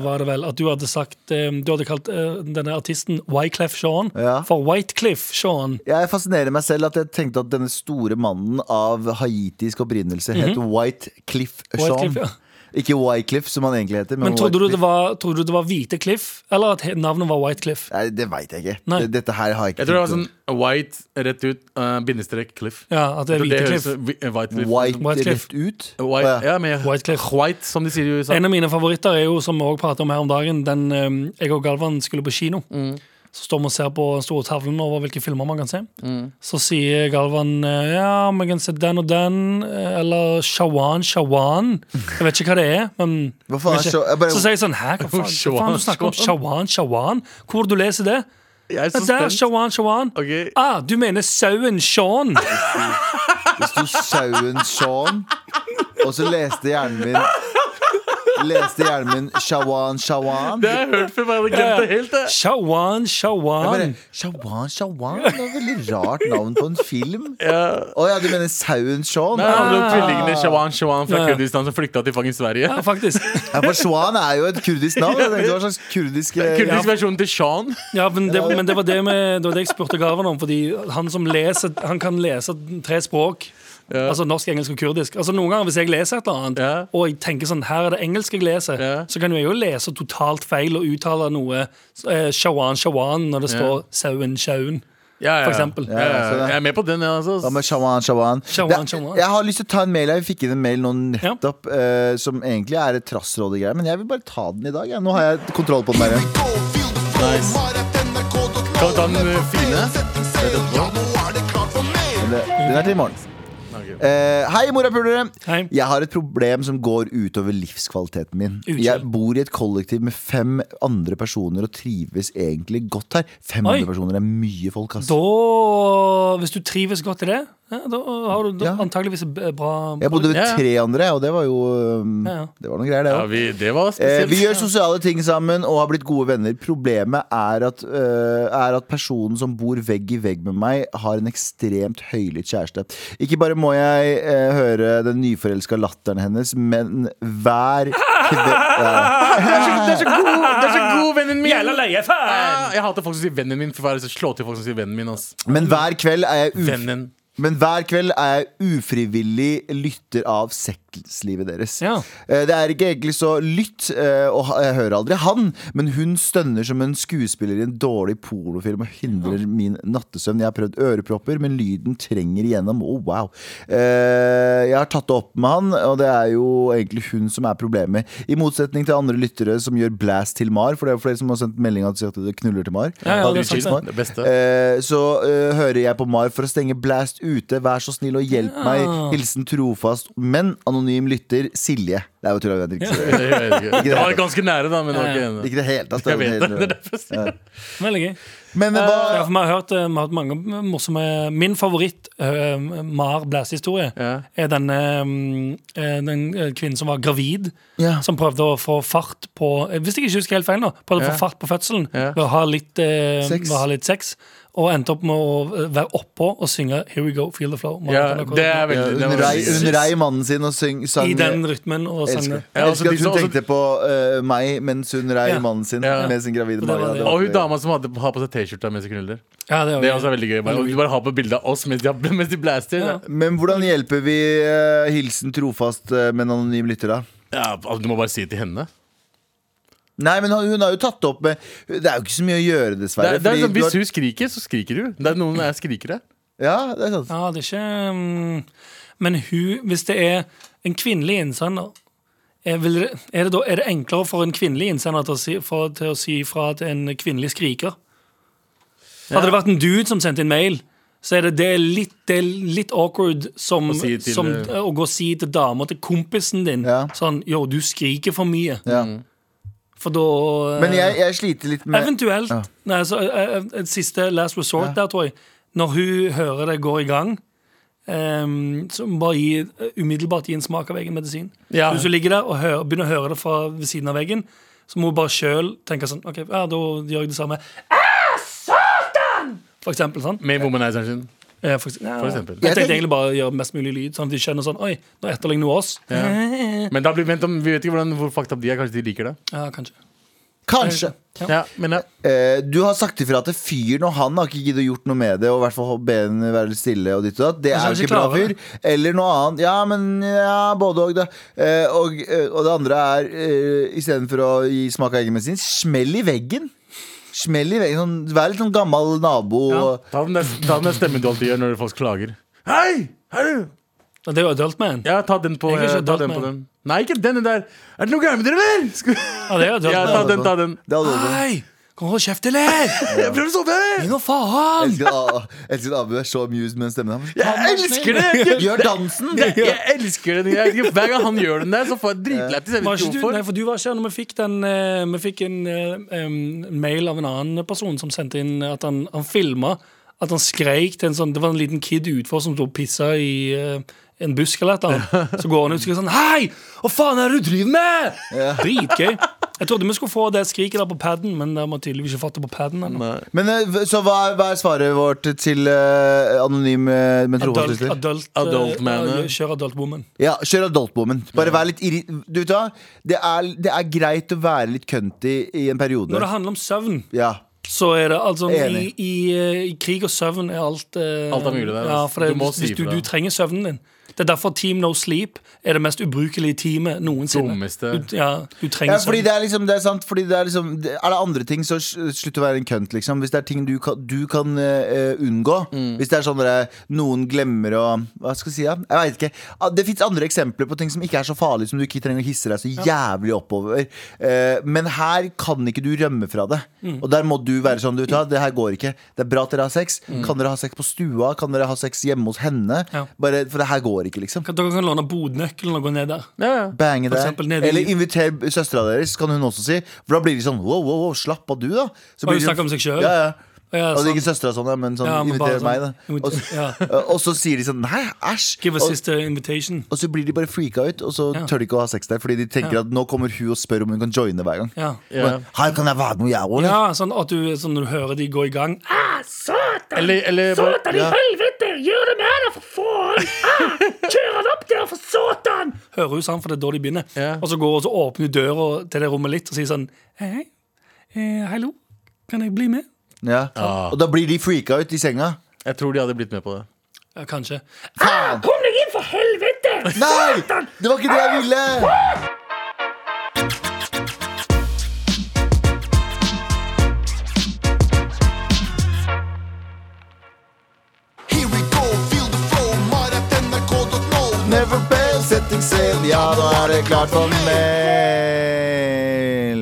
[SPEAKER 3] var det vel, at du hadde sagt eh, Du hadde kalt eh, denne artisten Wyclef Sean
[SPEAKER 2] Ja.
[SPEAKER 3] for Whitecliff Sean.
[SPEAKER 2] Jeg fascinerer meg selv at jeg tenkte at denne store mannen av haitisk opprinnelse het White Cliff Sean.
[SPEAKER 3] Cliff, Mhm. ja.
[SPEAKER 2] Ikke Wycliffe, som han egentlig heter.
[SPEAKER 3] Men
[SPEAKER 2] White
[SPEAKER 3] trodde du, det
[SPEAKER 2] Cliff.
[SPEAKER 3] var, trodde du det var Hvite Cliff, eller at he- navnet var White Cliff?
[SPEAKER 2] Nei, det veit jeg ikke.
[SPEAKER 3] Nei.
[SPEAKER 2] Det- Dette her har jeg ikke
[SPEAKER 4] Jeg tror det var
[SPEAKER 2] tenkt
[SPEAKER 4] sånn white, rett ut, eh, bindestrek, cliff.
[SPEAKER 3] Ja, at det er
[SPEAKER 4] Jeg tror det
[SPEAKER 3] Hvite
[SPEAKER 4] høres
[SPEAKER 3] Cliff.
[SPEAKER 4] vi- eh, white
[SPEAKER 2] på.
[SPEAKER 4] cliff.
[SPEAKER 2] White,
[SPEAKER 3] White Cliff.
[SPEAKER 2] rett ut?
[SPEAKER 4] White,
[SPEAKER 2] Å, ja.
[SPEAKER 4] ja, men,
[SPEAKER 3] White Cliff.
[SPEAKER 4] White, som de sier i USA.
[SPEAKER 3] En av mine favoritter er jo, som vi også pratet om her om dagen, den eh, jeg og Galvan skulle på kino.
[SPEAKER 2] Mm.
[SPEAKER 3] Så står vi og ser på den store tavlen over hvilke filmer man kan se.
[SPEAKER 2] Mm.
[SPEAKER 3] Så sier Galvan eh, ja, vi kan se den og den, eh, eller Shawan Shawan. Jeg vet ikke hva det er, men
[SPEAKER 2] Hva faen er
[SPEAKER 3] jeg vet ikke.
[SPEAKER 2] Shaw- jeg bare-
[SPEAKER 3] Så sier jeg sånn Hæ, hva faen, hva faen du snakker om? Shawan Shawan? Hvor har du leser det?
[SPEAKER 4] Jeg er så
[SPEAKER 3] Det er
[SPEAKER 4] spent.
[SPEAKER 3] Shawan Shawan.
[SPEAKER 4] Ok.
[SPEAKER 3] Ah, du mener sauen Shaun?
[SPEAKER 2] Det sto Sauen Sean. Og så leste hjernen min Leste hjernen min Shawan, Shawan.
[SPEAKER 4] Det har jeg hørt før, men jeg hadde glemt det helt. jeg.
[SPEAKER 3] Shawan,
[SPEAKER 2] Jeg bare, Shawan,
[SPEAKER 3] shawan.
[SPEAKER 2] Shawan Det er et veldig rart navn på en film. Å ja. du mener sauen Ah. Shaun?
[SPEAKER 4] Det handler om tvillingene Shawan Shawan fra
[SPEAKER 3] Ah. Ja.
[SPEAKER 4] Kurdistan som flykta til fucking Sverige.
[SPEAKER 3] Ja, faktisk.
[SPEAKER 2] Ja, for Shawan er jo et kurdisk navn. Jeg tenkte hva slags kurdisk eh,
[SPEAKER 4] Kurdisk versjon til Shan.
[SPEAKER 3] Ja, men det, men det, var, det, med, det var det jeg spurte Gavan om, fordi han som leser Han kan lese tre språk. Altså norsk, engelsk og kurdisk. Altså Noen ganger hvis jeg leser et eller annet,
[SPEAKER 4] Ja.
[SPEAKER 3] og jeg tenker sånn Her er det engelsk jeg leser,
[SPEAKER 4] Ja.
[SPEAKER 3] så kan jo jeg jo lese totalt feil og uttale noe eh, shawan, shawan når det
[SPEAKER 4] Ja.
[SPEAKER 3] står sauen, sjaun.
[SPEAKER 4] Ja, ja.
[SPEAKER 3] For eksempel.
[SPEAKER 4] Ja, ja.
[SPEAKER 2] så det-
[SPEAKER 4] Jeg er med på den, jeg,
[SPEAKER 2] Hva
[SPEAKER 4] altså.
[SPEAKER 2] med Shawan, Shawan?
[SPEAKER 3] Shawan,
[SPEAKER 2] Det-
[SPEAKER 3] Shawan.
[SPEAKER 2] Jeg har lyst til å ta en mail. Jeg fikk inn en mail nå
[SPEAKER 3] Ja.
[SPEAKER 2] nettopp eh, som egentlig er et trassrådegreie, men jeg vil bare ta den i dag. Jeg. Nå har jeg kontroll på den der. igjen.
[SPEAKER 4] Nice. Kan vi ta den, eh, fine?
[SPEAKER 6] Ja, nå er det klart for mer.
[SPEAKER 2] Det- Den er til i morgen.
[SPEAKER 4] Ok.
[SPEAKER 2] Eh, hei, morapulere.
[SPEAKER 3] Hei.
[SPEAKER 2] Jeg har et problem som går utover livskvaliteten min.
[SPEAKER 3] Unnskyld.
[SPEAKER 2] Jeg bor i et kollektiv med fem andre personer og trives egentlig godt her. Fem
[SPEAKER 3] Oi.
[SPEAKER 2] andre personer er mye folk, ass.
[SPEAKER 3] Da, hvis du trives godt i det, ja, da har du da,
[SPEAKER 2] Ja.
[SPEAKER 3] antageligvis et b- bra
[SPEAKER 2] Jeg bodde ved
[SPEAKER 4] Ja.
[SPEAKER 2] tre andre, og det var jo um,
[SPEAKER 3] Ja, ja.
[SPEAKER 2] Det var noen greier, det
[SPEAKER 4] Ja,
[SPEAKER 2] òg.
[SPEAKER 4] vi, det var
[SPEAKER 2] Eh,
[SPEAKER 4] spesielt.
[SPEAKER 2] vi gjør sosiale ting sammen og har blitt gode venner. Problemet er at, eh, er at personen som bor vegg i vegg med meg, har en ekstremt høylytt kjæreste. Ikke bare må jeg eh, høre den nyforelska latteren hennes, men hver kveld
[SPEAKER 4] Det er så- det er så god, det er så god vennen min.
[SPEAKER 3] Jævla leiefan!
[SPEAKER 4] Ah, Jeg hater folk som sier vennen min. For hva er det som slår til folk som sier vennen min? ass
[SPEAKER 2] Men hver kveld er jeg uf
[SPEAKER 4] Vennen
[SPEAKER 2] men hver kveld er jeg ufrivillig lytter av sexlivet deres.
[SPEAKER 3] Ja.
[SPEAKER 2] Eh, Det er ikke egentlig så lytt, eh, og ha- jeg hører aldri han, men hun stønner som en skuespiller i en dårlig pornofilm og hindrer min nattesøvn. Jeg har prøvd ørepropper, men lyden trenger igjennom. Oh, wow. Eh, Jeg har tatt det opp med han, og det er jo egentlig hun som er problemet. I motsetning til andre lyttere som gjør blast til Mar, for det er jo flere som har sendt melding at de sier at det knuller til Mar.
[SPEAKER 3] Ja, ja, det er
[SPEAKER 2] Knuller
[SPEAKER 3] sant,
[SPEAKER 2] til Mar.
[SPEAKER 4] det beste.
[SPEAKER 2] Eh, Så eh, hører jeg på Mar for å stenge blast ute. Vær så snill og hjelp meg. Hilsen trofast, men anonym lytter Silje. Det er jo tull, jeg vet ikke.
[SPEAKER 4] Jeg vet ikke. Det var ganske nære, da. Men det var ikke
[SPEAKER 2] Ikke i det hele tatt. det er
[SPEAKER 4] Jeg vet
[SPEAKER 2] jo
[SPEAKER 4] det.
[SPEAKER 2] helt-
[SPEAKER 4] Det er derfor jeg sier det.
[SPEAKER 3] Veldig gøy.
[SPEAKER 2] Men det
[SPEAKER 3] Ja,
[SPEAKER 2] var
[SPEAKER 3] for vi har hørt, eh, vi har hørt mange morsomme Min favoritt eh, Mar Blæs-historie
[SPEAKER 4] Ja.
[SPEAKER 3] er denne mm, eh, den eh, kvinnen som var gravid,
[SPEAKER 2] Ja.
[SPEAKER 3] som prøvde å få fart på eh, Hvis jeg ikke husker helt feil, nå prøvde å
[SPEAKER 4] Ja.
[SPEAKER 3] få fart på fødselen
[SPEAKER 4] Ja.
[SPEAKER 3] ved å ha litt, eh,
[SPEAKER 2] Sex.
[SPEAKER 3] ved å ha litt sex. Og endte opp med å eh, være oppå og synge 'Here We Go, Feel the Flow'. Mar-
[SPEAKER 4] Ja, det er veldig det
[SPEAKER 2] Hun
[SPEAKER 4] var
[SPEAKER 2] rei, hun
[SPEAKER 4] veldig-
[SPEAKER 2] rei mannen sin og syng, sang
[SPEAKER 3] I den rytmen og
[SPEAKER 2] Jeg elsker,
[SPEAKER 3] sangen.
[SPEAKER 2] jeg
[SPEAKER 4] Ja,
[SPEAKER 2] elsker at
[SPEAKER 4] altså,
[SPEAKER 2] hun
[SPEAKER 4] de som-
[SPEAKER 2] tenkte på eh, meg mens hun rei
[SPEAKER 3] Ja.
[SPEAKER 2] mannen sin
[SPEAKER 4] Ja.
[SPEAKER 2] med sin gravide
[SPEAKER 3] Og det var
[SPEAKER 2] mage.
[SPEAKER 3] det.
[SPEAKER 2] var
[SPEAKER 4] Og hun
[SPEAKER 2] gøy.
[SPEAKER 4] dama som hadde, har på seg T-skjorta mens hun knuller.
[SPEAKER 3] Ja, det er,
[SPEAKER 4] Det er
[SPEAKER 3] også
[SPEAKER 4] også veldig gøy. Bare, og de bare har på bilde av oss mens de, har- mens de blaster.
[SPEAKER 3] Ja.
[SPEAKER 2] Men hvordan hjelper vi eh, hilsen trofast eh, med en anonym lytter, da?
[SPEAKER 4] Ja, altså, du må bare si det til henne.
[SPEAKER 2] Nei, men hun hun har jo tatt det opp med Det er jo ikke så mye å gjøre,
[SPEAKER 4] Det
[SPEAKER 2] dessverre.
[SPEAKER 4] er, det
[SPEAKER 2] fordi
[SPEAKER 4] er sånn,
[SPEAKER 2] du har-
[SPEAKER 4] hvis hun skriker, så skriker du. Det er noen er skrikere.
[SPEAKER 2] ja, det er sant.
[SPEAKER 3] Ja, det er ikke mm, Men hun, hvis det er en kvinnelig innsender er, vil, det- er, det da, er det enklere for en kvinnelig innsender til å si, for, til å si fra til en kvinnelig skriker? Hadde det vært en dude som sendte inn mail, så er det, det, er litt, det er litt awkward som,
[SPEAKER 4] Å si til- eh,
[SPEAKER 3] som, å gå og si til dama til kompisen din
[SPEAKER 2] Ja.
[SPEAKER 3] sånn Yo, du skriker for mye.
[SPEAKER 2] Ja.
[SPEAKER 4] Mm.
[SPEAKER 3] For da eh,
[SPEAKER 2] Men jeg, jeg sliter litt med
[SPEAKER 3] Eventuelt. Nei, altså, eh, eh, et siste last resort der, tror jeg. Når hun hører det går i gang, ehm, så må hun bare gi, eh, umiddelbart gi en smak av egen medisin.
[SPEAKER 4] Ja.
[SPEAKER 3] Så Hvis hun ligger der og hører, begynner å høre det fra ved siden av veggen, så må hun bare sjøl tenke sånn OK, ja, da gjør jeg det samme. Ah, satan! For eksempel. Sånn.
[SPEAKER 4] Med womanizeren sin.
[SPEAKER 3] Eh, For, eksempel, ja.
[SPEAKER 4] For eksempel.
[SPEAKER 2] Jeg
[SPEAKER 3] Jeg tenkte
[SPEAKER 2] tenker-
[SPEAKER 3] egentlig bare å gjøre mest mulig lyd, sånn at de skjønner sånn Oi, nå etterligner hun oss. Ja.
[SPEAKER 4] Men da blir, vent om, vi vet ikke hvordan, hvor fucked up de er. Kanskje de liker det.
[SPEAKER 3] kanskje.
[SPEAKER 2] Kanskje.
[SPEAKER 3] Ja.
[SPEAKER 4] Ja, men ja.
[SPEAKER 2] Eh, du har sagt ifra til fyren, og han har ikke giddet å gjort noe med det. Og i hvert fall be han være litt stille og ditt og datt. Det
[SPEAKER 3] Kanskje
[SPEAKER 2] er
[SPEAKER 3] han
[SPEAKER 2] jo
[SPEAKER 3] ikke
[SPEAKER 2] ikke bra
[SPEAKER 3] klarer
[SPEAKER 2] fyr.
[SPEAKER 3] det.
[SPEAKER 2] Eller noe annet. Ja, men ja, både og, da. Eh, og, eh, og det andre er, eh, istedenfor å gi smak av egen medisin, smell i veggen. Smell i veggen. Sånn, vær litt sånn gammel nabo. og-
[SPEAKER 4] Ta den der, ta den der stemmen du alltid gjør når folk klager. Hei! Hei! du!»
[SPEAKER 3] Og Det er jo adult man.
[SPEAKER 4] Ja, ta den på,
[SPEAKER 3] Jeg vil ikke
[SPEAKER 4] eh, ta
[SPEAKER 3] adult
[SPEAKER 4] den, på
[SPEAKER 3] man.
[SPEAKER 4] den. Nei, ikke den den der. Er det noe gærent med dere, vel? Skal-
[SPEAKER 3] Ja, det er jo adult
[SPEAKER 4] Ja,
[SPEAKER 3] man.
[SPEAKER 4] ta den, ta den.
[SPEAKER 2] Det er alvorlig.
[SPEAKER 3] Hei! Kom og hold kjeft, eller!
[SPEAKER 4] Jeg prøver å sove!
[SPEAKER 3] Gi nå faen!
[SPEAKER 2] Elsker at- elsker at Abu er så amused med den stemmen. hans.
[SPEAKER 4] Ah, Jeg elsker det!
[SPEAKER 2] Gjør dansen!
[SPEAKER 4] Jeg, jeg elsker den. Jeg, hver gang han gjør den der, så får jeg dritlættis. Jeg
[SPEAKER 3] Var
[SPEAKER 4] vet
[SPEAKER 3] ikke
[SPEAKER 4] ikke
[SPEAKER 3] du,
[SPEAKER 4] hvorfor.
[SPEAKER 3] nei, for du var ikke her når vi fikk, den, eh, vi fikk en eh, em, mail av en annen person som sendte inn at han, han filma at han skreik til en sånn Det var en liten kid utfor som sto og pissa i, eh, en busk eller et eller annet. Så går han ut og skriker sånn Hei! Hva faen er det du driver med?! Dritgøy. Jeg trodde vi skulle få det skriket der på paden, men det har man tydeligvis ikke fått det på paden ennå.
[SPEAKER 2] Men eh, v- Så hva er, hva er svaret vårt til eh, anonym eh, men trofast
[SPEAKER 3] Adult,
[SPEAKER 2] lytter?
[SPEAKER 3] adult,
[SPEAKER 4] Adult
[SPEAKER 3] eh,
[SPEAKER 4] man, eh.
[SPEAKER 3] Kjør adult woman.
[SPEAKER 2] Ja, kjør adult woman. Bare vær litt irri... Du vet hva? Det er, det er greit å være litt cunty i en
[SPEAKER 3] Når
[SPEAKER 2] periode.
[SPEAKER 3] det handler om søvn,
[SPEAKER 2] Ja.
[SPEAKER 3] så er det altså i,
[SPEAKER 2] Enig.
[SPEAKER 3] i, eh, I krig og søvn er alt eh,
[SPEAKER 4] Alt er mulig der,
[SPEAKER 3] Ja,
[SPEAKER 4] altså.
[SPEAKER 3] for det,
[SPEAKER 4] Du må
[SPEAKER 3] hvis,
[SPEAKER 4] si
[SPEAKER 3] hvis du,
[SPEAKER 4] fra.
[SPEAKER 3] du trenger søvnen din. Det er derfor Team No Sleep er det mest ubrukelige teamet noensinne.
[SPEAKER 4] Dummeste.
[SPEAKER 3] Du, ja, du trenger
[SPEAKER 2] Ja, fordi
[SPEAKER 3] søvn.
[SPEAKER 2] det er liksom, det er sant fordi det er, liksom, det- er det andre ting, så sl- slutt å være en kønt, liksom. Hvis det er ting du kan, du kan eh, eh, unngå.
[SPEAKER 3] Mm.
[SPEAKER 2] Hvis det er sånn at noen glemmer å Hva skal jeg si? Ja? Jeg vet ikke. Ah, Det fins andre eksempler på ting som ikke er så farlige, som du ikke trenger å hisse deg så jævlig oppover. Eh, men her kan ikke du rømme fra det.
[SPEAKER 3] Mm.
[SPEAKER 2] Og der må du være sånn, du vet hva, det her går ikke. Det er bra at dere har sex. Kan dere ha sex på stua? Kan dere ha sex hjemme hos henne?
[SPEAKER 3] Mm. Ja.
[SPEAKER 2] Bare, for det her går ikke, liksom.
[SPEAKER 3] Kan- Dere kan låne bodnøkkelen og gå ned der.
[SPEAKER 4] Ja, ja.
[SPEAKER 2] Bange
[SPEAKER 3] For
[SPEAKER 2] der.
[SPEAKER 3] eksempel nede i-
[SPEAKER 2] Eller inviter søstera deres, kan hun også si. For da blir de sånn wow, wow, wow, slapp av du, da. Så
[SPEAKER 3] Og
[SPEAKER 2] blir
[SPEAKER 3] hun
[SPEAKER 2] de-
[SPEAKER 3] snakker om seg selv.
[SPEAKER 2] Ja, ja.
[SPEAKER 3] Ja,
[SPEAKER 2] Altså
[SPEAKER 3] sant.
[SPEAKER 2] ikke søstera sånn, ja, men sånn
[SPEAKER 3] Ja, men bare
[SPEAKER 2] inviter
[SPEAKER 3] sånn.
[SPEAKER 2] meg, da. Og,
[SPEAKER 3] Inviter-
[SPEAKER 2] så- og så sier de sånn nei, æsj.
[SPEAKER 3] Give a
[SPEAKER 2] Og-
[SPEAKER 3] sister invitation.
[SPEAKER 2] og så blir de bare freaka ut, og så
[SPEAKER 3] Ja.
[SPEAKER 2] tør de ikke å ha sex der. Fordi de tenker
[SPEAKER 3] Ja.
[SPEAKER 2] at nå kommer hun og spør om hun kan joine hver gang.
[SPEAKER 3] Ja.
[SPEAKER 4] Ja.
[SPEAKER 2] Her kan jeg være med, jeg òg.
[SPEAKER 3] Ja, sånn at du, sånn når du hører de gå i gang. Ah,
[SPEAKER 4] Eller, eller bare,
[SPEAKER 3] Hører hun sånn, for det er da de begynner.
[SPEAKER 4] Ja.
[SPEAKER 3] Og så går hun og så åpner hun døra til det rommet litt og sier sånn Hei, eh, hallo, kan jeg bli med?
[SPEAKER 2] Ja. Og da blir de freaka ut i senga.
[SPEAKER 4] Jeg tror de hadde blitt med på det.
[SPEAKER 3] Ja, kanskje.
[SPEAKER 2] Faen!
[SPEAKER 3] Kom deg inn, for helvete!
[SPEAKER 2] Nei! Det var ikke det jeg ville!
[SPEAKER 6] Here we go, feel the flow, maratnrk.no.
[SPEAKER 2] Never fail, setting sail, ja da er det klart for mail.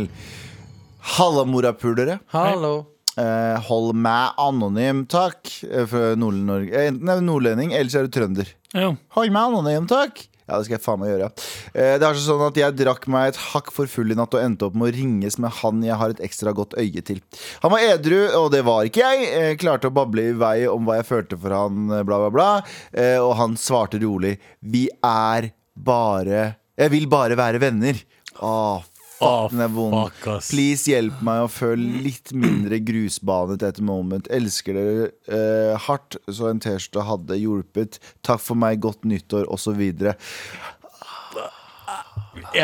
[SPEAKER 2] Halla, morapulere.
[SPEAKER 4] Hallo.
[SPEAKER 2] Eh, hold meg anonym, takk. Eh, Fra Nord-Norge. Eh, Enten er du nordlending, eller så er du trønder.
[SPEAKER 3] Ja.
[SPEAKER 2] Hold meg anonym, takk. Ja, det skal jeg faen meg gjøre. Eh, det er sånn at Jeg drakk meg et hakk for full i natt og endte opp med å ringes med han jeg har et ekstra godt øye til. Han var edru, og det var ikke jeg. Eh, klarte å bable i vei om hva jeg følte for han, eh, bla, bla, bla. Eh, og han svarte rolig 'Vi er bare Jeg vil bare være venner'. Ah, Åh,
[SPEAKER 4] Å,
[SPEAKER 2] fuck, den er vond.
[SPEAKER 4] fuck, ass.
[SPEAKER 2] Please hjelp meg å føle litt mindre grusbanet etter moment. Elsker dere eh, hardt, så en T-skjorte hadde hjulpet. Takk for meg, godt nyttår, osv.
[SPEAKER 4] Jeg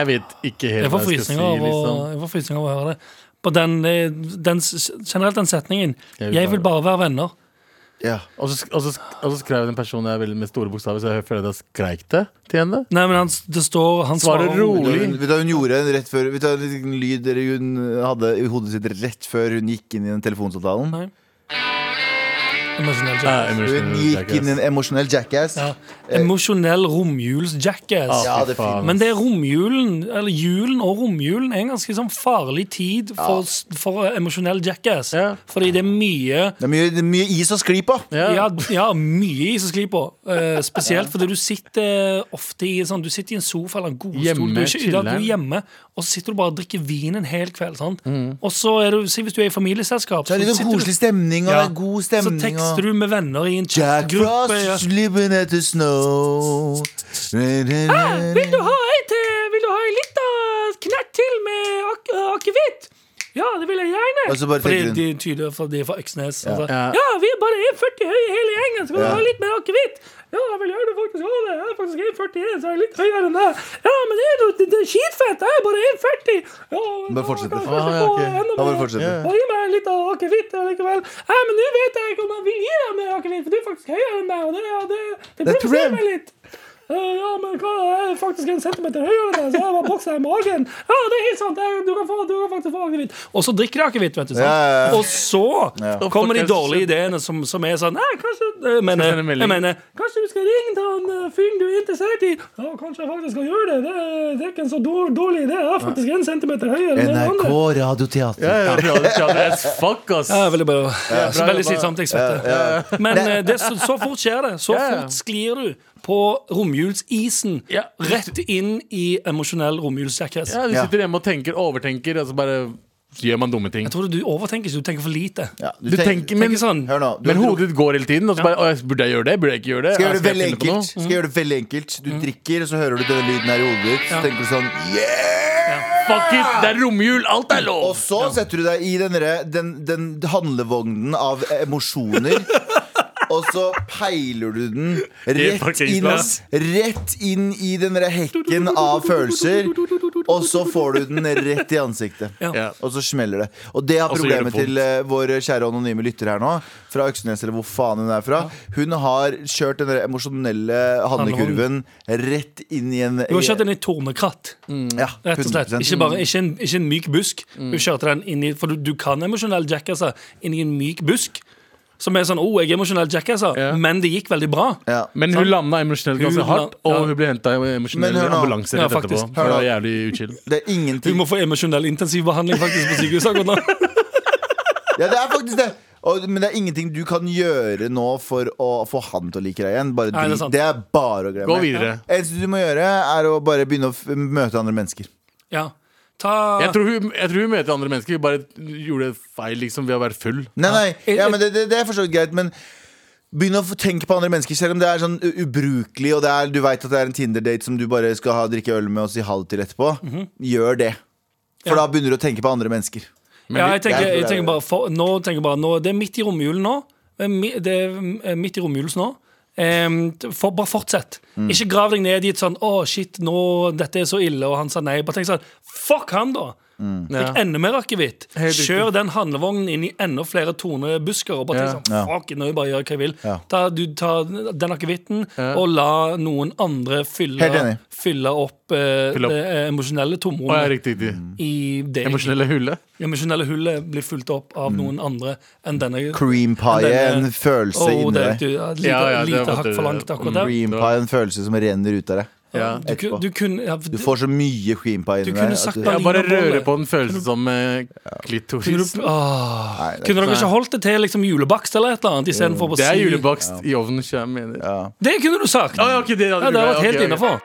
[SPEAKER 4] vet ikke helt
[SPEAKER 3] Jeg får
[SPEAKER 4] hva jeg skal
[SPEAKER 3] frysninger
[SPEAKER 4] si.
[SPEAKER 3] av å,
[SPEAKER 4] Liksom.
[SPEAKER 3] jeg får frysninger av å høre det. På den, eh, den, s- generelt den setningen.
[SPEAKER 4] Jeg vil
[SPEAKER 3] Jeg vil bare være venner.
[SPEAKER 2] Ja.
[SPEAKER 4] Og så, sk- og, så, sk- og så skrev den personen jeg vil med store bokstaver, så jeg føler at jeg skreik det til henne.
[SPEAKER 3] Nei, men han, s- det står han
[SPEAKER 4] Svarer
[SPEAKER 3] svarer
[SPEAKER 4] rolig.
[SPEAKER 2] Vet du hva hun- vet du hva hun gjorde rett før Vet du hva en liten lyd dere hun hadde i hodet sitt rett før hun gikk inn i den telefonsamtalen?
[SPEAKER 3] Nei. Emosjonell
[SPEAKER 4] Ja,
[SPEAKER 3] jackass.
[SPEAKER 2] Hun
[SPEAKER 4] emotional
[SPEAKER 2] gikk
[SPEAKER 4] jackass.
[SPEAKER 2] inn i en emosjonell jackass.
[SPEAKER 3] Ja. Emosjonell romjuls-jackass.
[SPEAKER 2] Eh, Ja,
[SPEAKER 4] Fy
[SPEAKER 2] det er
[SPEAKER 4] faen,
[SPEAKER 2] fint.
[SPEAKER 4] ass.
[SPEAKER 3] Men det er romjulen, eller julen og romjulen er en ganske sånn farlig tid for, for eh, emosjonell jackass.
[SPEAKER 4] Ja.
[SPEAKER 3] Fordi det er mye
[SPEAKER 2] Det er mye, det er mye is å skli på.
[SPEAKER 4] ja.
[SPEAKER 3] ja, ja, mye is å skli på. Eh, spesielt fordi du sitter ofte i, sånn, du sitter i en sofa eller en godstol.
[SPEAKER 4] Hjemme,
[SPEAKER 3] du, er ikke- ja, du er
[SPEAKER 4] chiller'n.
[SPEAKER 3] hjemme, og så sitter du bare og drikker vin en hel kveld. Sant? Og så er du, si hvis du er i familieselskap
[SPEAKER 2] Så er Mm. det litt
[SPEAKER 3] sitter du-
[SPEAKER 2] sånn koselig stemning, og
[SPEAKER 3] Ja.
[SPEAKER 2] det er god stemning.
[SPEAKER 3] Så tekster
[SPEAKER 2] og-
[SPEAKER 3] du med venner i en
[SPEAKER 2] Jack
[SPEAKER 3] chatgruppe. ja.
[SPEAKER 2] Frost, slipping at the snow.
[SPEAKER 3] Ah, Vil du ha ei til? Vil du ha ei lita knert til med ak akevitt? Ja, det vil jeg gjerne.
[SPEAKER 2] Og så bare
[SPEAKER 3] Fordi
[SPEAKER 2] tenker hun-
[SPEAKER 3] de tyder for de er fra Øksnes. Ja. Altså.
[SPEAKER 4] Ja.
[SPEAKER 3] ja, vi er bare 1,40 høye hele gjengen, så kan
[SPEAKER 2] Ja.
[SPEAKER 3] du ha litt mer akevitt. Ja, jeg vil gjerne faktisk ha det. Jeg er faktisk 1,41, så jeg er litt høyere enn deg. Ja, men det er, jo- det, det er skitfett. Jeg er bare 1,40. Ja,
[SPEAKER 2] Bare fortsette.
[SPEAKER 3] Jeg
[SPEAKER 4] Ah, ja, ok.
[SPEAKER 2] Ja, bare fortsette.
[SPEAKER 3] og gi meg litt av akevitt likevel. Ja, men nå vet jeg ikke om jeg vil gi deg mer akevitt, for du er faktisk høyere enn meg, og det, ja, det,
[SPEAKER 2] er
[SPEAKER 3] det
[SPEAKER 2] et
[SPEAKER 3] provoserer
[SPEAKER 2] problem.
[SPEAKER 3] meg litt. Eh, ja, men hva, jeg er faktisk en centimeter høyere enn deg, så jeg bare bokser deg i magen. Ja, det er helt sant, jeg, du, kan få, du kan faktisk få akevitt. Og så drikker de akevitt, vet du. sant?
[SPEAKER 2] Ja, ja, ja.
[SPEAKER 3] Og så kommer de dårlige ideene som, som er sånn Nei, kanskje jeg mener,
[SPEAKER 4] sende melding.
[SPEAKER 3] jeg mener, Kanskje du skal ringe til han eh, fyren du er interessert i? Ja, kanskje jeg faktisk skal gjøre det. Det, er- det er ikke en så dår- dårlig idé. Jeg er faktisk en centimeter høyere enn den
[SPEAKER 2] NRK
[SPEAKER 3] andre.
[SPEAKER 2] Radioteater.
[SPEAKER 4] Ja, ja, reality teater as fuck, ass.
[SPEAKER 3] Ja, veldig bra. Så veldig
[SPEAKER 4] jobba.
[SPEAKER 3] slitsomt, jeg svetter. Men eh, det, så, så fort skjer det. Så
[SPEAKER 4] Ja, ja.
[SPEAKER 3] fort sklir du på romjulsisen
[SPEAKER 4] Ja.
[SPEAKER 3] rett inn i emosjonell romjulsjackass.
[SPEAKER 4] Ja, du sitter hjemme og tenker, overtenker, og så bare så gjør man dumme ting.
[SPEAKER 3] Jeg tror du overtenker ikke, du tenker for lite.
[SPEAKER 2] Ja,
[SPEAKER 4] Du tenker, men,
[SPEAKER 3] tenker sånn,
[SPEAKER 2] Hør nå.
[SPEAKER 4] men hodet ditt går hele tiden. Og så bare, «Å, jeg- Burde jeg gjøre det? Burde jeg ikke gjøre det?
[SPEAKER 2] Skal jeg gjøre det veldig
[SPEAKER 4] finne på
[SPEAKER 2] enkelt?
[SPEAKER 4] noe?» Mm.
[SPEAKER 2] Skal jeg gjøre det veldig enkelt Du drikker, og så hører du denne lyden her i hodet ditt. Så tenker du sånn Yeah!
[SPEAKER 4] Fuck it, det er romjul! Alt er
[SPEAKER 2] Og
[SPEAKER 4] lov!
[SPEAKER 2] så setter du deg i den, derre- den, den handlevognen av emosjoner. Og så peiler du den rett inn,
[SPEAKER 3] parkeringsplass.
[SPEAKER 2] rett inn i den derre hekken av følelser. Og så får du den rett i ansiktet.
[SPEAKER 4] Ja.
[SPEAKER 2] Og så smeller det. Og det er
[SPEAKER 4] Og så gjør
[SPEAKER 2] problemet
[SPEAKER 4] det vondt.
[SPEAKER 2] til eh, vår kjære anonyme lytter her nå, fra Øksnes eller hvor faen hun er fra. Hun har kjørt den der emosjonelle handlekurven rett inn i en Mm,
[SPEAKER 3] Du har kjørt den i tornekratt,
[SPEAKER 2] Ja,
[SPEAKER 3] rett og slett.
[SPEAKER 2] 100%.
[SPEAKER 3] Ikke, bare, ikke, en, ikke en myk busk.
[SPEAKER 4] Mm.
[SPEAKER 3] Du kjørte den inn i For du, du kan emosjonell jackasser inn i en myk busk. Som er sånn 'Å, jeg er emosjonell jackasser',
[SPEAKER 4] Ja.
[SPEAKER 3] men det gikk veldig bra.
[SPEAKER 2] Ja.
[SPEAKER 4] Men hun landa emosjonelt ganske
[SPEAKER 3] Hun
[SPEAKER 4] hardt,
[SPEAKER 3] la- ja.
[SPEAKER 4] og hun ble henta i
[SPEAKER 2] Men
[SPEAKER 4] emosjonell
[SPEAKER 2] hør nå.
[SPEAKER 4] ambulanse rett
[SPEAKER 3] Ja,
[SPEAKER 4] etterpå.
[SPEAKER 3] faktisk.
[SPEAKER 4] Det var
[SPEAKER 2] Hør
[SPEAKER 4] jævlig uchill.
[SPEAKER 2] Det er
[SPEAKER 3] Du
[SPEAKER 2] ingenting
[SPEAKER 3] må få emosjonell intensivbehandling faktisk på sykehuset akkurat nå.
[SPEAKER 2] Ja, det er faktisk det. Og, men det er ingenting du kan gjøre nå for å få han til å like deg igjen. Bare
[SPEAKER 3] Nei, det er
[SPEAKER 2] drit.
[SPEAKER 3] sant.
[SPEAKER 2] det, er bare å glemme.
[SPEAKER 4] Gå videre.
[SPEAKER 2] Eneste du må gjøre, er å bare begynne å f møte andre mennesker.
[SPEAKER 3] Ja. Ta
[SPEAKER 4] Jeg tror, hun, jeg tror hun møter andre mennesker. Hun bare gjorde feil liksom ved å være full.
[SPEAKER 2] Nei, nei,
[SPEAKER 3] Eh,
[SPEAKER 2] ja, men det, det, det er for så vidt greit, men Begynn å få tenke på andre mennesker, selv om det er sånn u- ubrukelig. Og det er, du veit at det er en Tinder-date som du bare skal ha, drikke øl med og si ha det til etterpå.
[SPEAKER 3] Mhm.
[SPEAKER 2] Gjør det. For da begynner du å tenke på andre mennesker.
[SPEAKER 3] Ja, jeg
[SPEAKER 2] Jeg
[SPEAKER 3] tenker,
[SPEAKER 2] tror
[SPEAKER 3] jeg
[SPEAKER 2] det er-
[SPEAKER 3] tenker bare, for, nå tenker jeg bare nå, Det er midt i romjulen nå. Det er mi- Det er eh, midt i romjulen nå. Em, t- for, bare fortsett.
[SPEAKER 2] Mm.
[SPEAKER 3] Ikke grav deg ned i et sånn 'Å, shit, nå, dette er så ille', og han sa nei. Bare tenk sånn Fuck han, da!
[SPEAKER 2] Mm.
[SPEAKER 3] Fikk
[SPEAKER 4] Ja.
[SPEAKER 3] enda mer akevitt.
[SPEAKER 4] Helt riktig.
[SPEAKER 3] Kjør den handlevognen inn i enda flere tornebusker. Og bare
[SPEAKER 4] Ja.
[SPEAKER 3] tenk sånn, fuck, nå bare gjør jeg hva jeg vil
[SPEAKER 2] Ja.
[SPEAKER 3] Ta, du, ta den akevitten og la noen andre
[SPEAKER 2] Helt enig.
[SPEAKER 3] fylle, fylle opp eh,
[SPEAKER 4] Fylle opp.
[SPEAKER 3] det eh, emosjonelle
[SPEAKER 4] Å, ja,
[SPEAKER 3] tomrommet
[SPEAKER 4] riktig, riktig.
[SPEAKER 2] Mm.
[SPEAKER 3] i det
[SPEAKER 4] Emosjonelle hullet.
[SPEAKER 3] det emosjonelle hullet blir fulgt opp av
[SPEAKER 2] Mm.
[SPEAKER 3] noen andre enn denne.
[SPEAKER 2] Cream pie,
[SPEAKER 3] Denne-
[SPEAKER 2] en følelse
[SPEAKER 3] Åh,
[SPEAKER 2] inni
[SPEAKER 3] det er
[SPEAKER 2] deg.
[SPEAKER 3] riktig. Ja, Lite,
[SPEAKER 4] Ja, ja, det
[SPEAKER 3] lite
[SPEAKER 4] var-
[SPEAKER 3] hakk for langt akkurat der.
[SPEAKER 2] Cream pie, en følelse som renner ut av deg.
[SPEAKER 4] Ja.
[SPEAKER 3] Du, ku-
[SPEAKER 2] etterpå.
[SPEAKER 3] du kunne ja,
[SPEAKER 2] Du får så mye cream pie
[SPEAKER 3] Du
[SPEAKER 2] inni
[SPEAKER 3] kunne
[SPEAKER 2] deg.
[SPEAKER 3] sagt
[SPEAKER 2] at du-
[SPEAKER 3] bare-
[SPEAKER 4] Ja, bare
[SPEAKER 3] Lina Bolle.
[SPEAKER 4] røre på den følelsen som eh,
[SPEAKER 3] kunne,
[SPEAKER 4] klitoris.
[SPEAKER 3] du, åh,
[SPEAKER 2] Nei, det Mm. er
[SPEAKER 3] kunne dere
[SPEAKER 4] Nei.
[SPEAKER 3] ikke holdt det til liksom, julebakst eller et eller annet? i stedet for å
[SPEAKER 4] Det er
[SPEAKER 3] si-
[SPEAKER 4] julebakst i ovnen, ikke jeg mener.
[SPEAKER 2] Ja.
[SPEAKER 3] Det kunne du sagt!
[SPEAKER 4] Å, ja, ok, det
[SPEAKER 3] Ja,
[SPEAKER 4] hadde
[SPEAKER 3] det hadde
[SPEAKER 4] vært
[SPEAKER 3] vært helt innafor.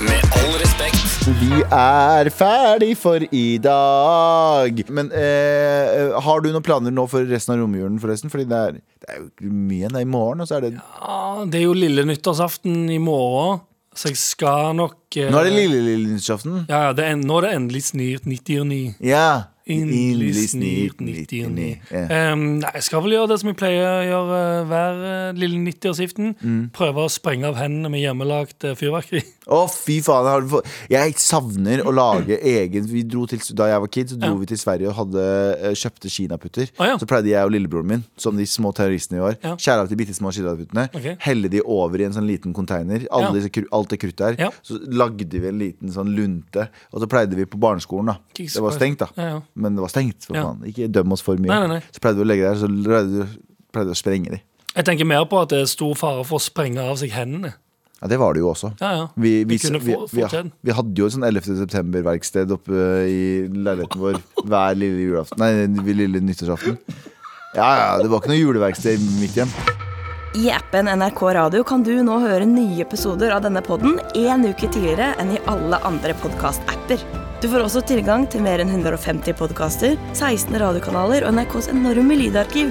[SPEAKER 6] Med all respekt.
[SPEAKER 2] Vi er ferdig for i dag. Men eh, har du noen planer nå for resten av romjulen, forresten? Fordi det er, det er jo ikke mye igjen. Det er i morgen, og så er det
[SPEAKER 3] Ah, Det er jo lille nyttårsaften i morgen, så jeg skal nok eh,
[SPEAKER 2] Nå er det lille lille nyttårsaften.
[SPEAKER 3] Ja, ja, det er, en- nå er det endelig snirt 99.
[SPEAKER 2] Ja.
[SPEAKER 3] Endelig
[SPEAKER 2] snirt
[SPEAKER 3] snirt 99.
[SPEAKER 2] Ja.
[SPEAKER 3] Ehm, nei, jeg skal vel gjøre det som jeg pleier å gjøre eh, hver eh, lille 90-årsaften.
[SPEAKER 2] Mm.
[SPEAKER 3] Prøve å sprenge av hendene med hjemmelagt eh, fyrverkeri.
[SPEAKER 2] Å, fy faen. Jeg, har, fått- jeg savner å lage egen vi dro til, Da jeg var kid, så dro
[SPEAKER 3] Ja.
[SPEAKER 2] vi til Sverige og hadde, eh, kjøpte kinaputter.
[SPEAKER 3] Å, ja.
[SPEAKER 2] Så pleide jeg og lillebroren min, som de små terroristene vi var,
[SPEAKER 3] Ja.
[SPEAKER 2] skjære av de bitte små kinaputtene,
[SPEAKER 3] Ok.
[SPEAKER 2] helle de over i en sånn liten konteiner, alle
[SPEAKER 3] Ja.
[SPEAKER 2] disse kru- alt det kruttet her.
[SPEAKER 3] Ja.
[SPEAKER 2] Så lagde vi en liten sånn lunte, og så pleide vi på barneskolen, da.
[SPEAKER 3] Jesus
[SPEAKER 2] det var
[SPEAKER 3] Christ.
[SPEAKER 2] stengt, da.
[SPEAKER 3] Ja, ja.
[SPEAKER 2] Men det var stengt, for
[SPEAKER 3] Ja.
[SPEAKER 2] faen. Ikke døm oss for mye.
[SPEAKER 3] Nei, nei, nei.
[SPEAKER 2] Så pleide vi å legge det her, så pleide vi- pleide vi å sprenge de.
[SPEAKER 3] Jeg tenker mer på at det er stor fare for å sprenge av seg hendene.
[SPEAKER 2] Ja, det var det jo også.
[SPEAKER 3] Ja, ja.
[SPEAKER 2] Vi, vi,
[SPEAKER 3] Vi kunne
[SPEAKER 2] vi,
[SPEAKER 3] få-
[SPEAKER 2] vi,
[SPEAKER 3] få til den.
[SPEAKER 2] vi hadde jo et sånn 11. september-verksted oppe i leiligheten vår hver lille julaften Nei, lille nyttårsaften. Ja, ja, det var ikke noe juleverksted i mitt hjem.
[SPEAKER 7] I appen NRK Radio kan du nå høre nye episoder av denne podden en uke tidligere enn i alle andre podcast-apper. Du får også tilgang til mer enn 150 podcaster, 16 radiokanaler og NRKs enorme lydarkiv.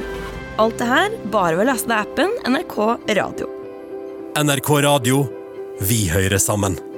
[SPEAKER 7] Alt det her bare ved å laste ned appen NRK Radio.
[SPEAKER 8] NRK Radio. Vi hører sammen.